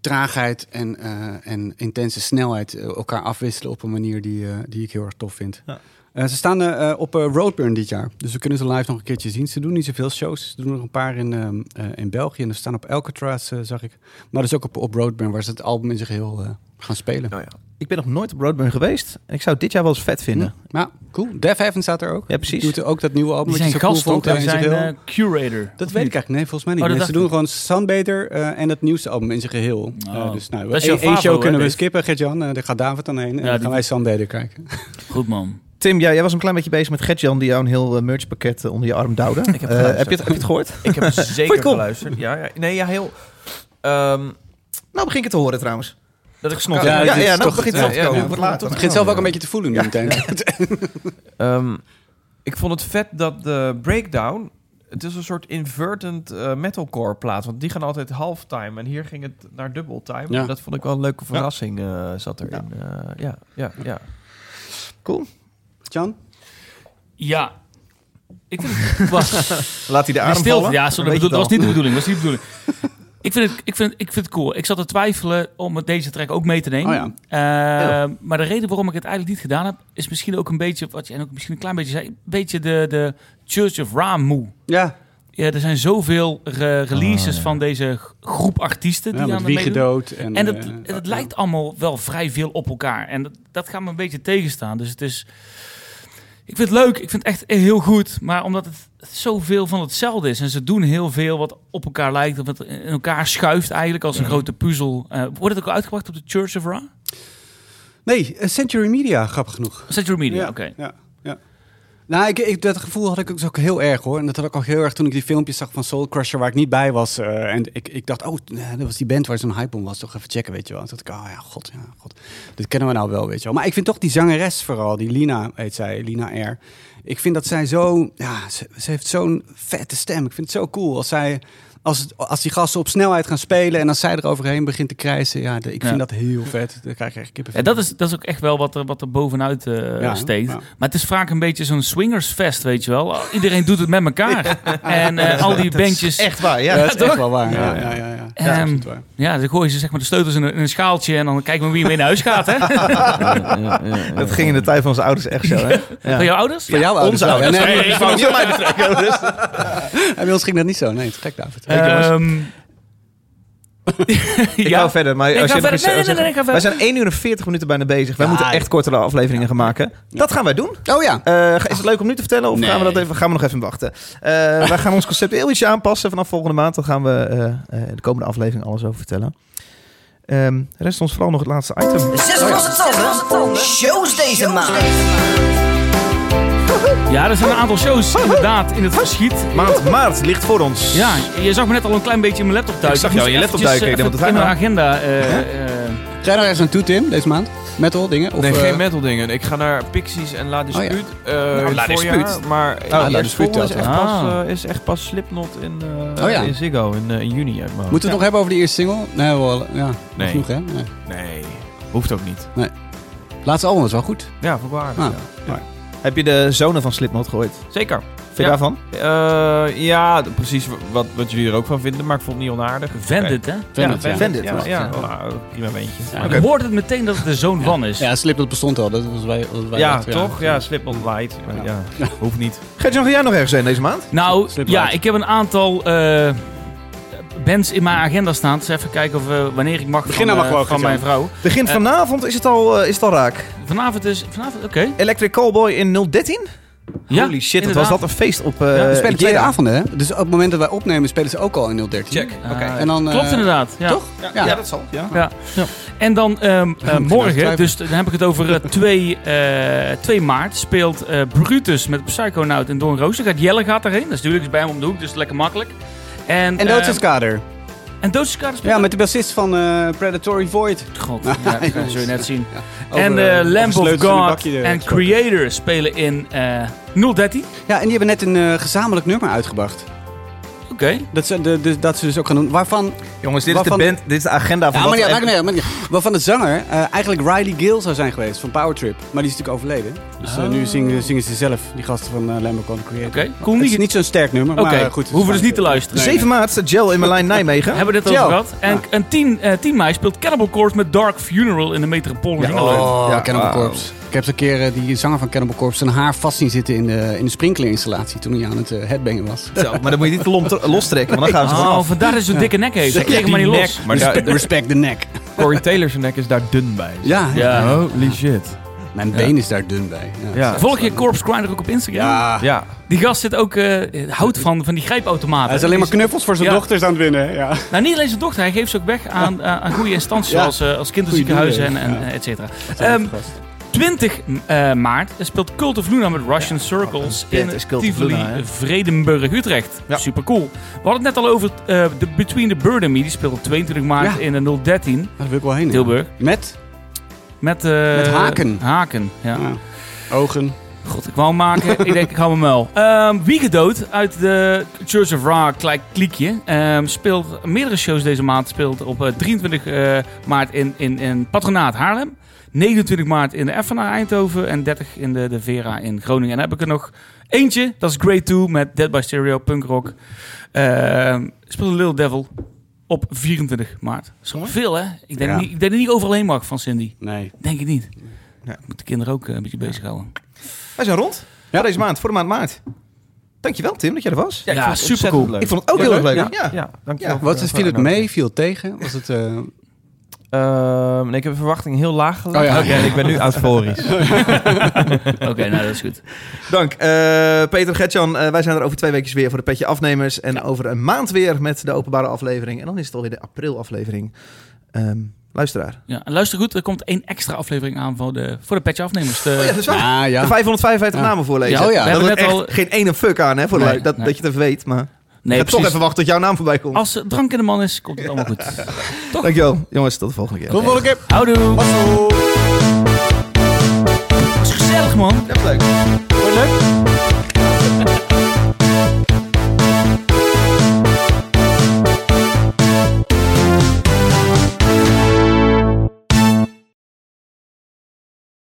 C: traagheid en, eh, en intense snelheid eh, elkaar afwisselen op een manier die, eh, die ik heel erg tof vind.
A: Ja.
C: Eh, ze staan eh, eh, op eh, Roadburn dit jaar, dus we kunnen ze live nog een keertje zien. Ze doen niet zoveel shows, ze doen er een paar in, ehm, eh, in België en ze staan op Alcatraz, eh, zag ik. Maar dus ook op, op Roadburn, waar ze het album in zich heel eh, gaan spelen.
A: Nou ja. Ik ben nog nooit op Roadburn geweest. En ik zou het dit jaar wel eens vet vinden.
C: Ja, cool. Def Heaven staat er ook.
A: Ja, precies.
C: Die Doet ook dat nieuwe album.
B: Die
C: wat
B: zijn
C: je zo cool
B: gast,
C: vond,
B: toch? Die
C: eh, in
B: zijn
C: zijn geheel.
B: eh, curator.
C: Dat
B: of
C: weet
B: niet?
C: ik eigenlijk. Nee, volgens mij niet.
B: Oh, dat
C: Nee, ze doen
B: dacht
C: gewoon Sunbeter eh, en het nieuwste album in zijn geheel.
B: Oh.
C: Eh, dus nou,
B: Dat is
C: één-
B: jouw
C: één
B: favo,
C: show
B: hè,
C: kunnen we
B: Dave?
C: skippen, Gert-Jan. Eh, daar gaat David dan heen.
B: Ja,
C: en dan
B: die-
C: gaan wij Sunbeter kijken.
B: Goed, man.
A: Tim, jij, jij was een klein beetje bezig met Gertjan die jou een heel eh, merchpakket eh, onder je arm duwde.
D: Ik heb
A: Eh,
D: geluisterd.
A: heb, je het, heb je het gehoord?
D: Ik heb
A: Vond je
D: zeker
A: het cool?
D: geluisterd. Ja, ja, nee, ja, heel... ehm,
A: Nou begin ik het te horen trouwens.
D: dat ik
A: Snot.
D: snot.
A: Ja,
C: dit
A: ja,
C: is
A: nou
C: toch-
A: begint
C: ja,
A: het wel te
C: ja,
A: komen.
C: ja.
A: Wordt later.
C: Het begint zelf ook een beetje te voelen nu meteen.
D: Ehm, ik vond het vet dat de breakdown. Het is een soort invertent eh, metalcore plaat. Want die gaan altijd halftime. En hier ging het naar dubbeltime.
C: Ja.
D: En Dat vond ik wel een leuke verrassing. eh, zat erin. Ja. ja, ja, ja.
C: Jan?
B: Ja. Ik vind het... Wacht.
A: Laat hij de
B: Die
A: arm
B: stilte,
A: vallen.
B: ja, sorry,
A: Dan weet je
B: dat, bedoel- dat was
A: het
B: niet de bedoeling. Was niet de bedoeling. ik, vind het, ik, vind, ik vind het cool. Ik zat te twijfelen om het- deze track ook mee te nemen.
C: Oh
B: Eh, Maar de reden waarom ik het eigenlijk niet gedaan heb, is misschien ook een beetje, wat je en ook misschien een klein beetje zei, een beetje de, de Church of Ramu.
C: Ja,
B: Ja, er zijn zoveel re- releases van deze g- groep artiesten die
C: ja met
B: aan het
C: wie
B: meedoen.
C: gedood. En,
B: En het,
C: eh,
B: het lijkt allemaal wel vrij veel op elkaar. En dat, dat gaat me een beetje tegenstaan. Dus het is... Ik vind het leuk. Ik vind het echt heel goed. Maar omdat het zoveel van hetzelfde is. En ze doen heel veel wat op elkaar lijkt. Of wat in elkaar schuift eigenlijk als een grote puzzel. Eh, wordt het ook uitgebracht op de Church of Ra?
C: Nee, eh, Century Media, grappig genoeg.
B: Century Media,
C: Ja,
B: oké.
C: Ja, ja. Nou, ik, ik, dat gevoel had ik dus ook- ook heel erg hoor. En dat had ik ook heel erg toen ik die filmpjes zag van Soul Crusher, waar ik niet bij was. eh, en ik, ik dacht, oh, nee, dat was die band waar zo'n hype om was. Toch even checken, weet je wel. En toen dacht ik, oh ja, god, ja, god. Dit kennen we nou wel, weet je wel. Maar ik vind toch die zangeres vooral, die Lina, heet zij, Lina R. Ik vind dat zij zo, ja, ze, ze heeft zo'n vette stem. Ik vind het zo cool als zij, als, het- als die gasten op snelheid gaan spelen en als zij er overheen begint te krijsen. Ja, de- ik
B: Ja.
C: vind dat heel vet. Daar krijg ik echt
B: Ja,
C: kippenvel.
B: dat, is, dat is ook echt wel wat er, wat er bovenuit eh,
C: Ja,
B: steekt.
C: ja.
B: Maar het is vaak een beetje zo'n swingersfest, weet je wel. Iedereen doet het met elkaar. En eh, al die bandjes...
A: wel. Echt waar, ja.
C: Ja, dat is
B: toch?
C: echt wel waar. Ja, ja, ja. ja, ja.
B: Ehm,
C: absoluut waar.
B: Ja, dan gooien ze zeg maar de sleutels in een, in een schaaltje en dan kijken we wie mee naar huis gaat, hè?
A: Dat ging in de tijd van onze ouders echt zo, hè?
B: Van jouw ouders?
C: Van jouw ouders.
A: Onze
C: wel.
A: ouders.
C: Ja,
B: Nee,
C: nee,
B: ik wou niet
A: mij betreft.
C: Bij ons ging dat niet zo. Nee, het is gek, David.
B: Ehm,
A: Ehm, Ik
B: Ja.
A: ga verder, maar
B: Nee,
A: als
B: ga
A: je nog
B: verder.
A: iets- als
B: Nee, nee,
A: je-
B: nee, nee, ga
A: wij
B: verder.
A: zijn 1 uur en 40 minuten bijna bezig. Wij
C: Ja,
A: moeten echt
C: ja.
A: kortere afleveringen gaan maken. Dat gaan wij doen.
C: Oh ja.
A: Eh, is het leuk om nu te vertellen of
C: Nee.
A: gaan, we dat even, gaan we nog even wachten? Eh, wij gaan ons concept heel ietsje aanpassen. Vanaf volgende maand dan gaan we eh, eh, de komende aflevering alles over vertellen. Ehm, rest ons vooral nog het laatste item.
H: Zes losse tanden. Shows deze maand.
B: Ja, er zijn een aantal shows inderdaad in het verschiet.
A: Maand maart ligt voor ons.
B: Ja, je zag me net al een klein beetje in mijn laptop duiken.
A: Ik zag jou in je
B: moest
A: laptop duiken.
B: eventjes,
A: Ik dacht,
B: eh,
A: wat
B: even in mijn agenda. eh, eh,
C: Ga je daar ergens naartoe, Tim, deze maand? Metal dingen? Of,
D: nee,
C: eh,
D: geen metal dingen. Ik ga naar Pixies en La Dispute.
C: Oh
D: eh, in het
C: La
D: voorjaar,
C: Dispute. Oh,
D: Maar
C: La
D: eerst
C: Dispute
D: volgende is
C: telt
D: echt,
B: wel.
D: pas,
B: Ah.
D: eh, is echt pas Slipknot in, eh,
C: Oh ja.
D: in Ziggo in, eh, in juni. uit mijn
C: Moeten
D: hoofd.
C: we het nog hebben over de eerste single? Nee, wel, ja.
D: Nee.
C: Genoeg, hè? Nee.
D: Nee, hoeft ook niet.
C: Laatste album is wel goed.
D: Ja, voor waar.
C: Ah.
D: ja. Ja.
A: Heb je de zonen van Slipknot gehoord? Vind
D: Zeker.
A: je
D: Ja.
A: daarvan?
D: Eh, ja, d- precies wat, wat jullie er ook van vinden, maar ik vond het niet onaardig.
B: Vendit, hè?
C: Vendit,
A: ja. Vendit,
D: Ja, ja, nou, prima beentje.
C: Ja,
D: Maar-
B: Je hoort het meteen dat het de zoon van is.
C: Ja, Slipknot bestond al. Dat was wij, dat was wij
D: Ja,
C: dat,
D: toch? Ja, Slipknot Light. Ja,
C: Ja.
D: ja, hoeft niet.
A: Gert-Jan, ga jij nog ergens zijn deze maand?
B: Nou,
C: Slip
B: ja,
C: light.
B: ik heb een aantal eh, bands in mijn agenda staan. Dus even kijken of, eh, wanneer ik mag
C: Begin
B: van,
C: nou maar
B: eh,
C: gewoon,
B: van mijn vrouw.
A: Begint vanavond, is het al, eh, is het al raak.
B: Vanavond is... Vanavond, oké.
A: Electric Callboy in 013?
B: Ja,
A: Holy shit, dat was
B: inderdaad.
A: dat een feest op... eh
B: Ja,
C: We spelen twee
A: Ikea.
C: avonden, hè? Dus op het moment dat wij opnemen, spelen ze ook al in 013.
A: Check. Oké.
B: Ah,
C: En dan, eh,
B: Klopt inderdaad. Ja.
C: toch?
A: Ja,
C: Ja.
A: ja. dat zal. Ja.
B: Ja. En dan ehm, eh, morgen,
C: nou twijfelen.
B: dus dan heb ik het over eh, 2, eh, 2 maart, speelt eh, Brutus met Psychonaut en Don Roos. Dan Gaat Jelle gaat erheen. Dat is natuurlijk bij hem om de hoek, dus lekker makkelijk. En,
C: En
B: ehm,
C: Doodsenskader.
B: en Doodsenskader speelt
C: Ja, met de bassist van eh, Predatory Void.
B: God, ja, dat zul je net zien.
C: Over,
B: en
C: eh,
B: eh,
C: over
B: Lamb of
C: sleutels in een
B: God
C: bakje, eh,
B: en Creator spelen in eh 013.
C: Ja, en die hebben net een eh, gezamenlijk nummer uitgebracht.
B: Oké.
C: Dat ze, de, de- dat ze dus ook gaan doen. Waarvan,
A: Jongens, dit
C: Waarvan-
A: is de band, dit is de agenda van
C: ja,
A: wat
C: maar, ja,
A: we-
C: maakt niet uit, maakt niet uit. waarvan de zanger eh, eigenlijk Riley Gill zou zijn geweest van Powertrip. Maar die is natuurlijk overleden. Dus eh, nu zingen, zingen ze zelf, die gasten van eh, Lamb of God en Creator.
B: Ah. Oké, cool.
C: Het is
B: Niet-
C: niet zo'n sterk nummer,
B: Oké,
C: maar eh, goed. het is
B: hoeven dus niet te
C: fijn.
B: luisteren.
C: Nee,
A: 7 maart staat Gel in mijn lijn Nijmegen.
B: Hebben we dit
C: Tjel.
B: over gehad? En, en 10, eh 10 mei speelt Cannibal Corpse met Dark Funeral in de Metropool in Engeland.
C: Oh,
A: Ja,
C: Cannibal
A: wauw.
C: Corpse. Ik heb eens een keer eh, die zanger van Cannibal Corpse zijn haar vast zien zitten in de, in de sprinklerinstallatie toen hij aan het eh, headbangen was.
A: Zo, maar dan moet je niet te lom- te- lostrekken, want dan gaan ze gewoon
B: Oh,
A: af.
B: vandaar dat hij zo'n dikke nek heeft. Ik kreeg hem maar niet
D: Die
B: los.
D: nek, Maar daar-
C: Respect the neck.
D: Corey Taylor's nek is daar dun bij.
C: Ja,
B: Ja.
D: Holy shit.
C: mijn been is daar dun bij.
D: Ja.
B: Volg je Corpse Grinder ook op Instagram?
C: Ja.
D: Ja,
B: Die gast zit ook, eh, houdt van, van die grijpautomaten.
C: Hij is alleen maar knuffels voor zijn
B: Ja.
C: dochters aan het winnen. Ja.
B: Nou, niet alleen zijn dochter. Hij geeft ze ook weg aan, eh, aan- aan goede instanties
C: Ja.
B: zoals eh, als kinderziekenhuizen en, en eh, et cetera. Ehm, 20 eh, maart speelt Cult of Luna met Russian Circles
C: Oh,
A: een
B: in
A: band is Cult of
B: Tivoli,
A: Luna, hè?
B: Vredenburg, Utrecht.
A: Ja.
B: Super cool. We hadden het net al over eh, de Between the Bird and Me. Die speelt op 22 maart
C: Ja.
B: in de 013
C: Daar wil ik wel heen. ja.
B: Tilburg.
C: Met
B: Met, eh,
C: Met Haken.
B: Haken, ja.
C: ja. ogen.
B: God, ik wou hem maken. ik denk, ik hou mijn muil. Ehm, Wie gedood uit de Church of Ra klein kliekje. Ehm, speelt meerdere shows deze maand. Speelt op eh, 23 eh, maart in, in, in Patronaat Haarlem. 29 maart in de Effena Eindhoven. En 30 in de, de Vera in Groningen. En dan heb ik er nog eentje. Dat is Grade 2 met Dead by Stereo, punk rock. Ehm, speelt Little Devil op 24 maart. Zo veel, hè? Ik denk,
C: Ja.
B: niet, ik denk dat niet overal heen mag van Cindy.
C: Nee.
B: Denk ik niet.
A: Ja.
B: Moet de kinderen ook eh, een beetje bezighouden.
A: Wij zijn rond
C: Ja.
A: voor deze maand, voor de maand maart. Dankjewel Tim dat jij er was.
B: Ja,
D: ik vond het
B: super
D: ontzettend
B: cool.
D: leuk.
A: Ik vond het ook heel erg leuk.
C: Ja.
A: Ja.
D: Ja, dankjewel.
A: Ja,
D: voor-
C: Wat is,
D: voor
C: viel het
D: de
C: mee?
D: uitnodiging.
C: Viel het tegen? Was het, eh,
D: Ehm, nee, ik heb de verwachting heel laag gelegd.
C: Oh ja, oké.
D: En ik ben nu euforisch.
B: Oké, nou dat is goed.
A: Dank. Eh, Peter, Gertjan, eh, wij zijn er over twee weken weer voor de Petje Afnemers. En over een maand weer met de openbare aflevering. En dan is het alweer de april aflevering. Ehm, luisteraar.
B: Ja, en luister goed, er komt één extra aflevering aan voor de, voor de patch afnemers.
A: Oh ja, dat is waar.
C: ah, ja.
A: De 555
C: Ja.
A: namen voorlezen.
C: Ja, oh ja.
A: We
B: We
A: hebben
B: hebben net
A: echt geen ene fuck aan, hè, voor de
B: Nee,
A: lui- dat,
B: nee.
A: dat je het even weet. Maar
B: nee,
A: ik heb toch
B: precies. Ah,
A: even wachten tot jouw naam voorbij komt.
B: Als er drank in de man is, komt het allemaal goed.
A: Dankjewel, jongens. Tot de volgende keer. Oh,
C: Tot de volgende keer.
B: Houdoe!
C: Houdoe.